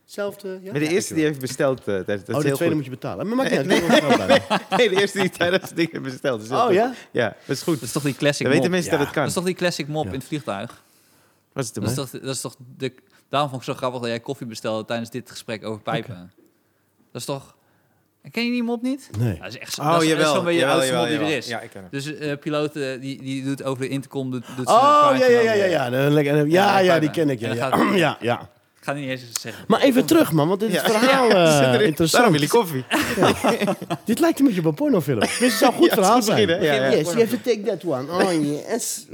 [SPEAKER 3] Zelfde, ja?
[SPEAKER 1] Met de
[SPEAKER 3] Ja,
[SPEAKER 1] eerste die
[SPEAKER 3] dankjewel.
[SPEAKER 1] heeft besteld. eh, tijdens- dat
[SPEAKER 3] Oh,
[SPEAKER 1] is
[SPEAKER 3] de
[SPEAKER 1] heel
[SPEAKER 3] tweede
[SPEAKER 1] goed.
[SPEAKER 3] moet je betalen. Maar maakt niet uit. ik heb er wel bij.
[SPEAKER 1] Nee, de eerste die tijdens het ding heeft besteld. Dat is heel
[SPEAKER 3] Oh
[SPEAKER 1] goed.
[SPEAKER 3] ja?
[SPEAKER 1] Ja, dat is goed.
[SPEAKER 2] dat is toch die classic
[SPEAKER 1] Dan weten
[SPEAKER 2] mop.
[SPEAKER 1] mensen
[SPEAKER 3] Ja.
[SPEAKER 1] dat het kan.
[SPEAKER 2] Dat is toch die classic mop
[SPEAKER 3] Ja.
[SPEAKER 2] in het vliegtuig.
[SPEAKER 1] Was het hem,
[SPEAKER 2] Dat is
[SPEAKER 1] hè?
[SPEAKER 2] toch, dat is toch de, daarom vond ik zo grappig dat jij koffie bestelde tijdens dit gesprek over pijpen. Dat is toch... Ken je die mop niet?
[SPEAKER 3] Nee.
[SPEAKER 2] Ja, dat is echt,
[SPEAKER 1] Oh,
[SPEAKER 2] dat is,
[SPEAKER 1] jawel.
[SPEAKER 2] Dat is zo'n beetje de
[SPEAKER 1] jawel,
[SPEAKER 2] oudste mop
[SPEAKER 1] jawel,
[SPEAKER 2] die er
[SPEAKER 1] jawel.
[SPEAKER 2] is.
[SPEAKER 1] Ja, ik ken hem.
[SPEAKER 2] Dus eh piloten die, die doet over de intercom. Doet, doet ze een
[SPEAKER 3] Oh,
[SPEAKER 2] praatje
[SPEAKER 3] ja, ja,
[SPEAKER 2] en
[SPEAKER 3] ja,
[SPEAKER 2] dan- eh,
[SPEAKER 3] ja. Ja, dan lekker- ja, ja, die ken ik. Ja,
[SPEAKER 2] En dan
[SPEAKER 3] ja.
[SPEAKER 2] gaat-
[SPEAKER 3] ja, ja.
[SPEAKER 2] Ik ga het niet eens zeggen.
[SPEAKER 3] Maar even terug, man, want dit is
[SPEAKER 1] Ja.
[SPEAKER 3] verhaal eh,
[SPEAKER 1] Zit erin. Daarom
[SPEAKER 3] interessant.
[SPEAKER 1] wil je koffie.
[SPEAKER 3] Dit lijkt een beetje op een pornofilm. Dit is een goed
[SPEAKER 1] Ja,
[SPEAKER 3] verhaal
[SPEAKER 1] het is goed
[SPEAKER 3] zijn.
[SPEAKER 1] begin, hè? Ja, ja.
[SPEAKER 3] Yes, you have to take that one. Oh, yes.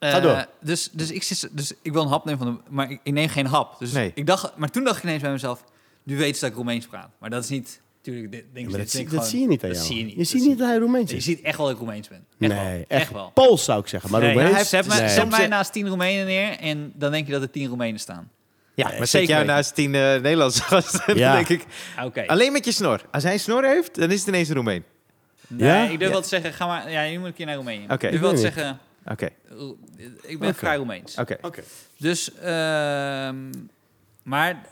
[SPEAKER 3] Ga
[SPEAKER 2] Eh,
[SPEAKER 3] door.
[SPEAKER 2] Dus, dus, ik zit, dus ik wil een hap nemen van de... Maar ik, ik neem geen hap. Dus
[SPEAKER 1] Nee.
[SPEAKER 2] ik dacht, maar toen dacht ik ineens bij mezelf... Nu weet ze dat ik Roemeens praat. Maar dat is niet... Tuurlijk, dit, denk,
[SPEAKER 3] Ja, maar
[SPEAKER 2] dit
[SPEAKER 3] dat, zie,
[SPEAKER 2] denk ik
[SPEAKER 3] dat
[SPEAKER 2] gewoon-
[SPEAKER 3] zie je niet aan
[SPEAKER 2] dat
[SPEAKER 3] jou.
[SPEAKER 2] zie je niet.
[SPEAKER 3] Je
[SPEAKER 2] Dat
[SPEAKER 3] ziet
[SPEAKER 2] zie
[SPEAKER 3] niet dat hij Roemeens
[SPEAKER 2] Je
[SPEAKER 3] is.
[SPEAKER 2] ziet echt wel dat ik Roemeens ben. Echt wel.
[SPEAKER 3] Nee,
[SPEAKER 2] Echt wel.
[SPEAKER 3] Pools zou ik zeggen, maar
[SPEAKER 2] Nee, hij
[SPEAKER 3] Roemeens...
[SPEAKER 2] heeft- zet, mij-
[SPEAKER 3] nee.
[SPEAKER 2] zet mij naast tien Roemenen neer en dan denk je dat er tien Roemenen staan.
[SPEAKER 1] Ja, maar zet
[SPEAKER 2] zeker
[SPEAKER 1] jou
[SPEAKER 2] weten.
[SPEAKER 1] naast tien eh, Nederlandse gasten, dan
[SPEAKER 3] Ja.
[SPEAKER 1] denk ik.
[SPEAKER 2] Ah, Oké.
[SPEAKER 1] Alleen met je snor. Als hij snor heeft, dan is het ineens een Roemeen.
[SPEAKER 2] Nee,
[SPEAKER 3] Ja?
[SPEAKER 2] ik durf
[SPEAKER 1] Ja.
[SPEAKER 2] wel te zeggen, ga maar... Ja, nu moet ik hier naar Roemenië.
[SPEAKER 1] Oké.
[SPEAKER 2] Ik durf wel te
[SPEAKER 3] Nee.
[SPEAKER 2] zeggen,
[SPEAKER 1] Oké,
[SPEAKER 2] Ik ben het vrij Roemeens.
[SPEAKER 1] oké.
[SPEAKER 3] Oké.
[SPEAKER 2] Dus, ehm, maar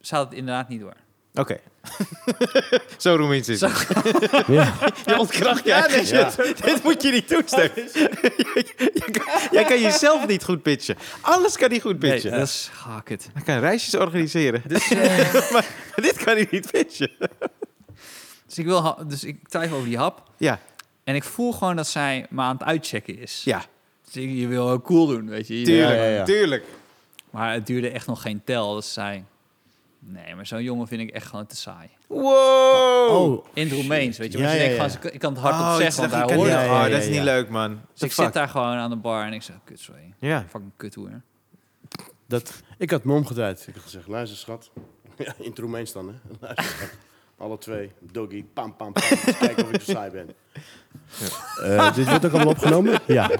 [SPEAKER 2] ze had het inderdaad niet door.
[SPEAKER 1] Oké. Zo Roemeens is
[SPEAKER 2] Zo-
[SPEAKER 1] het.
[SPEAKER 3] Ja.
[SPEAKER 1] Je ontkracht je eigen shit. Dit moet je niet doen, Stef. Jij kan- Jij kan jezelf niet goed pitchen. Alles kan hij goed pitchen.
[SPEAKER 2] Nee, eh. dat is Ah, hak het.
[SPEAKER 1] Hij kan reisjes organiseren.
[SPEAKER 2] Dus, eh,
[SPEAKER 1] Maar dit kan hij niet pitchen.
[SPEAKER 2] dus, ik wil, ha- dus ik twijfel over die hap.
[SPEAKER 1] Ja,
[SPEAKER 2] En ik voel gewoon dat zij me aan het uitchecken is.
[SPEAKER 1] ja.
[SPEAKER 2] Dus ik- je wil ook cool doen, weet je. Je-
[SPEAKER 1] Tuurlijk,
[SPEAKER 3] ja, ja.
[SPEAKER 1] tuurlijk.
[SPEAKER 2] Maar het duurde echt nog geen tel. Dus ze zei, nee, maar zo'n jongen vind ik echt gewoon te saai.
[SPEAKER 1] Wow.
[SPEAKER 3] Oh,
[SPEAKER 2] In het Roemeens, weet je.
[SPEAKER 3] Ja,
[SPEAKER 2] Want je
[SPEAKER 3] ja,
[SPEAKER 2] denkt
[SPEAKER 3] ja.
[SPEAKER 2] gewoon, ze kan- ik kan het hardop
[SPEAKER 1] Oh,
[SPEAKER 2] zeggen,
[SPEAKER 1] ik
[SPEAKER 2] want
[SPEAKER 1] dacht,
[SPEAKER 2] daar
[SPEAKER 1] ik
[SPEAKER 2] hoor
[SPEAKER 1] kan
[SPEAKER 2] je
[SPEAKER 1] niet-
[SPEAKER 3] het.
[SPEAKER 2] het.
[SPEAKER 1] Oh,
[SPEAKER 3] Ja, ja,
[SPEAKER 1] dat is
[SPEAKER 3] ja,
[SPEAKER 1] niet
[SPEAKER 3] ja.
[SPEAKER 1] leuk, man. What
[SPEAKER 2] Dus
[SPEAKER 1] the
[SPEAKER 2] ik zit
[SPEAKER 1] fuck?
[SPEAKER 2] daar gewoon aan de bar en ik zeg, kut, sorry.
[SPEAKER 1] Ja.
[SPEAKER 2] Fucking kut hoer.
[SPEAKER 3] dat, ik had me omgedraaid. Ik had gezegd, luister schat. Ja, in het Roemeens dan, hè. Luister, schat. Alle twee, doggy, pam, pam, pam. Eens kijken of ik zo saai ben. Eh, dit wordt ook allemaal opgenomen? Ja.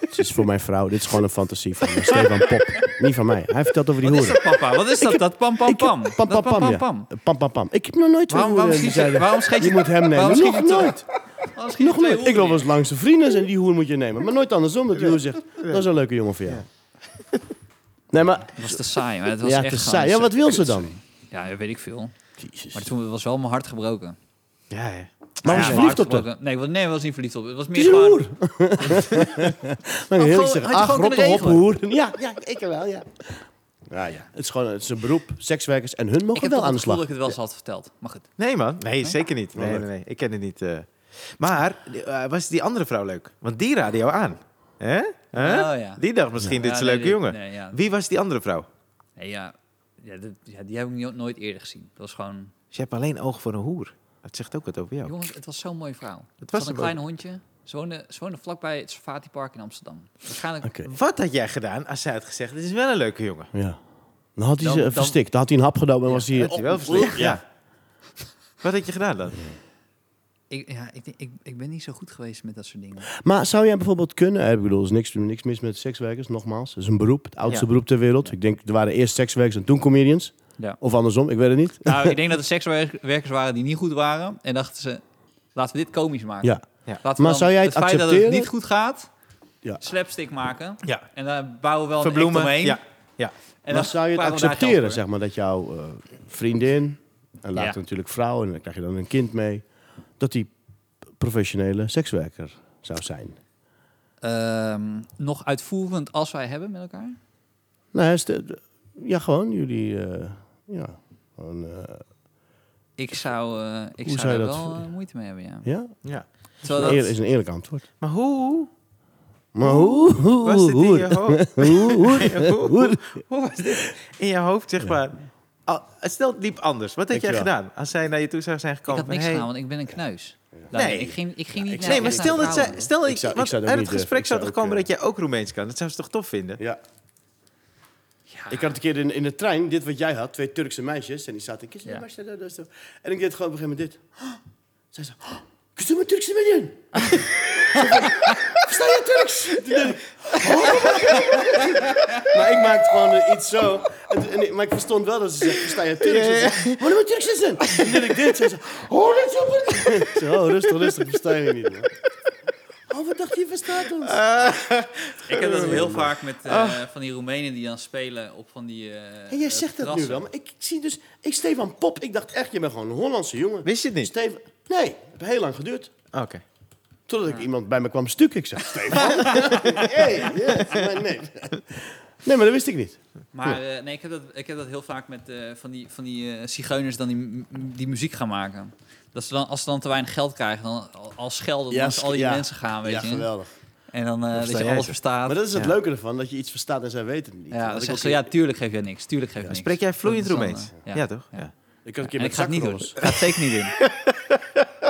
[SPEAKER 3] Dit is voor mijn vrouw. Dit is gewoon een fantasie van eh, Stefan Pop. Niet van mij. Hij vertelt over die
[SPEAKER 2] Wat is
[SPEAKER 3] hoeren.
[SPEAKER 2] dat, papa? Wat is dat? Dat pam, pam, pam.
[SPEAKER 3] Pam,
[SPEAKER 2] Dat
[SPEAKER 3] pam, pam, ja.
[SPEAKER 2] pam.
[SPEAKER 3] Pam, pam, pam. Ik heb nog nooit twee
[SPEAKER 2] Waarom, waarom
[SPEAKER 3] hoeren
[SPEAKER 2] schiet je,
[SPEAKER 3] zeiden,
[SPEAKER 2] waarom schiet je,
[SPEAKER 3] Je moet hem nemen.
[SPEAKER 2] waarom schiet
[SPEAKER 3] Nog
[SPEAKER 2] je twee-
[SPEAKER 3] nooit.
[SPEAKER 2] waarom schiet je
[SPEAKER 3] Nog
[SPEAKER 2] twee
[SPEAKER 3] nooit. Ik loop
[SPEAKER 2] hoeren
[SPEAKER 3] wel eens langs de vrienden en die hoer moet je nemen. Maar nooit andersom dat die hoer zegt, dat is een leuke jongen voor jou. Nee, maar...
[SPEAKER 2] in? Dat was te saai, maar het was
[SPEAKER 3] Ja,
[SPEAKER 2] echt
[SPEAKER 3] te
[SPEAKER 2] gewoon-
[SPEAKER 3] saai. Ja, wat wil ze
[SPEAKER 2] Kut,
[SPEAKER 3] dan?
[SPEAKER 2] sorry. Ja, dat weet ik veel.
[SPEAKER 3] Jezus.
[SPEAKER 2] Maar toen was wel mijn hart gebroken.
[SPEAKER 1] Ja, ja.
[SPEAKER 3] Maar
[SPEAKER 2] ja,
[SPEAKER 3] was je
[SPEAKER 2] mijn
[SPEAKER 3] verliefd op
[SPEAKER 2] hart
[SPEAKER 3] haar?
[SPEAKER 2] gebroken. Nee, ik was, nee, ik was niet verliefd op. Het was meer
[SPEAKER 3] Die
[SPEAKER 2] gewoon...
[SPEAKER 3] hoer. Dan heel
[SPEAKER 2] gewoon-
[SPEAKER 3] ik zeggen,
[SPEAKER 2] had je
[SPEAKER 3] ah,
[SPEAKER 2] gewoon
[SPEAKER 3] rotte
[SPEAKER 2] kunnen
[SPEAKER 3] hop,
[SPEAKER 2] regelen.
[SPEAKER 3] hoer. Ja, ja, ik wel, ja. Ja, ja. Het is gewoon het is een beroep. Sekswerkers en hun
[SPEAKER 2] Ik
[SPEAKER 3] mogen
[SPEAKER 2] heb
[SPEAKER 3] wel
[SPEAKER 2] wel
[SPEAKER 3] aan de
[SPEAKER 2] het gevoel dat
[SPEAKER 3] slag.
[SPEAKER 2] ik het wel eens had verteld. Maar goed.
[SPEAKER 1] Nee, man. Nee, zeker niet. Nee,
[SPEAKER 3] leuk.
[SPEAKER 1] nee, nee. Ik ken het niet. eh. Maar eh, was die andere vrouw leuk? Want die raadde jou aan. Hè? Hè?
[SPEAKER 2] Oh, ja.
[SPEAKER 1] Die dacht misschien, dit
[SPEAKER 2] Ja,
[SPEAKER 1] is een
[SPEAKER 2] nee,
[SPEAKER 1] leuke
[SPEAKER 2] dit-
[SPEAKER 1] jongen.
[SPEAKER 2] nee, ja.
[SPEAKER 1] Wie was die andere vrouw?
[SPEAKER 2] Nee, ja, ja, dat- ja, die heb ik no- nooit eerder gezien. Dat was gewoon...
[SPEAKER 1] Dus je hebt alleen oog voor een hoer. Dat zegt ook wat over jou.
[SPEAKER 2] Jongens, het was zo'n mooie vrouw.
[SPEAKER 1] was
[SPEAKER 2] Het was een
[SPEAKER 1] hem
[SPEAKER 2] klein hondje. Ze woonde, ze woonde vlakbij het Safati Park in Amsterdam. Waarschijnlijk...
[SPEAKER 3] Oké.
[SPEAKER 1] Wat had jij gedaan als zij had gezegd, dit is wel een leuke jongen?
[SPEAKER 3] Ja. Dan had hij
[SPEAKER 2] Dan-
[SPEAKER 3] ze
[SPEAKER 2] dan-
[SPEAKER 3] verstikt. Dan had hij een hap genomen en was hij...
[SPEAKER 1] Had je wel versleten? Ja. Wat had je gedaan dan?
[SPEAKER 2] Ik, ja, ik, denk- ik, ik ben niet zo goed geweest met dat soort dingen.
[SPEAKER 3] Maar zou jij bijvoorbeeld kunnen... eh, Ik bedoel, er is niks, niks mis met sekswerkers, nogmaals. Het is een beroep, het oudste
[SPEAKER 1] Ja.
[SPEAKER 3] beroep ter wereld. Ik denk, er waren eerst sekswerkers en toen comedians.
[SPEAKER 2] Ja.
[SPEAKER 3] Of andersom, ik weet het niet.
[SPEAKER 2] Nou, ik denk dat er sekswerkers waren die niet goed waren. En dachten ze, laten we dit komisch maken.
[SPEAKER 3] Ja.
[SPEAKER 2] Laten we
[SPEAKER 3] Maar
[SPEAKER 2] dan
[SPEAKER 3] zou jij het
[SPEAKER 2] feit dat
[SPEAKER 3] accepteren?
[SPEAKER 2] het niet goed gaat,
[SPEAKER 3] Ja.
[SPEAKER 2] slapstick maken.
[SPEAKER 1] Ja.
[SPEAKER 2] En daar bouwen we wel een
[SPEAKER 1] Verbloemen?
[SPEAKER 2] act omheen.
[SPEAKER 1] Ja. ja.
[SPEAKER 2] En
[SPEAKER 3] maar zou je
[SPEAKER 2] praten
[SPEAKER 3] het
[SPEAKER 2] we daar geld
[SPEAKER 3] accepteren,
[SPEAKER 2] voor.
[SPEAKER 3] zeg maar, dat jouw eh, vriendin... En later
[SPEAKER 2] Ja.
[SPEAKER 3] natuurlijk vrouw, en dan krijg je dan een kind mee... dat die professionele sekswerker zou zijn?
[SPEAKER 2] Ehm, nog uitvoerend als wij hebben met elkaar.
[SPEAKER 3] Nou, is de- de- ja, gewoon jullie... eh, ja, gewoon, eh,
[SPEAKER 2] Ik zou, eh, ik zou
[SPEAKER 3] Hoe zou je
[SPEAKER 2] daar wel
[SPEAKER 3] dat vo-
[SPEAKER 2] eh, moeilijk moeite mee hebben, ja.
[SPEAKER 3] ja?
[SPEAKER 1] ja.
[SPEAKER 2] Terwijl
[SPEAKER 3] Eer-
[SPEAKER 2] dat-
[SPEAKER 3] is een eerlijk antwoord.
[SPEAKER 1] Maar hoe
[SPEAKER 3] Maar hoe, hoe,
[SPEAKER 1] was dit in
[SPEAKER 3] hoe-
[SPEAKER 2] eh,
[SPEAKER 1] je hoofd?
[SPEAKER 3] hoe- hoe-
[SPEAKER 1] hoe, hoe- hoe was dit in je hoofd, zeg maar? Al- stel, het liep anders. Wat had jij
[SPEAKER 3] Dankjewel.
[SPEAKER 1] gedaan als zij naar je toe zou zijn
[SPEAKER 2] ik
[SPEAKER 1] gekomen?
[SPEAKER 2] had niks
[SPEAKER 1] van, hey-
[SPEAKER 2] gedaan, want ik ben een knuis.
[SPEAKER 1] Nee.
[SPEAKER 2] Nee, ik ging, ik ging niet
[SPEAKER 3] ik
[SPEAKER 2] naar
[SPEAKER 3] zou-
[SPEAKER 1] Nee, maar
[SPEAKER 2] naar
[SPEAKER 1] stel dat zij,
[SPEAKER 2] vrouwen.
[SPEAKER 1] stel
[SPEAKER 3] Ik
[SPEAKER 1] ik,
[SPEAKER 3] zou- ik
[SPEAKER 1] want
[SPEAKER 3] zou dat
[SPEAKER 1] uit
[SPEAKER 3] niet
[SPEAKER 1] het
[SPEAKER 3] durven.
[SPEAKER 1] gesprek
[SPEAKER 3] Ik
[SPEAKER 1] zou
[SPEAKER 3] zou
[SPEAKER 1] toch
[SPEAKER 3] ook,
[SPEAKER 1] komen
[SPEAKER 3] eh,
[SPEAKER 1] dat jij ook Roemeens kan? Dat zou ze toch tof vinden?
[SPEAKER 3] Ja.
[SPEAKER 2] Ja.
[SPEAKER 3] Ik had een keer in, in de trein, dit wat jij had, twee Turkse meisjes. En die zaten... "Kus me
[SPEAKER 2] Ja.
[SPEAKER 3] maar, dat is toch." En ik deed gewoon op een gegeven moment dit. Zij zei... "Oh, kus me maar Turkse meiden. Versta je Turks? Toen deed ik, "Oh." maar ik maakte gewoon eh, iets zo. En, toen- en ik- maar ik verstond wel dat ze zei... Versta je Turks? Ze zei, "Moet je maar Turks zijn. Toen deed ik dit. Zij zei... Oh, dat is super. Ik zei, "Oh, rustig, rustig. Versta je niet. man." Oh, wat dacht je? Verstaat ons.
[SPEAKER 2] Ik heb dat heel vaak met eh, van die Roemenen die dan spelen op van die. eh,
[SPEAKER 3] En jij
[SPEAKER 2] eh,
[SPEAKER 3] zegt dat nu
[SPEAKER 2] terrassen.
[SPEAKER 3] wel, maar ik zie dus... Ik, Stefan Pop, ik dacht echt, je bent gewoon een Hollandse jongen.
[SPEAKER 1] Wist je het niet?
[SPEAKER 3] Stefan, nee, het heeft heel lang geduurd.
[SPEAKER 1] Oké.
[SPEAKER 3] Totdat ik iemand bij me kwam stuk. Ik zei, Stefan, hey, yes, maar nee. Nee, maar dat wist ik niet.
[SPEAKER 2] Maar eh, nee, ik heb, dat, ik heb dat heel vaak met eh, van die, van die eh, zigeuners dan die, mu- die muziek gaan maken. Dat ze dan, als ze dan te weinig geld krijgen, dan al- al schelden
[SPEAKER 3] Ja,
[SPEAKER 2] langs al die
[SPEAKER 3] ja.
[SPEAKER 2] mensen gaan, weet
[SPEAKER 3] ja,
[SPEAKER 2] je.
[SPEAKER 3] geweldig.
[SPEAKER 2] En dan eh, dat
[SPEAKER 1] versta
[SPEAKER 2] je
[SPEAKER 1] jij
[SPEAKER 2] alles
[SPEAKER 1] ze.
[SPEAKER 2] verstaat.
[SPEAKER 3] Maar dat is het
[SPEAKER 1] Ja.
[SPEAKER 3] leuke ervan, dat je iets verstaat en zij weten het niet.
[SPEAKER 2] ja,
[SPEAKER 3] Dat
[SPEAKER 2] dan
[SPEAKER 3] ik
[SPEAKER 2] zeggen
[SPEAKER 3] ook
[SPEAKER 2] ze,
[SPEAKER 3] een-
[SPEAKER 2] ja, tuurlijk geef jij niks, tuurlijk geef jij niks.
[SPEAKER 1] Spreek jij vloeiend
[SPEAKER 2] Dat is dan,
[SPEAKER 1] Roemeens?
[SPEAKER 2] eh,
[SPEAKER 1] Ja. toch?
[SPEAKER 2] Ja.
[SPEAKER 1] Ja.
[SPEAKER 3] Ik had een keer
[SPEAKER 2] En
[SPEAKER 3] met
[SPEAKER 2] ik ga het niet doen.
[SPEAKER 3] zakrollers.
[SPEAKER 2] Ik ga het zeker niet doen.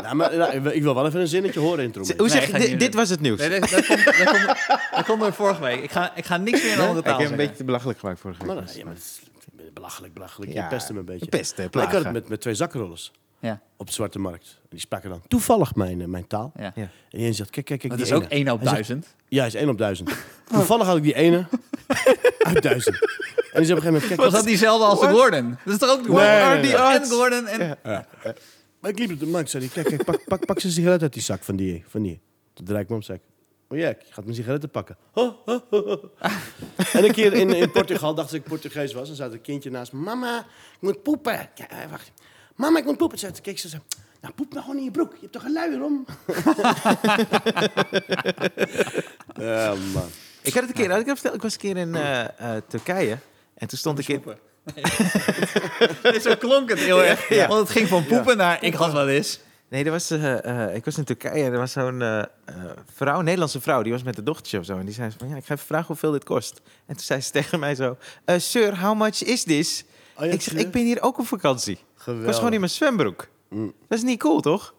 [SPEAKER 3] Nou, maar nou, ik wil wel even een zinnetje horen in
[SPEAKER 1] Z-
[SPEAKER 3] Troemen.
[SPEAKER 1] Hoe
[SPEAKER 2] Nee,
[SPEAKER 1] zeg
[SPEAKER 2] ik
[SPEAKER 1] je,
[SPEAKER 2] ga
[SPEAKER 1] dit,
[SPEAKER 2] niet
[SPEAKER 1] dit
[SPEAKER 2] doen.
[SPEAKER 1] was het nieuws.
[SPEAKER 2] Nee, dat, dat, komt, dat, komt, dat komt door vorige week. Ik ga, ik ga niks meer in een andere
[SPEAKER 1] ik
[SPEAKER 2] taal
[SPEAKER 1] heb hem
[SPEAKER 2] zeggen.
[SPEAKER 1] een beetje te belachelijk gemaakt vorige
[SPEAKER 3] Maar,
[SPEAKER 1] week.
[SPEAKER 3] dat- ja, maar dat is ik ben belachelijk, belachelijk.
[SPEAKER 1] Ja,
[SPEAKER 3] Je pest hem een beetje.
[SPEAKER 1] pesten,
[SPEAKER 3] Maar ik had het
[SPEAKER 1] plagen.
[SPEAKER 3] met, met twee zakrollers
[SPEAKER 2] Ja,
[SPEAKER 3] op de Zwarte Markt. En die spraken dan toevallig mijn, eh, mijn taal.
[SPEAKER 2] ja.
[SPEAKER 1] Ja.
[SPEAKER 3] En die een zegt, kijk, kijk, kijk.
[SPEAKER 2] Dat
[SPEAKER 3] die
[SPEAKER 2] is ook
[SPEAKER 3] ene.
[SPEAKER 2] 1 op
[SPEAKER 3] Hij zegt,
[SPEAKER 2] 1000.
[SPEAKER 3] Ja, is 1 op 1000. Toevallig had ik die ene uit 1000. En die zei op een gegeven moment... Kijk,
[SPEAKER 2] Was dat diezelfde als de
[SPEAKER 1] What?
[SPEAKER 2] Gordon? Dat is toch ook Gordon?
[SPEAKER 3] nee, nee.
[SPEAKER 2] Die En Gordon en...
[SPEAKER 1] Ja.
[SPEAKER 3] Maar ik liep op de markt, zei die, kijk, kijk, pak, pak, pak zijn sigaret uit die zak van die, van die. Dat draai ik me om, zei ik. Oh ja, ik ga mijn sigaretten pakken.
[SPEAKER 2] Ah.
[SPEAKER 3] en een keer in, in Portugal dacht ik Portugees was. En zat een kindje naast me. Mama, ik moet poepen. Ja, eh, wacht. Mama, ik moet poepen. Zei, keek ze zo. Nou, poep maar gewoon in je broek. Je hebt toch een luier om? ja, man.
[SPEAKER 1] Ik had het een keer, had ik, heb verteld, ik was een keer in eh, eh, Turkije. En toen stond ik in...
[SPEAKER 2] Zo klonk het heel erg.
[SPEAKER 1] Ja.
[SPEAKER 2] Want het ging van poepen naar ik had wel eens.
[SPEAKER 1] Nee, er was, eh, eh, ik was in Turkije en er was zo'n eh, eh, vrouw, een Nederlandse vrouw, die was met een dochtertje of zo. En die zei ze van, ja, ik ga even vragen hoeveel dit kost. En toen zei ze tegen mij zo, eh, sir, how much is this?
[SPEAKER 3] Oh, ja,
[SPEAKER 1] ik zeg,
[SPEAKER 3] zie je?
[SPEAKER 1] ik ben hier ook op vakantie. Ik was
[SPEAKER 3] Geweldig.
[SPEAKER 1] gewoon in mijn zwembroek.
[SPEAKER 3] Mm.
[SPEAKER 1] Dat is niet cool, toch?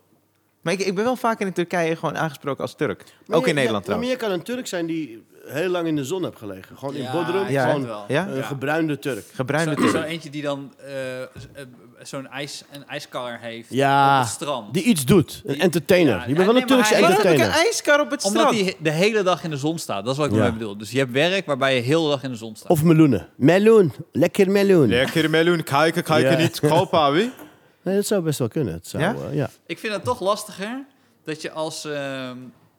[SPEAKER 1] Maar ik, ik ben wel vaak in Turkije gewoon aangesproken als Turk.
[SPEAKER 3] Maar
[SPEAKER 1] ook
[SPEAKER 3] je-
[SPEAKER 1] in Nederland
[SPEAKER 3] ja, maar
[SPEAKER 1] trouwens.
[SPEAKER 3] je nou, kan een Turk zijn die heel lang in de zon hebt gelegen. Gewoon in Bodrum.
[SPEAKER 1] ja.
[SPEAKER 3] Gewoon
[SPEAKER 2] wel.
[SPEAKER 1] Ja?
[SPEAKER 3] een gebruinde Turk.
[SPEAKER 1] Gebruinde
[SPEAKER 2] Zo- Zo'n
[SPEAKER 1] Turk.
[SPEAKER 2] eentje die dan eh, z- eh, zo'n ijs, een ijskar heeft
[SPEAKER 3] Ja,
[SPEAKER 2] op het strand.
[SPEAKER 3] Die iets doet. Een
[SPEAKER 2] Die-
[SPEAKER 3] entertainer.
[SPEAKER 2] Ja,
[SPEAKER 3] je bent wel
[SPEAKER 2] nee,
[SPEAKER 3] een
[SPEAKER 2] maar
[SPEAKER 3] Turkse
[SPEAKER 2] hij-
[SPEAKER 1] Waarom heb ik
[SPEAKER 3] entertainer.
[SPEAKER 1] een ijskar op het
[SPEAKER 2] Omdat
[SPEAKER 1] strand?
[SPEAKER 2] die he- de hele dag in de zon staat. Dat is wat ik
[SPEAKER 3] Ja.
[SPEAKER 2] ermee bedoel. Dus je hebt werk waarbij je heel de dag in de zon staat.
[SPEAKER 3] Of meloenen. Meloen. Lekker meloen.
[SPEAKER 1] Lekker meloen, kijken, kijken,
[SPEAKER 3] Ja.
[SPEAKER 1] niet kopen, wie?
[SPEAKER 3] Nee, dat zou best wel kunnen. Het zou,
[SPEAKER 1] Ja?
[SPEAKER 3] ja? ja.
[SPEAKER 2] Ik vind het toch lastiger dat je als... ehm,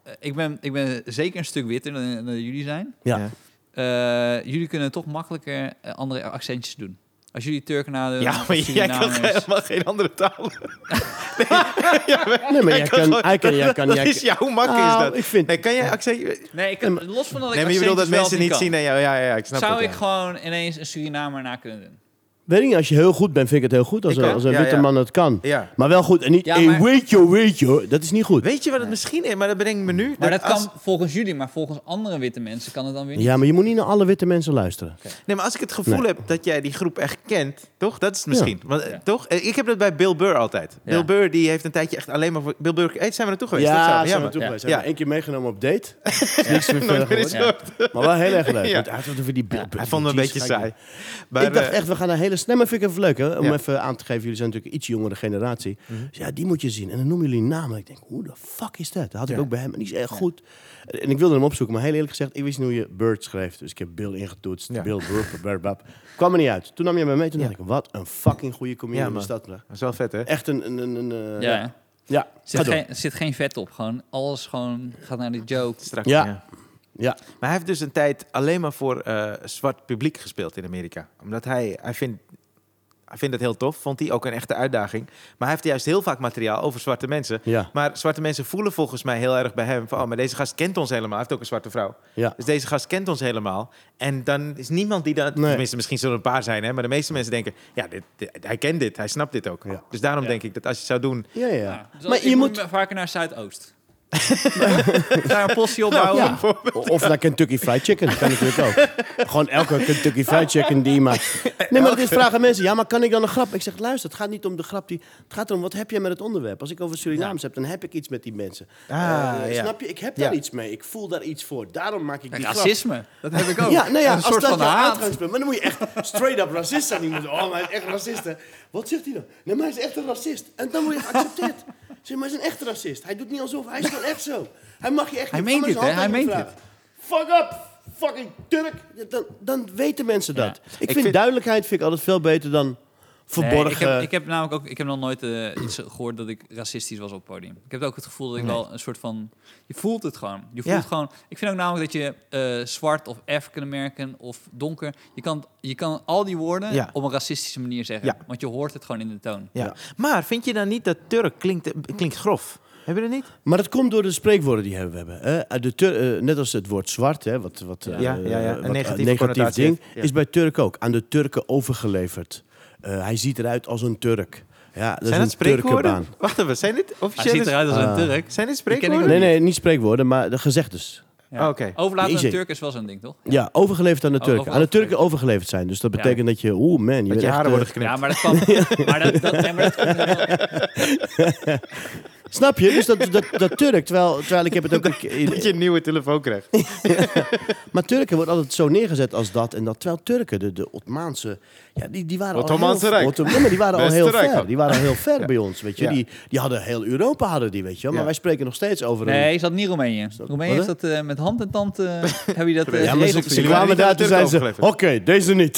[SPEAKER 2] eh, ik, ben, ik ben zeker een stuk witter dan, dan jullie zijn.
[SPEAKER 3] Ja.
[SPEAKER 1] Ja.
[SPEAKER 2] Eh, jullie kunnen toch makkelijker eh, andere accentjes doen. Als jullie Turken nadoen...
[SPEAKER 1] Ja, maar jij kan
[SPEAKER 2] Surinamers.
[SPEAKER 1] helemaal geen andere taal.
[SPEAKER 3] Nee, maar
[SPEAKER 1] Hij
[SPEAKER 3] jij
[SPEAKER 1] kan
[SPEAKER 3] kan...
[SPEAKER 1] gewoon-
[SPEAKER 3] Hij kan, jij kan,
[SPEAKER 1] dat
[SPEAKER 3] jij
[SPEAKER 1] is
[SPEAKER 3] kan-
[SPEAKER 1] jouw mak is
[SPEAKER 3] Nou,
[SPEAKER 1] dat.
[SPEAKER 3] Ik vind...
[SPEAKER 1] Nee, kan jij accent...
[SPEAKER 2] Nee, ik, los van dat ik
[SPEAKER 1] Nee, maar je wil dat
[SPEAKER 2] accentjes wel
[SPEAKER 1] mensen niet
[SPEAKER 2] kan,
[SPEAKER 1] zien. Nee, oh ja, ja, ja, ik snap
[SPEAKER 2] Zou
[SPEAKER 1] het.
[SPEAKER 2] ik
[SPEAKER 1] ja.
[SPEAKER 2] gewoon ineens een Surinamer na kunnen doen?
[SPEAKER 3] Weet ik niet, als je heel goed bent, vind ik het heel goed. Als,
[SPEAKER 1] Ik
[SPEAKER 3] een,
[SPEAKER 1] ook.
[SPEAKER 3] als een
[SPEAKER 1] Ja,
[SPEAKER 3] witte
[SPEAKER 1] ja.
[SPEAKER 3] man het kan.
[SPEAKER 1] Ja.
[SPEAKER 3] Maar wel goed. En niet,
[SPEAKER 2] Ja,
[SPEAKER 3] hey,
[SPEAKER 2] maar-
[SPEAKER 3] weet je, weet je. Dat is niet goed.
[SPEAKER 1] Weet je wat het misschien is? Maar dat bedenk ik me nu.
[SPEAKER 2] Maar dat
[SPEAKER 1] als-
[SPEAKER 2] kan volgens jullie, maar volgens andere witte mensen kan het dan weer niet.
[SPEAKER 3] Ja, maar je moet niet naar alle witte mensen luisteren.
[SPEAKER 1] Nee, maar als ik het gevoel
[SPEAKER 3] Nee.
[SPEAKER 1] heb dat jij die groep echt kent, toch? Dat is het misschien. Want, eh,
[SPEAKER 2] Ja.
[SPEAKER 1] Toch? Eh, Ik heb dat bij Bill Burr altijd. Bill
[SPEAKER 2] Ja.
[SPEAKER 1] Burr die heeft een tijdje echt alleen maar voor... Bill Burr, hey, zijn we naartoe geweest? dat zou-
[SPEAKER 3] Ja,
[SPEAKER 1] ja,
[SPEAKER 3] zijn we
[SPEAKER 1] maar-
[SPEAKER 3] toe
[SPEAKER 2] Ja.
[SPEAKER 3] geweest. Zijn we
[SPEAKER 1] Ja.
[SPEAKER 3] één keer meegenomen op date. Is niks meer verder
[SPEAKER 1] Nooit meer
[SPEAKER 3] geworden.
[SPEAKER 1] eens
[SPEAKER 2] Ja.
[SPEAKER 1] gehoord.
[SPEAKER 3] Maar wel heel erg leuk.
[SPEAKER 1] Ja.
[SPEAKER 3] Want hij had over die Bill Burr.
[SPEAKER 1] Hij vond me een
[SPEAKER 3] Jeez,
[SPEAKER 1] beetje
[SPEAKER 3] ga ik
[SPEAKER 1] saai.
[SPEAKER 3] niet.
[SPEAKER 1] Maar,
[SPEAKER 3] ik dacht
[SPEAKER 1] eh,
[SPEAKER 3] echt, we gaan naar hele snel. Maar vind ik even leuk, hè? Om
[SPEAKER 1] Ja. Mhm.
[SPEAKER 3] even aan te geven, jullie zijn natuurlijk een iets jongere generatie. Dus ja, die moet je zien. En dan noemen jullie namen. Ik denk, hoe de fuck is dat? Dat had ik
[SPEAKER 1] Ja.
[SPEAKER 3] ook bij hem. En die is echt goed. En ik wilde hem opzoeken, maar heel eerlijk gezegd, ik wist niet hoe je Bird schreef. Dus ik heb Bill ingetoetst.
[SPEAKER 1] Ja.
[SPEAKER 3] Bill Burr, Burr, bab. Kwam er niet uit. Toen nam je mij mee. Toen
[SPEAKER 1] Ja.
[SPEAKER 3] dacht ik, wat een fucking goede
[SPEAKER 1] Ja,
[SPEAKER 3] comedian
[SPEAKER 1] man.
[SPEAKER 3] is dat. hè?
[SPEAKER 1] Dat is wel vet, hè?
[SPEAKER 3] Echt een... een, een, een, eh,
[SPEAKER 2] Ja,
[SPEAKER 3] ja.
[SPEAKER 2] hè?
[SPEAKER 3] ja. Ga
[SPEAKER 2] Zit,
[SPEAKER 3] door.
[SPEAKER 2] geen, zit geen vet op. Gewoon alles gewoon gaat naar de joke.
[SPEAKER 1] Straks,
[SPEAKER 3] Ja.
[SPEAKER 1] ja.
[SPEAKER 3] Ja.
[SPEAKER 1] Maar hij heeft dus een tijd alleen maar voor eh, zwart publiek gespeeld in Amerika. Omdat hij, hij vindt, hij vindt het heel tof, vond hij ook een echte uitdaging. Maar hij heeft juist heel vaak materiaal over zwarte mensen.
[SPEAKER 3] Ja.
[SPEAKER 1] Maar zwarte mensen voelen volgens mij heel erg bij hem van... oh, maar deze gast kent ons helemaal. Hij heeft ook een zwarte vrouw.
[SPEAKER 3] Ja.
[SPEAKER 1] Dus deze gast kent ons helemaal. En dan is niemand die dat...
[SPEAKER 3] Nee.
[SPEAKER 1] Tenminste, misschien zullen er een paar zijn, hè. Maar de meeste mensen denken... ja, dit, dit- hij kent dit. Hij snapt dit ook.
[SPEAKER 3] Ja.
[SPEAKER 1] Dus daarom
[SPEAKER 2] Ja.
[SPEAKER 1] denk ik dat als je zou doen...
[SPEAKER 3] Ja, ja.
[SPEAKER 2] Ja. Dus
[SPEAKER 3] maar
[SPEAKER 2] ik
[SPEAKER 3] je moet...
[SPEAKER 2] vaker naar Zuidoost. Daar een postje opbouwen.
[SPEAKER 3] Nou Ja. Of naar Kentucky Fried Chicken, dat kan natuurlijk ook. Gewoon elke Kentucky Fried Chicken die je maakt. Nee, maar dit vragen mensen, ja, maar kan ik dan een grap? Ik zeg, luister, het gaat niet om de grap. Die, het gaat erom, wat heb jij met het onderwerp? Als ik over Surinaams heb, dan heb ik iets met die mensen.
[SPEAKER 1] Ah,
[SPEAKER 3] Eh,
[SPEAKER 1] ja.
[SPEAKER 3] Snap je? Ik heb daar
[SPEAKER 1] Ja.
[SPEAKER 3] iets mee. Ik voel daar iets voor. Daarom maak ik die grap.
[SPEAKER 2] Racisme. Dat heb ik ook.
[SPEAKER 3] Ja, nou ja,
[SPEAKER 2] een
[SPEAKER 3] als
[SPEAKER 2] soort
[SPEAKER 3] dat
[SPEAKER 2] van
[SPEAKER 3] jouw
[SPEAKER 2] haat.
[SPEAKER 3] uitgangspunt. Maar dan moet je echt straight up racist zijn. Die moet, oh, maar hij is echt racist, hè. Wat zegt hij dan? Nee, maar hij is echt een racist. En dan word je geaccepteerd. Zeg, maar hij is een echte racist. Hij doet niet alsof, hij is gewoon echt zo. Hij mag je echt
[SPEAKER 2] Hij
[SPEAKER 3] niet
[SPEAKER 2] meent
[SPEAKER 3] van mij
[SPEAKER 2] dit,
[SPEAKER 3] zijn
[SPEAKER 2] hè?
[SPEAKER 3] hand
[SPEAKER 2] Hij
[SPEAKER 3] uit
[SPEAKER 2] meent
[SPEAKER 3] vragen. Fuck up, fucking Turk. Ja, Dan, dan weten mensen dat.
[SPEAKER 2] Ja.
[SPEAKER 3] Ik,
[SPEAKER 1] Ik
[SPEAKER 3] vind,
[SPEAKER 1] vind-
[SPEAKER 3] duidelijkheid vind ik altijd veel beter dan
[SPEAKER 2] Nee, ik,
[SPEAKER 3] verborgen...
[SPEAKER 2] heb, ik heb namelijk ook ik heb nog nooit eh, iets gehoord dat ik racistisch was op het podium. Ik heb ook het gevoel dat ik wel een soort van... Je voelt het gewoon. Je voelt
[SPEAKER 1] Ja.
[SPEAKER 2] gewoon... Ik vind ook namelijk dat je eh, zwart of African American of donker... Je kan, je kan al die woorden
[SPEAKER 1] Ja.
[SPEAKER 2] op een racistische manier zeggen.
[SPEAKER 1] Ja.
[SPEAKER 2] Want je hoort het gewoon in de toon.
[SPEAKER 1] Ja.
[SPEAKER 3] Ja.
[SPEAKER 1] Maar vind je dan niet dat Turk klinkt, klinkt grof? Heb je dat niet?
[SPEAKER 3] Maar dat komt door de spreekwoorden die we hebben. Hè? Eh, De Tur- eh, net als het woord zwart, hè, wat, wat, eh,
[SPEAKER 1] Ja, ja, ja, een
[SPEAKER 3] wat, eh,
[SPEAKER 1] negatieve connotatie
[SPEAKER 3] ding,
[SPEAKER 1] heeft. Ja.
[SPEAKER 3] is bij Turk ook. Aan de Turken overgeleverd. Eh, hij ziet eruit als een Turk. Ja, dat
[SPEAKER 1] zijn
[SPEAKER 3] is
[SPEAKER 1] dat
[SPEAKER 3] een Turkenbaan.
[SPEAKER 1] spreekwoorden? Wacht even, zijn dit
[SPEAKER 2] Hij ziet
[SPEAKER 1] officiële...
[SPEAKER 2] eruit als een
[SPEAKER 3] Ah.
[SPEAKER 2] Turk.
[SPEAKER 1] Zijn dit
[SPEAKER 2] Die ken ik ook
[SPEAKER 1] spreekwoorden?
[SPEAKER 3] Nee, nee, niet spreekwoorden, maar de gezegdes.
[SPEAKER 1] Ja. Oké.
[SPEAKER 2] Overlaten aan
[SPEAKER 3] Jeetje.
[SPEAKER 2] een Turk is wel zo'n ding, toch?
[SPEAKER 3] Ja, overgeleverd aan de
[SPEAKER 2] Oh,
[SPEAKER 3] Turken. Aan de
[SPEAKER 2] overgeleverd.
[SPEAKER 3] Turken overgeleverd zijn. Dus dat
[SPEAKER 2] Ja.
[SPEAKER 3] betekent dat je, oeh man, je
[SPEAKER 1] Dat
[SPEAKER 3] bent
[SPEAKER 1] je
[SPEAKER 3] echt,
[SPEAKER 1] haren
[SPEAKER 3] eh,
[SPEAKER 1] worden geknipt.
[SPEAKER 2] Ja, maar dat kwam... maar dat, dat, nee, maar dat komt
[SPEAKER 3] Snap je? Dus dat, dat, dat Turk, terwijl, terwijl ik heb het ook... een keer-
[SPEAKER 1] dat je een nieuwe telefoon krijgt.
[SPEAKER 3] Maar Turken wordt altijd zo neergezet als dat en dat. Terwijl Turken, de, de Ottomaanse... Ja, die, die waren
[SPEAKER 1] Ottomaanse
[SPEAKER 3] al heel,
[SPEAKER 1] Rijk.
[SPEAKER 3] Ottom- ja, maar die waren al
[SPEAKER 1] Beste
[SPEAKER 3] heel
[SPEAKER 1] Rijk
[SPEAKER 3] ver.
[SPEAKER 1] ook.
[SPEAKER 3] Die waren al heel ver bij ons, weet je.
[SPEAKER 1] Ja.
[SPEAKER 3] Die, die hadden heel Europa, hadden die, weet je. wel. Maar
[SPEAKER 1] Ja.
[SPEAKER 3] wij spreken nog steeds over... een-
[SPEAKER 2] Nee, is dat niet Roemenië? Roemenië
[SPEAKER 3] Wat,
[SPEAKER 2] heeft
[SPEAKER 3] hè?
[SPEAKER 2] dat eh, met hand en tand... eh heb je dat eh,
[SPEAKER 3] Ja, maar
[SPEAKER 2] geregeld
[SPEAKER 3] ze,
[SPEAKER 2] voor
[SPEAKER 3] ze
[SPEAKER 1] waren
[SPEAKER 2] jullie?
[SPEAKER 3] kwamen
[SPEAKER 1] niet
[SPEAKER 3] daar,
[SPEAKER 1] aan de
[SPEAKER 3] toen
[SPEAKER 1] Turken
[SPEAKER 3] zijn ze... Oké,
[SPEAKER 1] overgeleverd.
[SPEAKER 3] deze niet.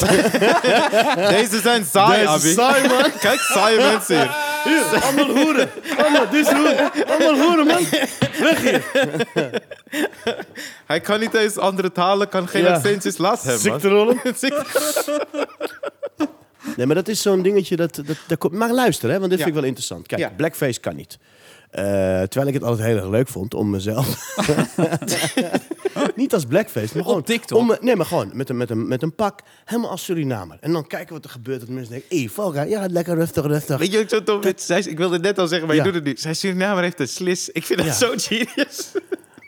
[SPEAKER 1] Deze zijn saai,
[SPEAKER 3] Deze
[SPEAKER 1] Abi.
[SPEAKER 3] saai, man.
[SPEAKER 1] Kijk, saaie mensen hier.
[SPEAKER 3] Hier, allemaal hoeren. Allemaal, dit is hoeren. Allemaal hoeren, man.
[SPEAKER 1] Hij kan niet eens andere talen, kan geen
[SPEAKER 3] Ja.
[SPEAKER 1] accentjes. Laat hem, man.
[SPEAKER 3] rollen. Nee, maar dat is zo'n dingetje dat, dat, dat komt. Maar luister, hè, want dit
[SPEAKER 1] Ja.
[SPEAKER 3] vind ik wel interessant. Kijk,
[SPEAKER 1] Ja.
[SPEAKER 3] blackface kan niet. Eh, terwijl ik het altijd heel erg leuk vond om mezelf. niet als blackface, maar gewoon.
[SPEAKER 2] TikTok?
[SPEAKER 3] Om, nee, maar gewoon met een, met, een, met een pak. Helemaal als Surinamer. En dan kijken wat er gebeurt. Dat mensen denken: hé, Valka, ja, lekker rustig, rustig.
[SPEAKER 1] Weet je wat ik zo tof vind? Zij, ik wilde het net al zeggen, maar
[SPEAKER 3] Ja.
[SPEAKER 1] je doet het nu. Zij Surinamer heeft een slis. Ik vind dat
[SPEAKER 3] Ja.
[SPEAKER 1] zo genius.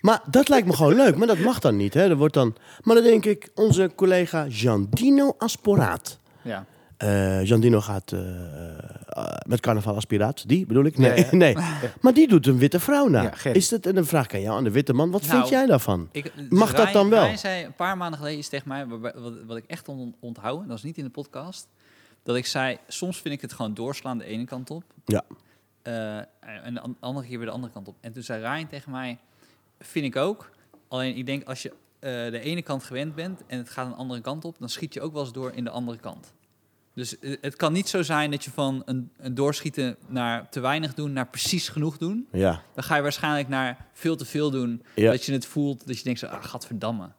[SPEAKER 3] Maar dat lijkt me gewoon leuk, maar dat mag dan niet. Hè? Dat wordt dan... Maar dan denk ik, onze collega Giandino Asporaat.
[SPEAKER 2] Ja.
[SPEAKER 3] Eh Giandino gaat eh, eh, met carnaval als piraat. Die bedoel ik? Nee.
[SPEAKER 1] Ja, ja.
[SPEAKER 3] nee. Maar die doet een witte vrouw na.
[SPEAKER 1] Ja, Gerry.
[SPEAKER 3] is dat, en dan vraag ik aan jou, aan de witte man, wat
[SPEAKER 2] Nou,
[SPEAKER 3] vind jij daarvan?
[SPEAKER 2] Ik,
[SPEAKER 3] Mag dat dan wel?
[SPEAKER 2] Hij zei een paar maanden geleden iets tegen mij, waarbij- wat, wat ik echt on, onthouden, dat is niet in de podcast, dat ik zei, soms vind ik het gewoon doorslaan de ene kant op.
[SPEAKER 3] Ja.
[SPEAKER 2] eh, en de an- andere keer weer de andere kant op. En toen zei Ryan tegen mij, vind ik ook. Alleen ik denk, als je eh, de ene kant gewend bent en het gaat een andere kant op, dan schiet je ook wel eens door in de andere kant. Dus eh, het kan niet zo zijn dat je van een, een doorschieten naar te weinig doen, naar precies genoeg doen.
[SPEAKER 3] Ja.
[SPEAKER 2] Dan ga je waarschijnlijk naar veel te veel doen.
[SPEAKER 3] Ja.
[SPEAKER 2] Dat je het voelt, dat je denkt zo, ah, gadverdamme.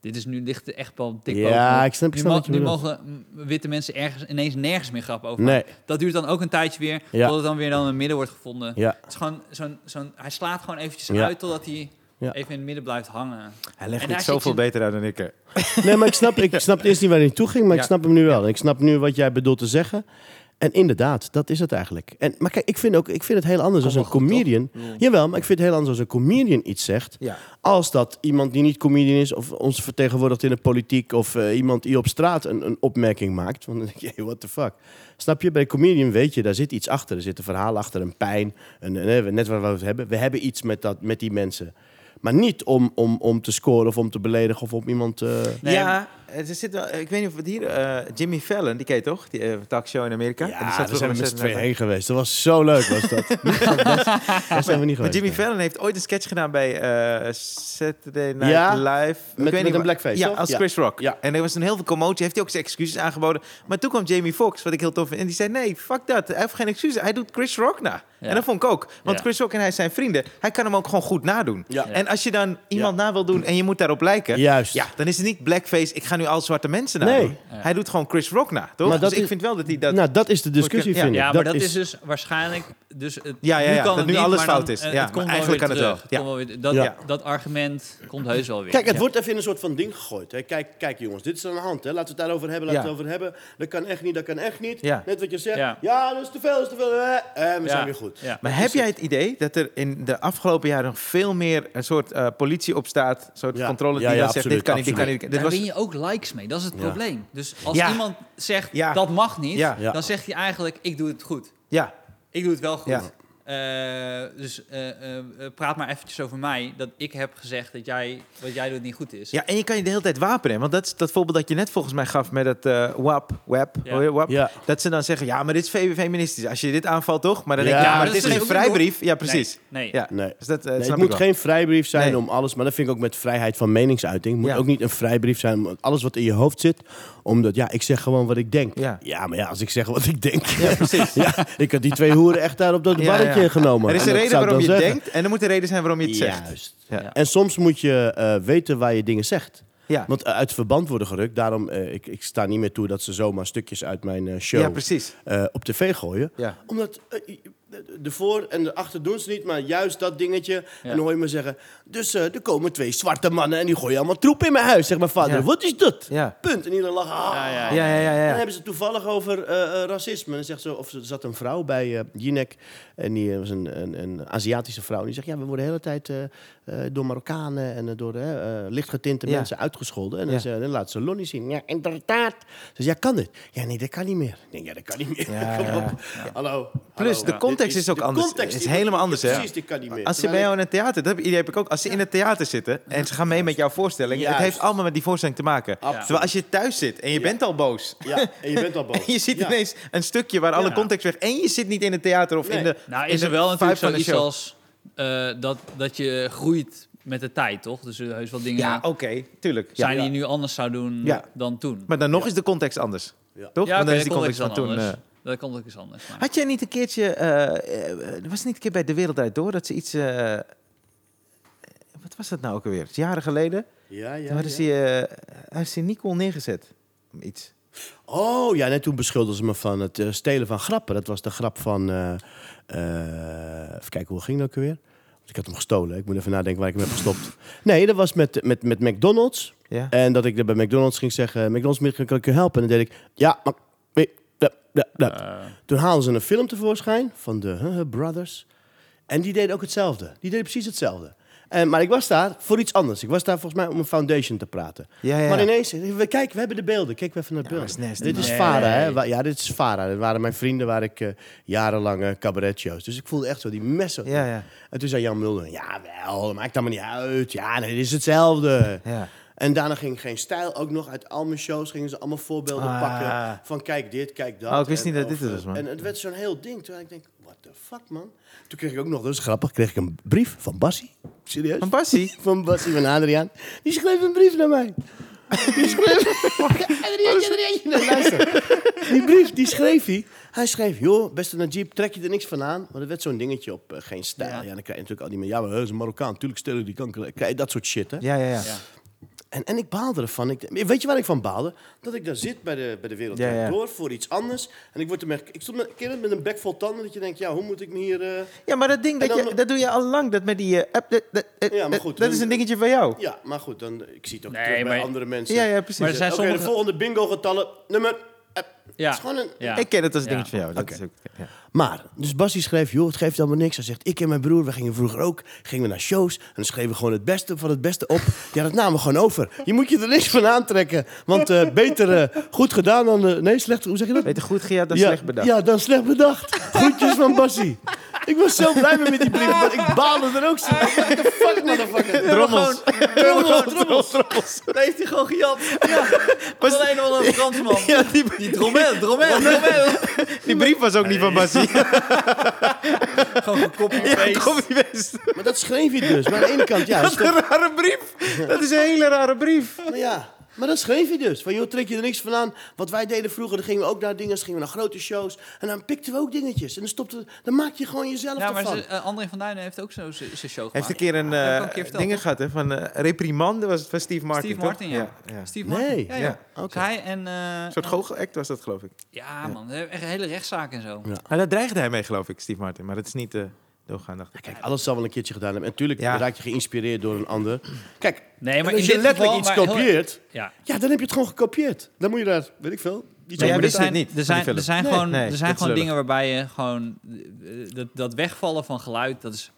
[SPEAKER 2] Dit is nu ligt er echt wel dik
[SPEAKER 3] Ja,
[SPEAKER 2] bovenop.
[SPEAKER 3] ik snap- ik
[SPEAKER 2] nu,
[SPEAKER 3] snap wat je
[SPEAKER 2] nu
[SPEAKER 3] bedoelt.
[SPEAKER 2] mogen mm, witte mensen ergens ineens nergens meer grap over
[SPEAKER 3] Nee.
[SPEAKER 2] maken. Dat duurt dan ook een tijdje weer,
[SPEAKER 3] Ja.
[SPEAKER 2] tot het dan weer dan een midden wordt gevonden.
[SPEAKER 3] Ja.
[SPEAKER 2] Het is gewoon zo'n, zo'n, hij slaat gewoon eventjes
[SPEAKER 3] Ja.
[SPEAKER 2] uit totdat hij
[SPEAKER 3] Ja.
[SPEAKER 2] even in het midden blijft hangen.
[SPEAKER 1] Hij legt
[SPEAKER 2] En
[SPEAKER 1] het
[SPEAKER 2] daar
[SPEAKER 1] zoveel
[SPEAKER 2] zit je-
[SPEAKER 1] beter uit dan ik. hè.
[SPEAKER 3] Nee, maar ik snap, ik snap eerst niet waar hij naartoe ging, maar ik
[SPEAKER 2] Ja.
[SPEAKER 3] snap hem nu wel. En ik snap nu wat jij bedoelt te zeggen. En inderdaad, dat is het eigenlijk. En, maar kijk, ik vind, ook, ik vind het heel anders als
[SPEAKER 2] Komt
[SPEAKER 3] een
[SPEAKER 2] wel goed,
[SPEAKER 3] comedian. Jawel, maar ik vind het heel anders als een comedian iets zegt.
[SPEAKER 1] Ja.
[SPEAKER 3] Als dat iemand die niet comedian is, of ons vertegenwoordigt in de politiek, of eh, iemand die op straat een, een opmerking maakt. Want dan denk je, hey, what the fuck. Snap je, bij comedian weet je, daar zit iets achter. Er zit een verhaal achter, een pijn. Een, een- eh, net waar we het hebben. We hebben iets met, dat, met die mensen. Maar niet om, om, om te scoren of om te beledigen of om iemand. eh,
[SPEAKER 2] Nee.
[SPEAKER 1] Ja, er zit wel, ik weet niet of het hier... eh, Jimmy Fallon, die ken je toch? Die eh, talkshow in Amerika. En die zat
[SPEAKER 3] Ja, daar
[SPEAKER 1] vroeger
[SPEAKER 3] zijn we met z'n
[SPEAKER 1] Saturday
[SPEAKER 3] tweeën
[SPEAKER 1] Night
[SPEAKER 3] heen geweest. Dat was zo leuk, was dat. Daar zijn we niet
[SPEAKER 1] Maar
[SPEAKER 3] geweest.
[SPEAKER 1] Jimmy
[SPEAKER 3] nee.
[SPEAKER 1] Fallon heeft ooit een sketch gedaan bij eh, Saturday Night
[SPEAKER 3] Ja,
[SPEAKER 1] Live. Ik
[SPEAKER 3] met-
[SPEAKER 1] weet
[SPEAKER 3] met
[SPEAKER 1] niet
[SPEAKER 3] een
[SPEAKER 1] waar-
[SPEAKER 3] blackface,
[SPEAKER 1] Ja,
[SPEAKER 3] toch?
[SPEAKER 1] als
[SPEAKER 3] Ja.
[SPEAKER 1] Chris Rock.
[SPEAKER 3] Ja.
[SPEAKER 1] En er was een heel veel commotie. Heeft hij ook zijn excuses aangeboden. Maar toen kwam Jamie Foxx, wat ik heel tof vind. En die zei, nee, fuck dat. Hij heeft geen excuses. Hij doet Chris Rock na.
[SPEAKER 2] Ja.
[SPEAKER 1] En dat vond ik ook. Want
[SPEAKER 2] Ja.
[SPEAKER 1] Chris Rock en hij zijn vrienden. Hij kan hem ook gewoon goed nadoen.
[SPEAKER 3] Ja.
[SPEAKER 1] En als je dan iemand na wil doen en je moet daarop lijken.
[SPEAKER 3] Juist.
[SPEAKER 1] Ja, dan is het niet blackface. Ik ga nu al zwarte mensen nadoen.
[SPEAKER 3] Nee.
[SPEAKER 2] Ja.
[SPEAKER 1] Hij doet gewoon Chris Rock na. Toch?
[SPEAKER 3] Maar dat
[SPEAKER 1] dus ik
[SPEAKER 3] is-
[SPEAKER 1] vind wel dat hij dat...
[SPEAKER 3] Nou, dat is de discussie,
[SPEAKER 1] Ja,
[SPEAKER 3] vind ik.
[SPEAKER 2] Ja, maar dat, is... dus waarschijnlijk... Dus het,
[SPEAKER 1] Ja, ja,
[SPEAKER 2] nu
[SPEAKER 1] ja,
[SPEAKER 2] kan
[SPEAKER 1] dat
[SPEAKER 2] het
[SPEAKER 1] nu
[SPEAKER 2] niet,
[SPEAKER 1] alles
[SPEAKER 2] maar dan,
[SPEAKER 1] fout is.
[SPEAKER 2] eh,
[SPEAKER 1] Ja,
[SPEAKER 2] het komt
[SPEAKER 1] maar
[SPEAKER 2] wel
[SPEAKER 1] eigenlijk
[SPEAKER 2] weer
[SPEAKER 1] kan het
[SPEAKER 2] terug.
[SPEAKER 1] wel. Ja.
[SPEAKER 2] komt wel weer- dat,
[SPEAKER 3] Ja.
[SPEAKER 2] dat argument komt heus wel weer.
[SPEAKER 3] Kijk, het
[SPEAKER 2] Ja.
[SPEAKER 3] wordt even in een soort van ding gegooid. Hè. Kijk, kijk jongens, dit is aan de hand. Hè. Laten we het daarover hebben, laten
[SPEAKER 1] Ja.
[SPEAKER 3] we het over hebben. Dat kan echt niet, dat kan echt niet.
[SPEAKER 1] Ja.
[SPEAKER 3] Net wat je zegt. Ja,
[SPEAKER 2] Ja.
[SPEAKER 3] dat is te veel, dat is te veel. eh, En we
[SPEAKER 2] Ja.
[SPEAKER 3] zijn weer goed.
[SPEAKER 2] Ja.
[SPEAKER 1] Maar
[SPEAKER 3] Dus
[SPEAKER 1] heb jij het idee dat er in de afgelopen jaren nog veel meer een soort eh, politie op staat, een soort
[SPEAKER 3] Ja.
[SPEAKER 1] controle die
[SPEAKER 3] Ja, ja,
[SPEAKER 1] dan zegt, dit kan niet,
[SPEAKER 3] absoluut,
[SPEAKER 1] dit kan niet. Dit
[SPEAKER 2] Daar
[SPEAKER 1] was,
[SPEAKER 2] win je ook likes mee. Dat is het
[SPEAKER 3] Ja.
[SPEAKER 2] probleem. Dus als
[SPEAKER 1] Ja.
[SPEAKER 2] iemand zegt
[SPEAKER 1] Ja.
[SPEAKER 2] dat mag niet,
[SPEAKER 1] Ja.
[SPEAKER 3] Ja.
[SPEAKER 2] dan zegt hij eigenlijk ik doe het goed.
[SPEAKER 1] ja,
[SPEAKER 2] Ik doe het wel goed.
[SPEAKER 1] Ja.
[SPEAKER 2] Eh, dus eh, eh, praat maar eventjes over mij dat ik heb gezegd dat jij wat jij doet niet goed is.
[SPEAKER 1] ja, en je kan je de hele tijd wapenen. Want dat is dat voorbeeld dat je net volgens mij gaf met het eh, WAP, WAP,
[SPEAKER 2] Ja.
[SPEAKER 1] hoor je, WAP.
[SPEAKER 3] Ja.
[SPEAKER 1] Dat ze dan zeggen, ja, maar dit is fe- feministisch. Als je dit aanvalt, toch? Maar dan
[SPEAKER 3] Ja,
[SPEAKER 1] denk je, ja,
[SPEAKER 2] maar
[SPEAKER 1] maar het
[SPEAKER 2] dat
[SPEAKER 1] is
[SPEAKER 2] is
[SPEAKER 1] geen
[SPEAKER 2] ook niet, hoor.
[SPEAKER 1] vrijbrief. Ja,
[SPEAKER 2] Nee,
[SPEAKER 1] precies.
[SPEAKER 2] Nee.
[SPEAKER 1] Ja.
[SPEAKER 3] Nee.
[SPEAKER 1] Dus dat eh,
[SPEAKER 3] Nee,
[SPEAKER 1] snap
[SPEAKER 3] het
[SPEAKER 1] ik
[SPEAKER 3] moet
[SPEAKER 1] wel.
[SPEAKER 3] geen vrijbrief zijn
[SPEAKER 1] Nee.
[SPEAKER 3] om alles, maar dat vind ik ook met vrijheid van meningsuiting. Het moet
[SPEAKER 1] Ja.
[SPEAKER 3] ook niet een vrijbrief zijn om alles wat in je hoofd zit, omdat ja, ik zeg gewoon wat ik denk.
[SPEAKER 1] Ja.
[SPEAKER 3] maar ja, als ik zeg wat ik denk, ja,
[SPEAKER 1] precies.
[SPEAKER 3] ik had die twee hoeren echt daar op dat
[SPEAKER 1] Ja, ja.
[SPEAKER 3] barretje genomen.
[SPEAKER 1] Er is
[SPEAKER 3] En
[SPEAKER 1] een
[SPEAKER 3] dat
[SPEAKER 1] reden
[SPEAKER 3] zou ik
[SPEAKER 1] waarom je
[SPEAKER 3] dan zeggen.
[SPEAKER 1] denkt en er moet een reden zijn waarom je het zegt.
[SPEAKER 3] Juist.
[SPEAKER 1] Ja.
[SPEAKER 3] En soms moet je eh, weten waar je dingen zegt.
[SPEAKER 1] Ja.
[SPEAKER 3] Want eh, uit verband worden gerukt. Daarom, eh, ik, ik sta niet meer toe dat ze zomaar stukjes uit mijn eh, show
[SPEAKER 1] ja, precies.
[SPEAKER 3] eh, op tv gooien.
[SPEAKER 1] Ja.
[SPEAKER 3] Omdat eh, de voor en de achter doen ze niet, maar juist dat dingetje. En dan hoor je me zeggen, dus eh, er komen twee zwarte mannen en die gooien allemaal troep in mijn huis. Zeg mijn vader,
[SPEAKER 1] Ja.
[SPEAKER 3] wat is dat?
[SPEAKER 1] Ja.
[SPEAKER 3] Punt. En iedereen lacht. ah.
[SPEAKER 2] Ja, ja,
[SPEAKER 1] Ja, ja, ja.
[SPEAKER 3] En
[SPEAKER 1] ja.
[SPEAKER 3] dan hebben ze het toevallig over eh, eh, racisme. En zegt ze, of er zat een vrouw bij eh Jinek. En die eh, was een, een, een Aziatische vrouw. En die zegt, ja, we worden de hele tijd eh, eh, door Marokkanen en eh, door eh, eh, lichtgetinte
[SPEAKER 1] Ja.
[SPEAKER 3] mensen uitgescholden. En dan,
[SPEAKER 1] Ja.
[SPEAKER 3] ze, dan laat ze Lonnie zien. Ja, inderdaad. Ze zegt, ja, kan dit? Ja, nee, dat kan niet meer. Ik denk, ja, dat kan niet meer.
[SPEAKER 1] Ja,
[SPEAKER 3] Kom
[SPEAKER 1] ja,
[SPEAKER 3] op.
[SPEAKER 1] ja.
[SPEAKER 3] Hallo.
[SPEAKER 1] Plus,
[SPEAKER 3] hallo.
[SPEAKER 1] de
[SPEAKER 3] Ja,
[SPEAKER 1] context
[SPEAKER 3] dit
[SPEAKER 1] is ook
[SPEAKER 3] de
[SPEAKER 1] anders.
[SPEAKER 3] context
[SPEAKER 1] Het is
[SPEAKER 3] die-
[SPEAKER 1] helemaal anders, hè?
[SPEAKER 3] Precies, dit kan niet meer.
[SPEAKER 1] Als ze bij
[SPEAKER 3] Terwijl
[SPEAKER 1] jou in het theater, dat idee heb ik ook. Als ze in het theater zitten en ze gaan mee met jouw voorstelling,
[SPEAKER 3] Juist.
[SPEAKER 1] het heeft allemaal met die voorstelling te maken.
[SPEAKER 3] Absoluut.
[SPEAKER 1] Terwijl als je thuis zit en je bent al boos.
[SPEAKER 3] ik- Ja, en je bent al boos.
[SPEAKER 1] En je ziet
[SPEAKER 3] Ja.
[SPEAKER 1] ineens een stukje waar alle
[SPEAKER 2] Ja.
[SPEAKER 1] context weg. En je zit niet in het theater of
[SPEAKER 3] Nee.
[SPEAKER 1] in de.
[SPEAKER 2] Nou,
[SPEAKER 1] in
[SPEAKER 2] is
[SPEAKER 1] de
[SPEAKER 2] er wel
[SPEAKER 1] vibe
[SPEAKER 2] natuurlijk
[SPEAKER 1] van de
[SPEAKER 2] zoiets
[SPEAKER 1] show.
[SPEAKER 2] als eh, dat, dat je groeit met de tijd, toch? Dus er zullen heus wel dingen
[SPEAKER 1] Ja, oké, tuurlijk. Ja.
[SPEAKER 2] zijn die je nu anders zou doen
[SPEAKER 1] Ja.
[SPEAKER 2] dan toen.
[SPEAKER 1] Maar dan nog is de context anders.
[SPEAKER 3] Ja.
[SPEAKER 1] Toch?
[SPEAKER 2] Ja,
[SPEAKER 1] Want dan
[SPEAKER 2] oké,
[SPEAKER 1] is die
[SPEAKER 2] de context
[SPEAKER 1] context
[SPEAKER 2] is
[SPEAKER 1] van
[SPEAKER 2] dan
[SPEAKER 1] toen.
[SPEAKER 2] anders.
[SPEAKER 1] eh,
[SPEAKER 2] Dat kan ook eens anders. Maar.
[SPEAKER 1] Had jij niet een keertje... eh, eh, was het niet een keer bij De Wereld Draait Door dat ze iets... eh, wat was dat nou ook alweer? Jaren geleden?
[SPEAKER 3] Ja, ja,
[SPEAKER 1] toen hadden ze, eh, hij is in Nicole neergezet. Om Iets.
[SPEAKER 3] Oh, ja, net toen beschuldigden ze me van het eh, stelen van grappen. Dat was de grap van... eh, eh, even kijken, hoe ging dat ook weer? Want ik had hem gestolen. Ik moet even nadenken waar ik hem heb gestopt. Nee, dat was met, met, met McDonald's.
[SPEAKER 1] Ja?
[SPEAKER 3] En dat ik er bij McDonald's ging zeggen... McDonald's, meneer, kan ik je helpen? En dan deed ik... Ja, maar... eh, eh, eh, eh."
[SPEAKER 2] Eh,
[SPEAKER 3] Toen haalden ze een film tevoorschijn van de huh, huh, Brothers. En die deden ook hetzelfde. Die deden precies hetzelfde. En, maar ik was daar voor iets anders. Ik was daar volgens mij om een foundation te praten.
[SPEAKER 1] Ja, ja.
[SPEAKER 3] Maar ineens, we, kijk, we hebben de beelden. Kijk we even naar de
[SPEAKER 1] Ja,
[SPEAKER 3] beelden.
[SPEAKER 1] dat is nasty,
[SPEAKER 3] dit is
[SPEAKER 2] man.
[SPEAKER 3] Farah, hè?
[SPEAKER 2] Nee.
[SPEAKER 3] Wa- Ja, dit is Farah. Dat waren mijn vrienden waar ik eh, jarenlang eh, cabaret shows. Dus ik voelde echt zo die messen.
[SPEAKER 1] Ja, ja.
[SPEAKER 3] En toen zei Jan Mulder, jawel, dat maakt allemaal niet uit. Ja, nee, dit is hetzelfde.
[SPEAKER 1] Ja.
[SPEAKER 3] En daarna ging geen stijl ook nog. Uit al mijn shows gingen ze allemaal voorbeelden
[SPEAKER 1] Ah.
[SPEAKER 3] pakken. Van kijk dit, kijk dat.
[SPEAKER 1] Oh, ik wist
[SPEAKER 3] En
[SPEAKER 1] niet dat
[SPEAKER 3] of,
[SPEAKER 1] dit het
[SPEAKER 3] eh,
[SPEAKER 1] was, man.
[SPEAKER 3] En het werd zo'n heel ding. Toen ik denk, what the fuck, man. Toen kreeg ik ook nog, dat is grappig, kreeg ik een brief van Bassie. Serieus?
[SPEAKER 1] Van Bassie?
[SPEAKER 3] Van Bassie, van Adriaan. Die schreef een brief naar mij. Die schreef... Adriaantje, Adriaantje. Nou, luister. Die brief, die schreef hij. Hij schreef, joh, beste Najib, trek je er niks van aan. Maar er werd zo'n dingetje op, eh, geen stijl. Ja.
[SPEAKER 2] Ja.
[SPEAKER 3] dan krijg je natuurlijk al die... Ja, maar hij is een Marokkaan. Tuurlijk stelen die kanker. Krijg je dat soort shit, hè.
[SPEAKER 1] Ja, ja, ja.
[SPEAKER 2] ja.
[SPEAKER 3] En, en ik baalde ervan. Ik, weet je waar ik van baalde? Dat ik daar zit bij de, bij de wereld
[SPEAKER 1] Ja, ja.
[SPEAKER 3] door voor iets anders. En ik word er met, ik stond met, ken je dat met een bek vol tanden. Dat je denkt, ja, hoe moet ik me hier... eh,
[SPEAKER 1] Ja, maar dat ding,
[SPEAKER 3] En
[SPEAKER 1] dat,
[SPEAKER 3] dan
[SPEAKER 1] je,
[SPEAKER 3] nog-
[SPEAKER 1] dat doe je al lang. Dat met die eh, app, dat, dat, dat-
[SPEAKER 3] Ja, maar goed,
[SPEAKER 1] dat- dat is
[SPEAKER 3] dan-
[SPEAKER 1] een dingetje van jou.
[SPEAKER 3] Ja, maar goed, dan, ik zie het ook
[SPEAKER 2] Nee,
[SPEAKER 3] terug bij
[SPEAKER 2] maar-
[SPEAKER 3] andere mensen.
[SPEAKER 1] Ja, ja,
[SPEAKER 2] Maar
[SPEAKER 1] precies.
[SPEAKER 2] er zijn
[SPEAKER 3] Oké, de
[SPEAKER 2] sommige...
[SPEAKER 3] volgende bingo-getallen, nummer... eh,
[SPEAKER 2] ja.
[SPEAKER 3] is gewoon een-
[SPEAKER 2] ja.
[SPEAKER 1] Ik ken het als een
[SPEAKER 2] Ja.
[SPEAKER 1] dingetje van jou. Dat
[SPEAKER 3] Oké.
[SPEAKER 1] is ook, ja.
[SPEAKER 3] Maar, dus Bassie schreef, joh, het geeft allemaal niks. Hij zegt, ik en mijn broer, we gingen vroeger ook, gingen we naar shows. En dan schreven we gewoon het beste van het beste op. Ja, dat namen we gewoon over. Je moet je er niks van aantrekken. Want eh, beter eh, goed gedaan dan... eh, nee, slecht, hoe zeg je dat?
[SPEAKER 1] Weet je, goed gejaagd dan
[SPEAKER 3] ja,
[SPEAKER 1] slecht bedacht.
[SPEAKER 3] Ja, dan slecht bedacht. Groetjes van Bassie. Ik was zo blij mee met die brief, maar ik baalde er ook zo. van. What the fuck, motherfucker.
[SPEAKER 1] Drommels.
[SPEAKER 2] Drommels, drommels, Dat heeft hij gewoon gejat. Ja. Was alleen wel een Fransman.
[SPEAKER 1] Ja, die,
[SPEAKER 2] Die drommel, drommel, drommel.
[SPEAKER 1] die brief was ook niet van Bassie.
[SPEAKER 2] Gewoon gekoppeld.
[SPEAKER 1] Ja, kom niet best.
[SPEAKER 3] Maar dat schreef hij dus. Maar aan de ene kant, ja, dat is
[SPEAKER 1] Dat is
[SPEAKER 3] toch-
[SPEAKER 1] een rare brief. Dat is een hele rare brief.
[SPEAKER 3] maar ja. Maar dat schreef hij dus. Van, joh, trek je er niks van aan. Wat wij deden vroeger, dan gingen we ook naar dingen, dan gingen we naar grote shows. En dan pikten we ook dingetjes. En dan stopte, dan maak je gewoon jezelf
[SPEAKER 2] Ja, maar
[SPEAKER 3] ervan.
[SPEAKER 2] ze- eh, André van Duinen heeft ook zo zijn show gemaakt.
[SPEAKER 1] Hij heeft een keer een
[SPEAKER 2] heb ik al
[SPEAKER 1] eh
[SPEAKER 2] een keer verteld,
[SPEAKER 1] ding
[SPEAKER 2] toch?
[SPEAKER 1] gehad, hè? Van eh, reprimande was het van Steve Martin.
[SPEAKER 2] Steve
[SPEAKER 1] toch?
[SPEAKER 2] Martin, ja.
[SPEAKER 1] ja.
[SPEAKER 2] Steve
[SPEAKER 3] Nee.
[SPEAKER 2] Martin. Ja, ja.
[SPEAKER 1] Ja,
[SPEAKER 3] oké.
[SPEAKER 2] Dus hij en... eh,
[SPEAKER 1] Een soort goochelact was dat, geloof ik.
[SPEAKER 2] Ja, man. Ze hebben echt een hele rechtszaak en zo.
[SPEAKER 3] Ja.
[SPEAKER 1] Maar dat dreigde hij mee, geloof ik, Steve Martin. Maar dat is niet eh doorgaan, dacht ik.
[SPEAKER 3] Kijk, alles zal wel een keertje gedaan hebben. En natuurlijk
[SPEAKER 1] Ja.
[SPEAKER 3] raak je geïnspireerd door een ander. Kijk,
[SPEAKER 2] Nee, maar
[SPEAKER 3] als
[SPEAKER 2] in
[SPEAKER 3] je
[SPEAKER 2] dit
[SPEAKER 3] letterlijk
[SPEAKER 2] geval,
[SPEAKER 3] iets
[SPEAKER 2] maar heel-
[SPEAKER 3] kopieert,
[SPEAKER 2] Ja.
[SPEAKER 3] ja, dan heb je het gewoon gekopieerd. Dan moet je daar, weet ik veel, iets
[SPEAKER 1] Nee,
[SPEAKER 3] over
[SPEAKER 1] maar
[SPEAKER 2] er
[SPEAKER 1] dit is
[SPEAKER 2] zijn,
[SPEAKER 1] het niet,
[SPEAKER 2] Er
[SPEAKER 1] van die
[SPEAKER 2] zijn,
[SPEAKER 1] film.
[SPEAKER 2] er zijn
[SPEAKER 1] Nee,
[SPEAKER 2] gewoon,
[SPEAKER 1] nee,
[SPEAKER 2] er
[SPEAKER 1] dat
[SPEAKER 2] zijn
[SPEAKER 1] is
[SPEAKER 2] gewoon
[SPEAKER 1] lullig.
[SPEAKER 2] dingen waarbij je gewoon... eh, Dat, dat wegvallen van geluid, dat is...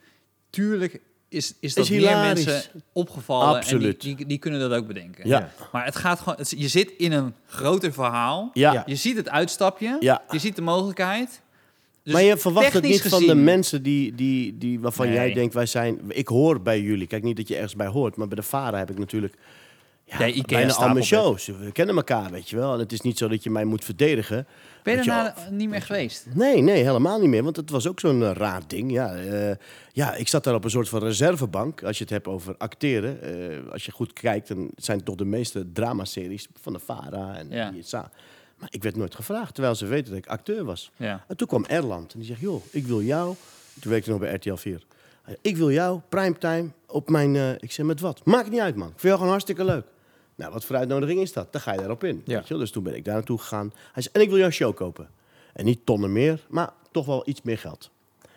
[SPEAKER 2] Tuurlijk is, is dat meer
[SPEAKER 3] hilarisch.
[SPEAKER 2] mensen opgevallen.
[SPEAKER 3] Absoluut.
[SPEAKER 2] En die, die, die kunnen dat ook bedenken.
[SPEAKER 3] Ja.
[SPEAKER 2] Maar het gaat gewoon... het- je zit in een groter verhaal.
[SPEAKER 3] Ja.
[SPEAKER 1] Ja.
[SPEAKER 2] Je ziet het uitstapje.
[SPEAKER 3] Ja.
[SPEAKER 2] Je ziet de mogelijkheid. Dus
[SPEAKER 3] maar je verwacht het niet
[SPEAKER 2] technisch
[SPEAKER 3] van de
[SPEAKER 2] gezien-
[SPEAKER 3] mensen die, die, die, waarvan
[SPEAKER 2] Nee.
[SPEAKER 3] jij denkt, wij zijn... Ik hoor bij jullie. Kijk, niet dat je ergens bij hoort. Maar bij de varen heb ik natuurlijk ja,
[SPEAKER 2] Ja, Ikea
[SPEAKER 3] bijna al
[SPEAKER 2] stapel
[SPEAKER 3] mijn
[SPEAKER 2] met-
[SPEAKER 3] shows. We kennen elkaar, weet je wel. En het is niet zo dat je mij moet verdedigen.
[SPEAKER 2] Ben je
[SPEAKER 3] Weet je
[SPEAKER 2] daarna niet meer geweest?
[SPEAKER 3] Nee, nee, helemaal niet meer. Want het was ook zo'n eh, raar ding. Ja, eh, ja, ik zat daar op een soort van reservebank. Als je het hebt over acteren. Eh, als je goed kijkt, dan zijn het toch de meeste dramaseries van de Vara en
[SPEAKER 2] Ja.
[SPEAKER 3] ISA. Maar ik werd nooit gevraagd, terwijl ze weten dat ik acteur was.
[SPEAKER 2] Ja.
[SPEAKER 3] En toen kwam Erland en die zegt, joh, ik wil jou... Toen werkte ik nog bij RTL 4. Hij zei, Ik wil jou, primetime, op mijn... eh, ik zeg, met wat? Maakt niet uit, man. Ik vind jou gewoon hartstikke leuk. Nou, wat voor uitnodiging is dat? Dan ga je daarop in.
[SPEAKER 1] Ja.
[SPEAKER 3] Weet je? wel. Dus toen ben ik daar naartoe gegaan. Hij zei, en ik wil jouw show kopen. En niet tonnen meer, maar toch wel iets meer geld.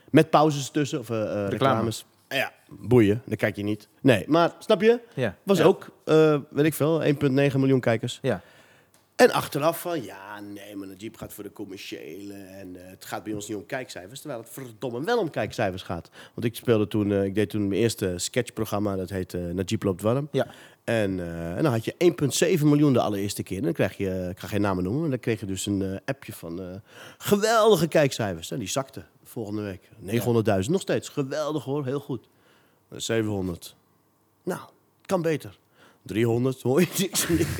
[SPEAKER 3] Met pauzes tussen, of eh, eh, reclames. Ja, boeien, dan kijk je niet. Nee, maar snap je?
[SPEAKER 1] Ja,
[SPEAKER 3] Was
[SPEAKER 2] Ja.
[SPEAKER 3] ook, eh, weet ik veel, 1,9 miljoen kijkers.
[SPEAKER 1] ja.
[SPEAKER 3] En achteraf van, ja, nee, maar Jeep gaat voor de commerciële en eh, het gaat bij ons niet om kijkcijfers. Terwijl het verdomme wel om kijkcijfers gaat. Want ik speelde toen, eh, ik deed toen mijn eerste sketchprogramma, dat heet eh Najib loopt warm.
[SPEAKER 1] Ja.
[SPEAKER 3] En, eh, en dan had je 1,7 miljoen de allereerste keer. En dan krijg je, ik ga geen namen noemen, maar dan kreeg je dus een eh, appje van eh, geweldige kijkcijfers. En die zakte volgende week. 900.000, nog steeds. Geweldig hoor, heel goed. Eh, 700. Nou, kan beter. 300, hoor je niks meer.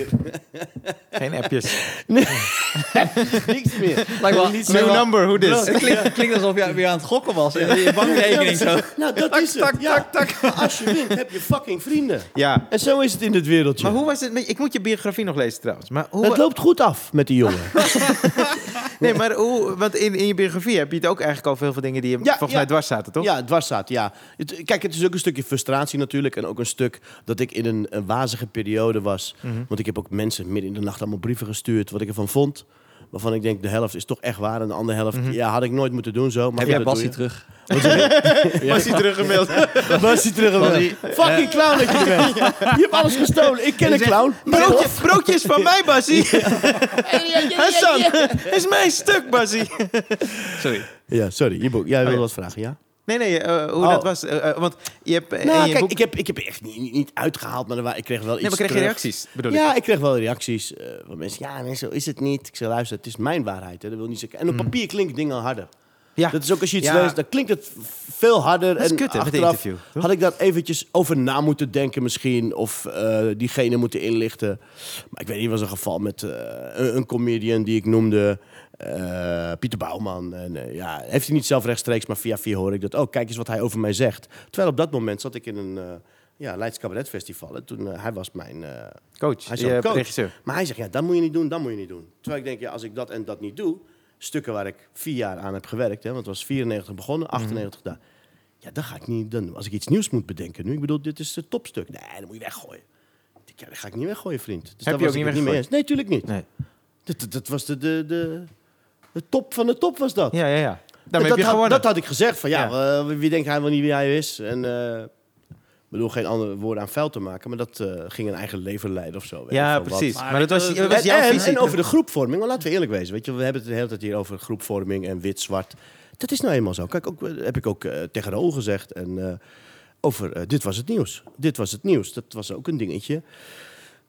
[SPEAKER 1] Geen appjes.
[SPEAKER 3] niks meer.
[SPEAKER 2] Lijkt wel-
[SPEAKER 3] Niet
[SPEAKER 1] New
[SPEAKER 3] zo-
[SPEAKER 1] number, hoe
[SPEAKER 2] Het
[SPEAKER 1] dit?
[SPEAKER 2] klinkt, klinkt alsof jij weer aan het gokken was. En je bankrekening zo.
[SPEAKER 3] Nou, dat is het.
[SPEAKER 1] tak,
[SPEAKER 3] ja. Als je wint, heb je fucking vrienden.
[SPEAKER 1] Ja.
[SPEAKER 3] En zo is het in dit wereldje.
[SPEAKER 1] Maar hoe was het? met- Ik moet je biografie nog lezen trouwens. Maar hoe,
[SPEAKER 3] het loopt goed af met die jongen.
[SPEAKER 1] Nee, maar hoe, want in, in je biografie heb je het ook eigenlijk al veel van dingen die je
[SPEAKER 3] Ja,
[SPEAKER 1] volgens mij
[SPEAKER 3] ja.
[SPEAKER 1] dwars zaten, toch?
[SPEAKER 3] Ja, dwars staat, ja. Het- kijk, het is ook een stukje frustratie natuurlijk. En ook een stuk dat ik in een, een wazige periode was.
[SPEAKER 1] Mhm.
[SPEAKER 3] Want ik heb ook mensen midden in de nacht allemaal brieven gestuurd. Wat ik ervan vond. Waarvan ik denk, de helft is toch echt waar. En de andere helft,
[SPEAKER 1] Mhm.
[SPEAKER 3] ja, had ik nooit moeten doen zo. Maar
[SPEAKER 2] Heb
[SPEAKER 3] goed,
[SPEAKER 2] jij
[SPEAKER 3] dat
[SPEAKER 2] Bassie
[SPEAKER 3] doe
[SPEAKER 2] terug?
[SPEAKER 3] je.
[SPEAKER 1] Was hij teruggemaild?
[SPEAKER 3] Ja, Bassie terug.
[SPEAKER 2] Bassie,
[SPEAKER 1] eh,
[SPEAKER 3] Fucking clown dat je er bent. Je hebt alles gestolen. Ik ken een
[SPEAKER 1] Die
[SPEAKER 3] clown.
[SPEAKER 1] Broodje, broodje is van mij, Bassie. Hassan, is mijn stuk, Bassie.
[SPEAKER 2] Sorry.
[SPEAKER 3] Ja, sorry. Ibo, jij
[SPEAKER 1] Oh,
[SPEAKER 3] wil
[SPEAKER 1] ja.
[SPEAKER 3] wat vragen, ja?
[SPEAKER 1] Nee, nee, eh, hoe
[SPEAKER 3] Oh.
[SPEAKER 1] dat was. eh, eh, want je hebt eh, in
[SPEAKER 3] Nou,
[SPEAKER 1] je
[SPEAKER 3] kijk,
[SPEAKER 1] boek...
[SPEAKER 3] ik heb, ik heb echt niet, niet uitgehaald. Maar er wa- ik kreeg wel iets
[SPEAKER 1] nee, maar kreeg je
[SPEAKER 3] terug.
[SPEAKER 1] reacties, bedoel ik?
[SPEAKER 3] Ja, ik kreeg wel reacties eh, van mensen. Ja, nee, zo is het niet. Ik zei, luister, het is mijn waarheid. Hè. Dat wil niet zeggen.
[SPEAKER 1] Hmm.
[SPEAKER 3] En op papier klinken dingen al harder.
[SPEAKER 1] Ja.
[SPEAKER 3] Dat is ook als je iets
[SPEAKER 1] Ja.
[SPEAKER 3] leest, dan klinkt het v- veel harder.
[SPEAKER 1] Dat is
[SPEAKER 3] en
[SPEAKER 1] kut, hè, met een
[SPEAKER 3] achteraf
[SPEAKER 1] interview, toch?
[SPEAKER 3] Had ik daar eventjes over na moeten denken misschien. Of eh, diegene moeten inlichten. Maar ik weet niet, er was een geval met eh, een, een comedian die ik noemde. eh, Pieter Bouwman. En, eh, ja, heeft hij niet zelf rechtstreeks, maar via via hoor ik dat. Oh, kijk eens wat hij over mij zegt. Terwijl op dat moment zat ik in een... eh ja, Leids Cabaret Festival. En toen, eh, hij was mijn... eh,
[SPEAKER 1] Coach,
[SPEAKER 3] hij is
[SPEAKER 1] je
[SPEAKER 3] ook coach.
[SPEAKER 1] regisseur.
[SPEAKER 3] maar hij zegt, ja, dat moet je niet doen, dat moet je niet doen. Terwijl ik denk, ja, als ik dat en dat niet doe... stukken waar ik vier jaar aan heb gewerkt... Hè, want het was 94 begonnen,
[SPEAKER 1] Mhm.
[SPEAKER 3] 98 daar. Ja, dat ga ik niet doen. Als ik iets nieuws moet bedenken nu... ik bedoel, dit is het topstuk. Nee, dat moet je weggooien. Ik denk, ja, dat ga ik niet weggooien, vriend. Dus daar
[SPEAKER 1] je
[SPEAKER 3] was
[SPEAKER 1] ook
[SPEAKER 3] ik
[SPEAKER 1] niet
[SPEAKER 3] het mee
[SPEAKER 1] weggegooid?
[SPEAKER 3] eens. Nee, tuurlijk niet.
[SPEAKER 1] Nee.
[SPEAKER 3] Dat, dat, dat was de, de, de, de top van de top, was dat.
[SPEAKER 1] Ja, ja, ja.
[SPEAKER 3] En
[SPEAKER 1] Daarmee
[SPEAKER 3] dat,
[SPEAKER 1] heb je
[SPEAKER 3] had,
[SPEAKER 1] gewonnen.
[SPEAKER 3] dat had ik gezegd. Van, ja, eh, wie denkt hij wel niet wie hij is? En, eh, ik bedoel, geen andere woorden aan vuil te maken... maar dat eh, ging een eigen leven leiden of zo. weet ik
[SPEAKER 1] ja,
[SPEAKER 3] veel wat.
[SPEAKER 1] precies.
[SPEAKER 2] Maar
[SPEAKER 1] Maar,
[SPEAKER 2] weet
[SPEAKER 1] dat was,
[SPEAKER 2] je,
[SPEAKER 1] dat was
[SPEAKER 3] En,
[SPEAKER 1] jouw
[SPEAKER 3] en-
[SPEAKER 1] visie.
[SPEAKER 3] en over de groepvorming, want laten we eerlijk wezen. Weet je, we hebben het de hele tijd hier over groepvorming en wit-zwart. Dat is nou eenmaal zo. Kijk, ook, eh, heb ik ook eh, tegen Raoul gezegd. En eh, over eh, dit was het nieuws. Dit was het nieuws. Dat was ook een dingetje.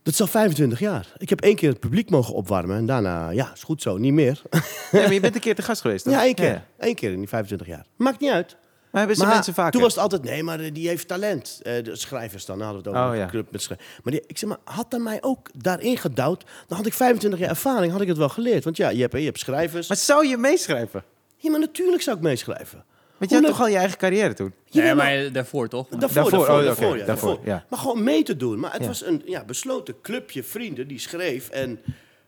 [SPEAKER 3] Dat is al 25 jaar. Ik heb één keer het publiek mogen opwarmen. En daarna, ja, is goed zo, niet meer.
[SPEAKER 1] Ja, maar je bent een keer te gast geweest, toch?
[SPEAKER 3] ja, één keer. Eén keer in die 25 jaar. Maakt niet uit.
[SPEAKER 1] Maar hebben ze
[SPEAKER 3] Maar
[SPEAKER 1] mensen vaker?
[SPEAKER 3] Toen was het altijd, nee, maar eh, die heeft talent. Eh, de schrijvers dan, dan hadden we het over
[SPEAKER 1] Oh,
[SPEAKER 3] een
[SPEAKER 1] ja.
[SPEAKER 3] club met schrijvers. Maar die, ik zeg maar, had hij mij ook daarin gedouwd... dan had ik 25 jaar ervaring, had ik het wel geleerd. Want ja, je hebt, je hebt schrijvers.
[SPEAKER 1] Maar zou je meeschrijven?
[SPEAKER 3] ja, maar natuurlijk zou ik meeschrijven.
[SPEAKER 1] Want je had
[SPEAKER 3] leuk-
[SPEAKER 1] toch al je eigen carrière toen?
[SPEAKER 3] Ja,
[SPEAKER 2] Nee,
[SPEAKER 3] maar-
[SPEAKER 2] maar daarvoor toch?
[SPEAKER 3] Daarvoor,
[SPEAKER 1] Daarvoor,
[SPEAKER 3] daarvoor,
[SPEAKER 1] oh,
[SPEAKER 3] daarvoor,
[SPEAKER 1] oké,
[SPEAKER 3] ja,
[SPEAKER 1] daarvoor,
[SPEAKER 3] daarvoor.
[SPEAKER 1] ja.
[SPEAKER 3] Maar gewoon mee te doen. Maar het
[SPEAKER 1] Ja.
[SPEAKER 3] was een ja, besloten clubje vrienden die schreef. En,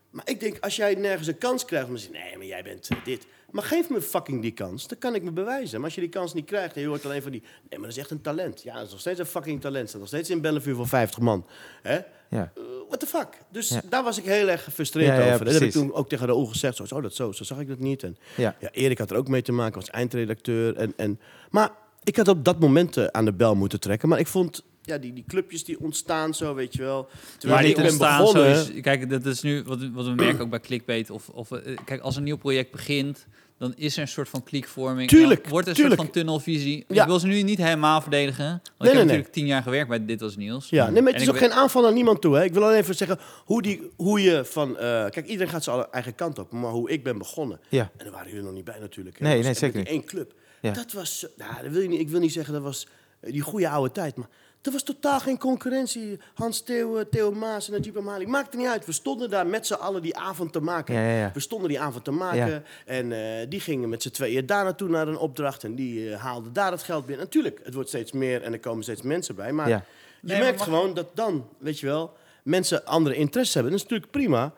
[SPEAKER 3] maar ik denk, als jij nergens een kans krijgt... dan zeg je, nee, maar jij bent eh, dit. Maar geef me fucking die kans, dan kan ik me bewijzen. Maar als je die kans niet krijgt en je hoort alleen van die... Nee, maar dat is echt een talent. Ja, dat is nog steeds een fucking talent. Staat nog steeds in Bellevue voor 50 man. Hè?
[SPEAKER 1] Ja.
[SPEAKER 3] Eh, what the fuck? Dus
[SPEAKER 1] Ja.
[SPEAKER 3] daar was ik heel erg gefrustreerd
[SPEAKER 1] Ja, ja,
[SPEAKER 3] over. dat heb ik
[SPEAKER 1] precies.
[SPEAKER 3] toen ook tegen Raoul gezegd. Zo, zo, dat, zo, zo zag ik dat niet. En
[SPEAKER 1] Ja.
[SPEAKER 3] ja, Erik had er ook mee te maken, was eindredacteur. En, en, maar ik had op dat moment eh, aan de bel moeten trekken. Maar ik vond ja, die, die clubjes die ontstaan zo, weet je wel. Terwijl
[SPEAKER 2] Maar niet
[SPEAKER 3] ik ben
[SPEAKER 2] ontstaan zo
[SPEAKER 3] begonnen...
[SPEAKER 2] is- Kijk, dat is nu wat, wat we merken ook bij clickbait. Of, of, eh, kijk, als een nieuw project begint, dan is er een soort van klikvorming.
[SPEAKER 3] Tuurlijk,
[SPEAKER 2] Dan Wordt er een
[SPEAKER 3] tuurlijk.
[SPEAKER 2] soort van tunnelvisie.
[SPEAKER 3] Ja.
[SPEAKER 2] Ik wil ze nu niet helemaal verdedigen. Want ik
[SPEAKER 3] nee,
[SPEAKER 2] heb
[SPEAKER 3] nee.
[SPEAKER 2] natuurlijk tien jaar gewerkt bij Dit Was Nieuws.
[SPEAKER 3] Ja, nee, maar het
[SPEAKER 2] En
[SPEAKER 3] is
[SPEAKER 2] ik
[SPEAKER 3] ook
[SPEAKER 2] ben-
[SPEAKER 3] geen aanval naar niemand toe. Hè. Ik wil alleen even zeggen hoe, die, hoe je van... eh, kijk, iedereen gaat zijn eigen kant op. Maar hoe ik ben begonnen.
[SPEAKER 1] Ja.
[SPEAKER 3] En daar waren jullie nog niet bij natuurlijk. hè.
[SPEAKER 1] Nee,
[SPEAKER 3] Dat was
[SPEAKER 1] nee,
[SPEAKER 3] echt
[SPEAKER 1] zeker
[SPEAKER 3] met die één club.
[SPEAKER 1] Ja.
[SPEAKER 3] Dat was... zo- Nou, dat wil je niet, ik wil niet zeggen dat was eh, die goede oude tijd. Maar er was totaal geen concurrentie. Hans Theo, eh, Theo Maas en Najib Amali. Maakt niet uit. We stonden daar met z'n allen die avond te maken.
[SPEAKER 1] Ja, ja, ja.
[SPEAKER 3] We stonden die avond te maken.
[SPEAKER 1] Ja.
[SPEAKER 3] En eh, die gingen met z'n tweeën daar naartoe naar een opdracht. En die eh, haalden daar het geld binnen. Natuurlijk, het wordt steeds meer en er komen steeds mensen bij. Maar
[SPEAKER 1] Ja.
[SPEAKER 3] je
[SPEAKER 2] Nee, maar
[SPEAKER 3] merkt
[SPEAKER 2] mag-
[SPEAKER 3] gewoon dat dan, weet je wel, mensen andere interesses hebben. Dat is natuurlijk prima.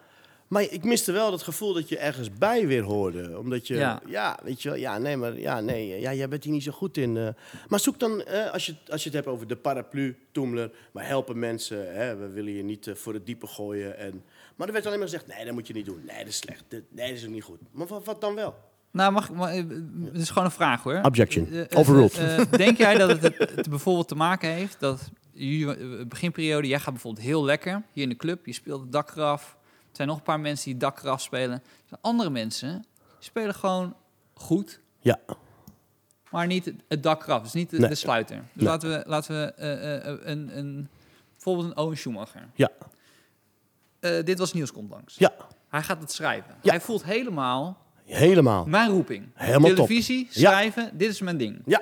[SPEAKER 3] Maar ik miste wel dat gevoel dat je ergens bij weer hoorde. Omdat je, ja,
[SPEAKER 2] Ja.
[SPEAKER 3] weet je wel, ja, nee, maar ja, nee, ja, jij bent hier niet zo goed in. eh. Maar zoek dan, eh, als, je, als je het hebt over de paraplu, Toemler, maar helpen mensen, hè, we willen je niet eh, voor het diepe gooien. En, maar er werd alleen maar gezegd, nee, dat moet je niet doen. Nee, dat is slecht. Dit- nee, dat is ook niet goed. Maar wat, wat dan wel?
[SPEAKER 2] Nou, mag ik... maar, eh, Het is gewoon een vraag, hoor.
[SPEAKER 3] Objection.
[SPEAKER 2] Eh, eh,
[SPEAKER 3] Overruled.
[SPEAKER 2] eh, eh, denk jij dat het, het bijvoorbeeld te maken heeft dat jullie, eh, beginperiode, jij gaat bijvoorbeeld heel lekker hier in de club, je speelt het dak eraf. Er zijn nog een paar mensen die het dak eraf spelen. Er zijn andere mensen die spelen gewoon goed,
[SPEAKER 3] Ja,
[SPEAKER 2] maar niet het- het dak eraf. Dus niet de,
[SPEAKER 3] Nee.
[SPEAKER 2] de sluiter. Dus
[SPEAKER 3] Nee.
[SPEAKER 2] laten we, laten we eh, eh, eh, een, een, bijvoorbeeld een Owen Schumacher.
[SPEAKER 3] Ja.
[SPEAKER 2] Eh, dit was nieuws komt langs.
[SPEAKER 3] ja,
[SPEAKER 2] Hij gaat het schrijven.
[SPEAKER 3] Ja.
[SPEAKER 2] Hij voelt helemaal
[SPEAKER 3] helemaal.
[SPEAKER 2] mijn roeping.
[SPEAKER 3] Helemaal top.
[SPEAKER 2] Televisie,
[SPEAKER 3] Ja.
[SPEAKER 2] schrijven, dit is mijn ding.
[SPEAKER 3] Ja,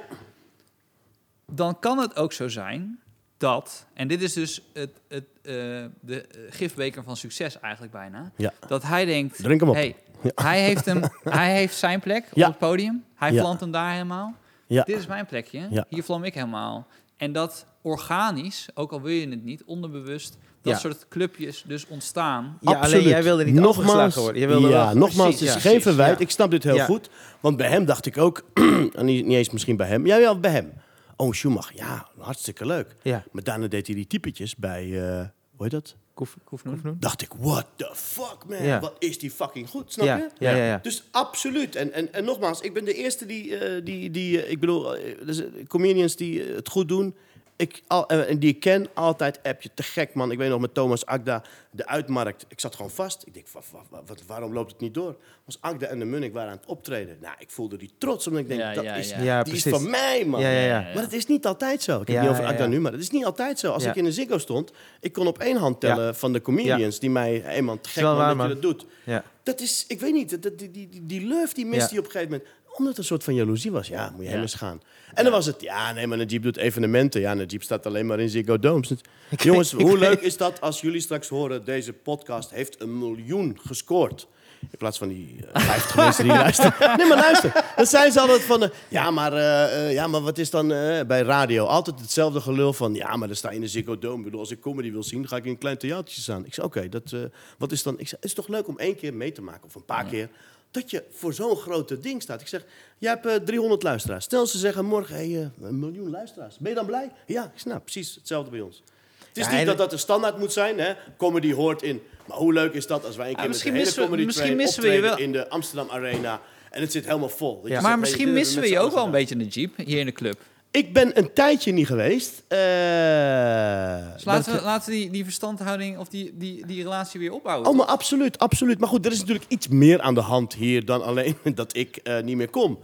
[SPEAKER 2] Dan kan het ook zo zijn dat, en dit is dus het, het, eh, de eh, gifbeker van succes eigenlijk bijna,
[SPEAKER 3] Ja.
[SPEAKER 2] dat hij denkt,
[SPEAKER 3] drink hem op.
[SPEAKER 2] hey, hij, heeft hem, hij heeft zijn plek
[SPEAKER 3] Ja.
[SPEAKER 2] op het podium, hij
[SPEAKER 3] Ja.
[SPEAKER 2] plant hem daar helemaal,
[SPEAKER 3] ja.
[SPEAKER 2] dit is mijn plekje,
[SPEAKER 3] Ja.
[SPEAKER 2] hier vlam ik helemaal. En dat organisch, ook al wil je het niet, onderbewust, dat
[SPEAKER 1] Ja.
[SPEAKER 2] soort clubjes dus ontstaan.
[SPEAKER 1] Ja, alleen
[SPEAKER 3] Absoluut.
[SPEAKER 1] jij wilde niet afgeslagen worden. Jij wilde
[SPEAKER 3] ja,
[SPEAKER 1] wel-
[SPEAKER 3] nogmaals,
[SPEAKER 1] Precies,
[SPEAKER 3] het is
[SPEAKER 1] ja.
[SPEAKER 3] geen verwijt.
[SPEAKER 1] Ja.
[SPEAKER 3] Ik snap dit heel
[SPEAKER 1] Ja.
[SPEAKER 3] goed. Want bij hem dacht ik ook, en niet, niet eens misschien bij hem. Ja, wel bij hem. Oh, Schumacher, ja, hartstikke leuk.
[SPEAKER 1] Ja.
[SPEAKER 3] Maar daarna deed hij die typetjes bij, eh, hoe heet dat?
[SPEAKER 1] Koef, koef, koef noemen.
[SPEAKER 3] Dacht ik, what the fuck, man.
[SPEAKER 1] Ja.
[SPEAKER 3] Wat is die fucking goed, snap
[SPEAKER 1] Ja,
[SPEAKER 3] je?
[SPEAKER 1] ja, ja, ja.
[SPEAKER 3] Dus absoluut. En, en, en nogmaals, ik ben de eerste die, eh, die, die eh, ik bedoel, eh, dus, eh, comedians die eh, het goed doen. Ik, al, eh, en die ik ken, altijd app je te gek, man. Ik weet nog met Thomas Agda, de uitmarkt. Ik zat gewoon vast. Ik denk, wa- wa- wa- wat, waarom loopt het niet door? Was Agda en de Munnik waren aan het optreden. Nou, ik voelde die trots, omdat ik denk,
[SPEAKER 2] Ja,
[SPEAKER 3] dat
[SPEAKER 2] ja,
[SPEAKER 3] is,
[SPEAKER 2] ja.
[SPEAKER 1] Ja,
[SPEAKER 3] die is
[SPEAKER 1] precies.
[SPEAKER 3] van mij, man.
[SPEAKER 1] Ja, ja, ja.
[SPEAKER 3] Maar dat is niet altijd zo. Ik heb
[SPEAKER 1] Ja,
[SPEAKER 3] het niet over
[SPEAKER 1] ja,
[SPEAKER 3] Agda
[SPEAKER 1] ja.
[SPEAKER 3] nu, maar dat is niet altijd zo. Als
[SPEAKER 1] Ja.
[SPEAKER 3] ik in een Ziggo stond, ik kon op één hand tellen van de comedians die mij helemaal te gek
[SPEAKER 1] wel
[SPEAKER 3] man,
[SPEAKER 1] waar,
[SPEAKER 3] dat
[SPEAKER 1] man.
[SPEAKER 3] je dat doet.
[SPEAKER 1] Ja.
[SPEAKER 3] Dat is, ik weet niet, dat, dat- die, die, die, die love die mist
[SPEAKER 1] Ja.
[SPEAKER 3] die op een gegeven moment. Omdat er een soort van jaloezie was. Ja, moet je
[SPEAKER 2] Ja.
[SPEAKER 3] hem eens gaan. En dan was het, ja, nee, maar Najib doet evenementen. Ja, Najib staat alleen maar in Ziggo Domes. Jongens, hoe leuk is dat als jullie straks horen... deze podcast heeft een miljoen gescoord. In plaats van die eh, 50 mensen die luisteren. Nee, maar luister. Dan zijn ze altijd van... eh, ja, maar, eh, eh, ja, maar wat is dan eh, bij radio? Altijd hetzelfde gelul van... Ja, maar dan sta je in de Ziggo Dome. Ik bedoel, als ik comedy wil zien, ga ik in een klein theatertje staan. Ik zei, oké, dat... eh, wat is dan... Ik zei, het is toch leuk om één keer mee te maken of een paar keer... Dat je voor zo'n grote ding staat. Ik zeg, jij hebt eh, 300 luisteraars. Stel ze zeggen morgen, hey, eh, een miljoen luisteraars. Ben je dan blij? Ja, ik snap. Precies hetzelfde bij ons. Het is
[SPEAKER 1] Ja, en-
[SPEAKER 3] niet dat dat de standaard moet zijn. Hè? Comedy hoort in. Maar hoe leuk is dat als wij een keer
[SPEAKER 2] misschien
[SPEAKER 3] met de
[SPEAKER 2] missen we-
[SPEAKER 3] hele comedy
[SPEAKER 2] misschien
[SPEAKER 3] train
[SPEAKER 2] missen we je
[SPEAKER 3] optreden
[SPEAKER 2] wel.
[SPEAKER 3] in de Amsterdam Arena. En het zit helemaal vol. Dat je zegt,
[SPEAKER 2] Maar
[SPEAKER 3] hey,
[SPEAKER 2] misschien
[SPEAKER 3] dit
[SPEAKER 2] missen we
[SPEAKER 3] hebben
[SPEAKER 2] je
[SPEAKER 3] met
[SPEAKER 2] ook
[SPEAKER 3] z'n
[SPEAKER 2] wel een
[SPEAKER 3] allen
[SPEAKER 2] beetje in de jeep, hier in de club.
[SPEAKER 3] gedaan. Ik ben een tijdje niet geweest. Eh,
[SPEAKER 2] Dus
[SPEAKER 3] dat-
[SPEAKER 2] laten we, laten we die, die verstandhouding of die, die, die relatie weer opbouwen.
[SPEAKER 3] Oh, maar absoluut, absoluut. Maar goed, er is natuurlijk iets meer aan de hand hier dan alleen dat ik eh, niet meer kom.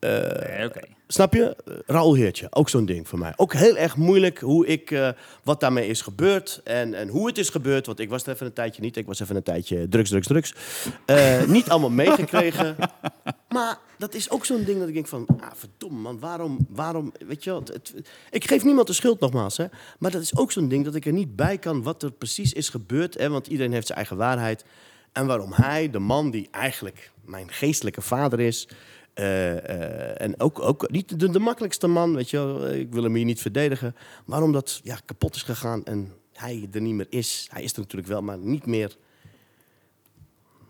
[SPEAKER 2] Nee, oké.
[SPEAKER 3] Snap je? Eh, Raoul Heertje, ook zo'n ding voor mij. Ook heel erg moeilijk hoe ik, eh, wat daarmee is gebeurd en, en hoe het is gebeurd. Want ik was er even een tijdje niet. Ik was even een tijdje drugs, drugs, drugs. Eh, niet allemaal meegekregen. Maar dat is ook zo'n ding dat ik denk van, ah verdomme man, waarom, waarom, weet je wel. het- het- ik geef niemand de schuld nogmaals, hè. Maar dat is ook zo'n ding dat ik er niet bij kan wat er precies is gebeurd. Hè, want iedereen heeft zijn eigen waarheid. En waarom hij, de man die eigenlijk mijn geestelijke vader is... eh, eh, en ook, ook niet de, de makkelijkste man, weet je wel. Ik wil hem hier niet verdedigen. Waarom dat ja, kapot is gegaan en hij er niet meer is. Hij is er natuurlijk wel, maar niet meer.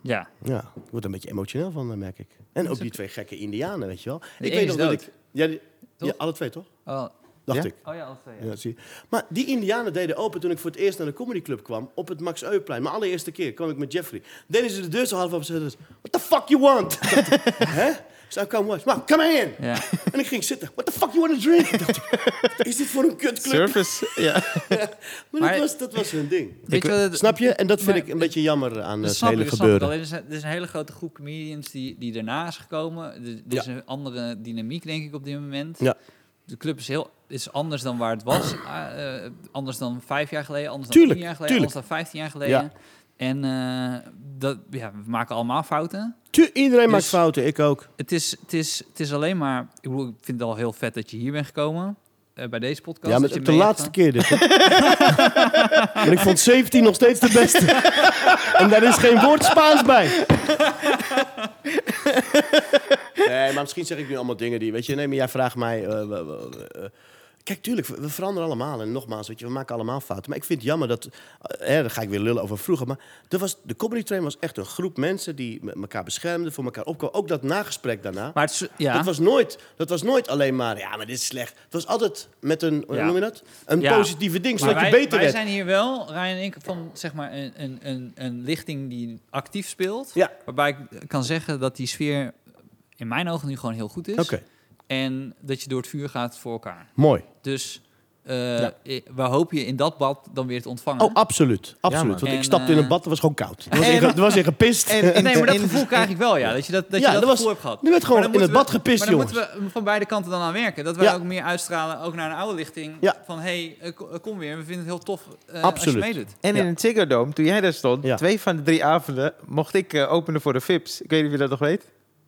[SPEAKER 2] Ja.
[SPEAKER 3] Ja, ik word er een beetje emotioneel van, eh, merk ik. En ook die twee gekke indianen, weet je wel.
[SPEAKER 2] De
[SPEAKER 3] ik
[SPEAKER 2] een
[SPEAKER 3] weet
[SPEAKER 2] is
[SPEAKER 3] nog dat
[SPEAKER 2] dood.
[SPEAKER 3] ik... Ja, die-
[SPEAKER 2] Toch?
[SPEAKER 3] ja, alle twee, toch?
[SPEAKER 2] Oh,
[SPEAKER 3] Dacht
[SPEAKER 1] Ja?
[SPEAKER 3] ik.
[SPEAKER 2] oh ja, alle twee. Ja.
[SPEAKER 3] Ja, zie je. Maar die indianen deden open toen ik voor het eerst naar de comedyclub kwam. Op het Max Euwplein. Mijn allereerste keer kwam ik met Jeffrey. Deden ze de deur zo half op en zeiden ze... What the fuck you want? Ik dacht, Hè? So I come watch. Maar, come in.
[SPEAKER 2] Ja.
[SPEAKER 3] En ik ging zitten. What the fuck you want to drink? Ik dacht, Is dit voor een kutclub?
[SPEAKER 1] Service. Ja.
[SPEAKER 3] Maar,
[SPEAKER 2] Maar-
[SPEAKER 3] dat, was, dat was hun ding.
[SPEAKER 2] Weet je wat het-
[SPEAKER 3] Snap je? En dat vind
[SPEAKER 2] maar-
[SPEAKER 3] ik een beetje jammer aan
[SPEAKER 2] Dat
[SPEAKER 3] het
[SPEAKER 2] snap
[SPEAKER 3] hele
[SPEAKER 2] ik, dat snap ik
[SPEAKER 3] gebeuren.
[SPEAKER 2] wel. Er is, een, er is een hele grote groep comedians die, die daarna is gekomen. Er, er is een andere dynamiek, denk ik, op dit moment.
[SPEAKER 3] Ja.
[SPEAKER 2] De club is, heel, is anders dan waar het was. Ah, eh, anders dan vijf jaar geleden, anders dan
[SPEAKER 3] Tuurlijk,
[SPEAKER 2] tien jaar geleden,
[SPEAKER 3] tuurlijk.
[SPEAKER 2] anders dan vijftien jaar geleden. En eh, dat, ja, we maken allemaal fouten.
[SPEAKER 3] Tu- Iedereen maakt
[SPEAKER 2] Dus-
[SPEAKER 3] fouten, ik ook.
[SPEAKER 2] Het is, het is, het is alleen maar... Ik, bedoel, ik vind het al heel vet dat je hier bent gekomen. eh, bij deze podcast.
[SPEAKER 3] Ja,
[SPEAKER 2] dat
[SPEAKER 3] maar
[SPEAKER 2] je
[SPEAKER 3] de
[SPEAKER 2] mee hebt
[SPEAKER 3] laatste keer dit. hè? en ik vond 17 nog steeds de beste. en daar is geen woord Spaans bij. nee, maar misschien zeg ik nu allemaal dingen die... Weet je, nee, maar jij vraagt mij... eh, w- w- eh, Kijk, tuurlijk, we we veranderen allemaal. En nogmaals, weet je, we maken allemaal fouten. Maar ik vind het jammer dat... eh, hè, dan ga ik weer lullen over vroeger. Maar er was, de comedy train was echt een groep mensen... die me- elkaar beschermden, voor elkaar opkwamen. Ook dat nagesprek daarna.
[SPEAKER 2] Maar het is, ja.
[SPEAKER 3] Dat, was nooit, dat was nooit alleen maar, ja, maar dit is slecht. Het was altijd met een, hoe
[SPEAKER 2] Ja.
[SPEAKER 3] noem je dat? Een
[SPEAKER 2] Ja.
[SPEAKER 3] positieve ding, zodat
[SPEAKER 2] Maar
[SPEAKER 3] je
[SPEAKER 2] wij,
[SPEAKER 3] beter
[SPEAKER 2] wij
[SPEAKER 3] werd.
[SPEAKER 2] zijn hier wel, Ryan en ik, van zeg maar een, een, een, een lichting die actief speelt.
[SPEAKER 3] Ja.
[SPEAKER 2] Waarbij ik kan zeggen dat die sfeer in mijn ogen nu gewoon heel goed is.
[SPEAKER 3] Oké,
[SPEAKER 2] En dat je door het vuur gaat voor elkaar.
[SPEAKER 3] mooi.
[SPEAKER 2] Dus eh,
[SPEAKER 3] Ja.
[SPEAKER 2] eh, we hopen je in dat bad dan weer te ontvangen.
[SPEAKER 3] Oh, absoluut.
[SPEAKER 1] man.
[SPEAKER 3] absoluut. Want
[SPEAKER 2] En,
[SPEAKER 3] ik stapte in
[SPEAKER 2] eh,
[SPEAKER 3] het bad, dat was gewoon koud. Er was,
[SPEAKER 2] En-
[SPEAKER 3] in, ge- er was in gepist.
[SPEAKER 1] En-
[SPEAKER 2] nee, maar dat
[SPEAKER 1] in-
[SPEAKER 2] gevoel krijg ik wel, ja. Dat je dat, dat,
[SPEAKER 3] Ja,
[SPEAKER 2] je dat,
[SPEAKER 3] dat was-
[SPEAKER 2] gevoel hebt gehad.
[SPEAKER 3] nu werd gewoon
[SPEAKER 2] Maar
[SPEAKER 3] in
[SPEAKER 2] dan
[SPEAKER 3] het bad
[SPEAKER 2] moeten we-
[SPEAKER 3] gepist,
[SPEAKER 2] Maar dan
[SPEAKER 3] jongens.
[SPEAKER 2] moeten we van beide kanten dan aan werken. Dat wij
[SPEAKER 3] Ja.
[SPEAKER 2] ook meer uitstralen, ook naar een oude lichting.
[SPEAKER 3] Ja.
[SPEAKER 2] Van, hé, hey, eh, kom weer. We vinden het heel tof eh, als je
[SPEAKER 3] Absoluut.
[SPEAKER 2] meedoet.
[SPEAKER 1] En in
[SPEAKER 3] Ja.
[SPEAKER 1] het Ziggo Dome, toen jij daar stond,
[SPEAKER 3] Ja.
[SPEAKER 1] twee van de drie avonden mocht ik eh, openen voor de VIPs. Ik weet niet of je dat nog weet.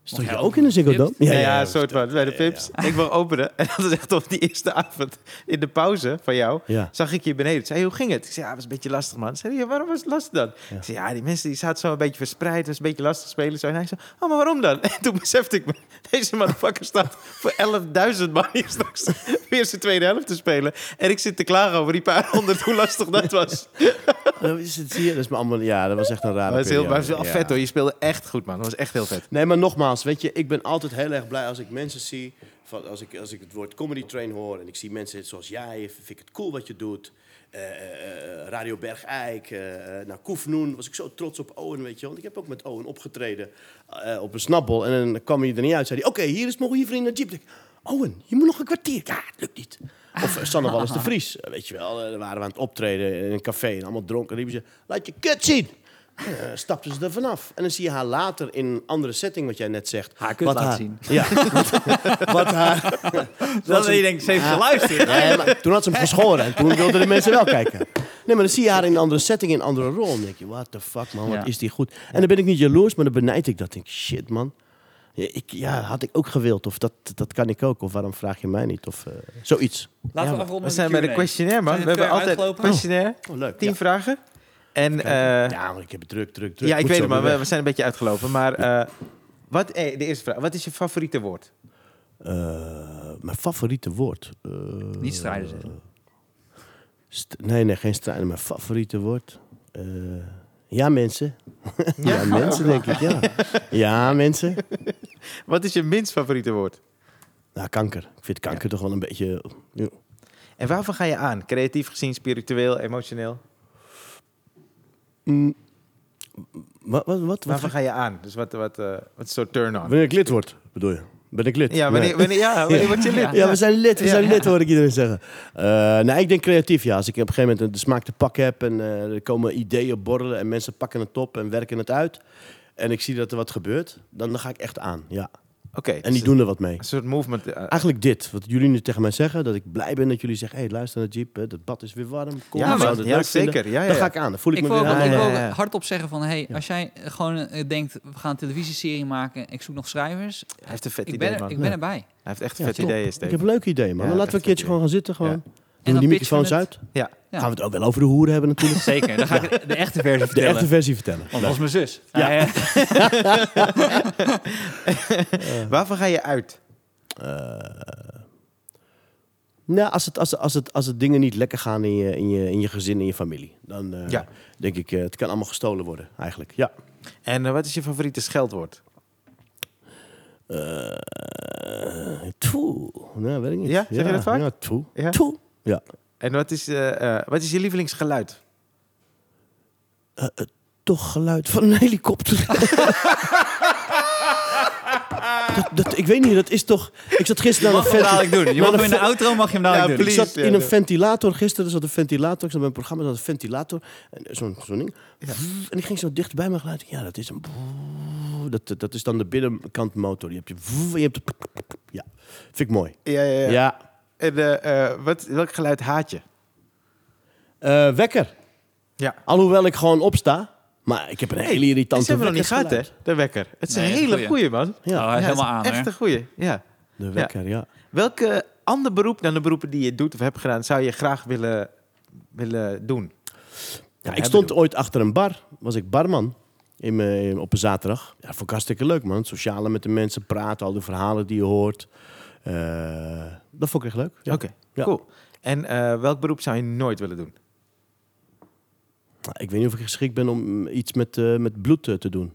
[SPEAKER 3] Stond je
[SPEAKER 2] jij
[SPEAKER 3] ook in een Ziggo
[SPEAKER 2] Pips?
[SPEAKER 3] Dome?
[SPEAKER 1] Ja, ja, een soort van. Bij de
[SPEAKER 3] ja,
[SPEAKER 1] pips. Ik wil openen. En dat is echt op die eerste avond in de pauze van jou.
[SPEAKER 3] Ja.
[SPEAKER 1] Zag ik je beneden. Ik zei, hoe ging het? Ik zei, ja, het was een beetje lastig, man. Ik zei, ja, waarom was het lastig dan?
[SPEAKER 3] Ja.
[SPEAKER 1] Ik zei, ja, die mensen die zaten zo een beetje verspreid. Het was een beetje lastig spelen. Zo. En hij zei, oh, maar waarom dan? En toen besefte ik me, deze motherfucker staat voor 11.000 man hier straks weer zijn tweede helft te spelen. En ik zit te klagen over die paar honderd, hoe lastig dat was.
[SPEAKER 3] Dat Nou, is het hier. Dat is me allemaal, ja, dat was echt een rare
[SPEAKER 1] Maar het is heel, maar het
[SPEAKER 3] periode.
[SPEAKER 1] is wel
[SPEAKER 3] Ja.
[SPEAKER 1] vet, hoor. Je speelde echt goed, man. Dat was echt heel vet.
[SPEAKER 3] Nee, maar nogmaals, weet je, ik ben altijd heel erg blij als ik mensen zie. Van, als, ik, als ik het woord comedy train hoor en ik zie mensen zoals jij, vind ik het cool wat je doet. Eh, eh, eh, Radio Bergijk, eh eh, nou Koefnoen, was ik zo trots op Owen, weet je. Want ik heb ook met Owen opgetreden eh, op een snabbel. En dan kwam hij er niet uit, zei hij, oké, hier is mogen hier vrienden naar Jeep. Ik denk, Owen, je moet nog een kwartier. Ja, het lukt niet. Of eh, Sanne Wallis de Vries, eh, weet je wel. eh, Daar waren we aan het optreden in een café en allemaal dronken. En riepen ze, laat je kut zien. Eh, stapten ze er vanaf. En dan zie je haar later in een andere setting, wat jij net zegt.
[SPEAKER 2] Haar kut
[SPEAKER 3] wat
[SPEAKER 2] laten zien.
[SPEAKER 3] Ja. wat, wat haar...
[SPEAKER 2] Dan denk je, denkt, ze heeft geluisterd.
[SPEAKER 3] Nee, maar toen had ze hem geschoren en toen wilden de mensen wel kijken. Nee, maar dan zie je haar in een andere setting, in een andere rol. Dan denk je, what the fuck man, wat
[SPEAKER 2] Ja.
[SPEAKER 3] is die goed. En dan ben ik niet jaloers, maar dan benijd ik dat. denk ik, shit man. Ja, ik, ja, had ik ook gewild. Of dat, dat kan ik ook. Of waarom vraag je mij niet? Of eh, zoiets.
[SPEAKER 2] Laten we
[SPEAKER 3] Ja,
[SPEAKER 2] afronden
[SPEAKER 1] We
[SPEAKER 2] met
[SPEAKER 1] zijn bij de
[SPEAKER 2] Q&A.
[SPEAKER 1] questionnaire, man.
[SPEAKER 2] Zijn
[SPEAKER 1] We
[SPEAKER 2] de
[SPEAKER 1] hebben
[SPEAKER 2] Q&A
[SPEAKER 1] altijd
[SPEAKER 2] uitgelopen?
[SPEAKER 1] questionnaire.
[SPEAKER 3] Oh, leuk.
[SPEAKER 1] Tien
[SPEAKER 3] ja.
[SPEAKER 1] vragen. En eh,
[SPEAKER 3] ja, maar ik heb het druk, druk, druk.
[SPEAKER 1] ja, ik
[SPEAKER 3] Moet
[SPEAKER 1] weet
[SPEAKER 3] zo
[SPEAKER 1] het, maar
[SPEAKER 3] weer
[SPEAKER 1] we,
[SPEAKER 3] weg.
[SPEAKER 1] we zijn een beetje uitgelopen. Maar eh, wat, eh, de eerste vraag. Wat is je favoriete woord?
[SPEAKER 3] Eh, mijn favoriete woord. eh,
[SPEAKER 2] Niet strijden zeggen.
[SPEAKER 3] St- nee, nee, geen strijden. Mijn favoriete woord. Eh, ja, mensen. Ja, mensen, denk ik, ja. Ja, mensen.
[SPEAKER 1] Wat is je minst favoriete woord?
[SPEAKER 3] Nou, kanker. Ik vind kanker toch wel een beetje... ja.
[SPEAKER 1] En waarvan ga je aan? Creatief gezien, spiritueel, emotioneel?
[SPEAKER 3] Mm. Wat, wat, wat? wat
[SPEAKER 1] Waarvan ga je aan? Dus wat, wat, eh, wat soort turn-on?
[SPEAKER 3] Wanneer ik lid word, bedoel je? Ben ik lid?
[SPEAKER 1] Ja, wanneer,
[SPEAKER 3] Nee.
[SPEAKER 1] wanneer, ja, wanneer word je lid?
[SPEAKER 3] Ja, we zijn lid, we
[SPEAKER 1] Ja.
[SPEAKER 3] zijn lid, hoor ik iedereen zeggen. Eh, nee, ik denk creatief, ja. Als ik op een gegeven moment de smaak te pakken heb en eh, er komen ideeën borrelen en mensen pakken het op en werken het uit. En ik zie dat er wat gebeurt, dan, dan ga ik echt aan, ja.
[SPEAKER 1] Oké,
[SPEAKER 3] En
[SPEAKER 1] dus
[SPEAKER 3] die doen er wat mee.
[SPEAKER 1] Een soort movement. eh,
[SPEAKER 3] Eigenlijk dit, wat jullie nu tegen mij zeggen, dat ik blij ben dat jullie zeggen, hé, hey, luister naar Jeep, hè, dat bad is weer warm, kom,
[SPEAKER 1] ja,
[SPEAKER 3] we
[SPEAKER 1] man,
[SPEAKER 3] zouden het
[SPEAKER 1] ja,
[SPEAKER 3] leuk vinden.
[SPEAKER 1] zeker. Ja, ja,
[SPEAKER 3] Dan
[SPEAKER 1] ja.
[SPEAKER 3] ga ik aan, dan voel ik,
[SPEAKER 2] Ik
[SPEAKER 3] me
[SPEAKER 2] wil ook,
[SPEAKER 3] weer aan.
[SPEAKER 2] ik wil ook
[SPEAKER 1] ja, ja.
[SPEAKER 2] hardop zeggen van... Hey, als jij eh, gewoon eh, denkt, we gaan een televisieserie maken... ik zoek nog schrijvers,
[SPEAKER 1] Hij heeft een vet
[SPEAKER 2] ik
[SPEAKER 1] idee,
[SPEAKER 2] ben, er,
[SPEAKER 1] man.
[SPEAKER 2] ik ben erbij.
[SPEAKER 1] Hij heeft echt een
[SPEAKER 3] Ja,
[SPEAKER 1] vet
[SPEAKER 3] top.
[SPEAKER 1] idee,
[SPEAKER 3] Ik
[SPEAKER 1] Steve.
[SPEAKER 3] heb een leuk idee, man.
[SPEAKER 1] Ja,
[SPEAKER 3] dan laten
[SPEAKER 1] echt
[SPEAKER 3] we een keertje
[SPEAKER 1] een
[SPEAKER 3] gewoon gaan zitten, gewoon. Doen we
[SPEAKER 2] dan
[SPEAKER 3] die
[SPEAKER 2] pitchen we
[SPEAKER 3] microfoons
[SPEAKER 2] het.
[SPEAKER 3] uit.
[SPEAKER 1] Ja.
[SPEAKER 2] Ja.
[SPEAKER 3] Gaan we het ook wel over de hoeren hebben natuurlijk.
[SPEAKER 2] Zeker, dan ga ik de, de echte versie
[SPEAKER 3] De
[SPEAKER 2] vertellen.
[SPEAKER 3] echte versie vertellen.
[SPEAKER 2] Want dat was mijn zus.
[SPEAKER 3] Ja.
[SPEAKER 2] Eh,
[SPEAKER 1] Waarvan ga je uit?
[SPEAKER 3] Eh, nou, als het, als, het- als, het, als het dingen niet lekker gaan in je, in je, in je gezin, in je familie, dan eh,
[SPEAKER 1] Ja.
[SPEAKER 3] denk ik, eh, het kan allemaal gestolen worden eigenlijk. Ja.
[SPEAKER 1] En eh, wat is je favoriete scheldwoord?
[SPEAKER 3] Eh toe. Nou, weet ik niet.
[SPEAKER 1] Ja? Zeg je dat vaak?
[SPEAKER 3] Ja, toe.
[SPEAKER 1] Ja?
[SPEAKER 3] Toe. Ja.
[SPEAKER 1] En wat is, eh, eh, wat is je lievelingsgeluid?
[SPEAKER 3] Eh, eh, toch geluid van een helikopter. dat, dat, ik weet niet, dat is toch... Ik zat
[SPEAKER 2] Je
[SPEAKER 3] gisteren naar
[SPEAKER 2] mag
[SPEAKER 3] een
[SPEAKER 2] hem
[SPEAKER 3] vent...
[SPEAKER 2] dadelijk doen. Je mag hem in de outro mag je hem dadelijk
[SPEAKER 1] Ja,
[SPEAKER 2] doen.
[SPEAKER 1] please.
[SPEAKER 3] Ik zat
[SPEAKER 1] ja,
[SPEAKER 3] in een
[SPEAKER 1] ja.
[SPEAKER 3] ventilator gisteren, er zat een ventilator. Ik zat bij een programma, er zat een ventilator. En eh, Zo'n zo'n ding. En ik ging zo dicht bij mijn geluid. Ja, dat is een... Dat, dat- dat is dan de binnenkant motor. Je hebt je... en je hebt de- Ja, vind ik mooi.
[SPEAKER 1] Ja, ja,
[SPEAKER 3] Ja.
[SPEAKER 1] ja. En eh, eh, wat, welk geluid haat je?
[SPEAKER 3] Eh, wekker.
[SPEAKER 1] Ja.
[SPEAKER 3] Alhoewel ik gewoon opsta. Maar ik heb een hele
[SPEAKER 1] Dat
[SPEAKER 3] irritante
[SPEAKER 1] hebben we nog niet gehad, hè?
[SPEAKER 3] wekkersgeluid.
[SPEAKER 1] De wekker. Het is
[SPEAKER 2] Nee,
[SPEAKER 1] een
[SPEAKER 2] dat is een
[SPEAKER 1] hele goeie, man.
[SPEAKER 3] Ja.
[SPEAKER 2] Oh, hij is
[SPEAKER 1] het is
[SPEAKER 2] helemaal aan, hè?
[SPEAKER 1] Echt een goeie, ja.
[SPEAKER 3] De wekker, ja.
[SPEAKER 1] Welk eh, ander beroep dan de beroepen die je doet of hebt gedaan... zou je graag willen, willen doen?
[SPEAKER 3] Ja, ik
[SPEAKER 1] hebben
[SPEAKER 3] stond
[SPEAKER 1] doen.
[SPEAKER 3] ooit achter een bar. Was ik barman in mijn- in- op een zaterdag. Ja, vond ik hartstikke leuk, man. Het sociale met de mensen praten, al die verhalen die je hoort. Eh, dat vond ik echt leuk. Ja.
[SPEAKER 1] Oké,
[SPEAKER 3] Ja.
[SPEAKER 1] cool. En eh, welk beroep zou je nooit willen doen?
[SPEAKER 3] Nou, Ik weet niet of ik geschikt ben om mm, iets met, eh, met bloed eh, te doen.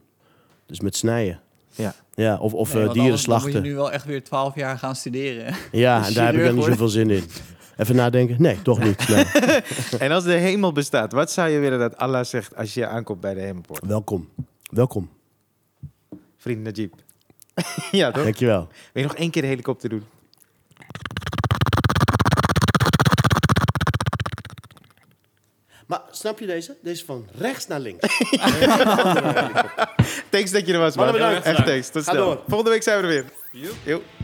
[SPEAKER 3] Dus met snijden.
[SPEAKER 1] Ja.
[SPEAKER 3] Ja, of, of
[SPEAKER 2] Nee,
[SPEAKER 3] eh,
[SPEAKER 2] want
[SPEAKER 3] dieren
[SPEAKER 2] anders dan
[SPEAKER 3] slachten.
[SPEAKER 2] moet je dus nu wel echt weer 12 jaar gaan studeren.
[SPEAKER 3] Ja, en daar heb ik
[SPEAKER 2] chirurg
[SPEAKER 3] dan niet zoveel zin in. Even nadenken. Nee, toch niet. Nee.
[SPEAKER 1] en als de hemel bestaat, wat zou je willen dat Allah zegt... als je aankomt bij de hemelpoort?
[SPEAKER 3] Welkom. Welkom.
[SPEAKER 1] Vriend Najib. ja, toch? Wil
[SPEAKER 3] Dankjewel.
[SPEAKER 1] je nog één keer de helikopter doen?
[SPEAKER 3] Maar snap je deze? Deze van rechts naar links.
[SPEAKER 1] Thanks dat je er was, man.
[SPEAKER 3] Mannen, bedankt.
[SPEAKER 1] Echt thanks. Tot
[SPEAKER 3] Ga
[SPEAKER 1] snel.
[SPEAKER 3] door.
[SPEAKER 1] Volgende week zijn we er weer. Joep.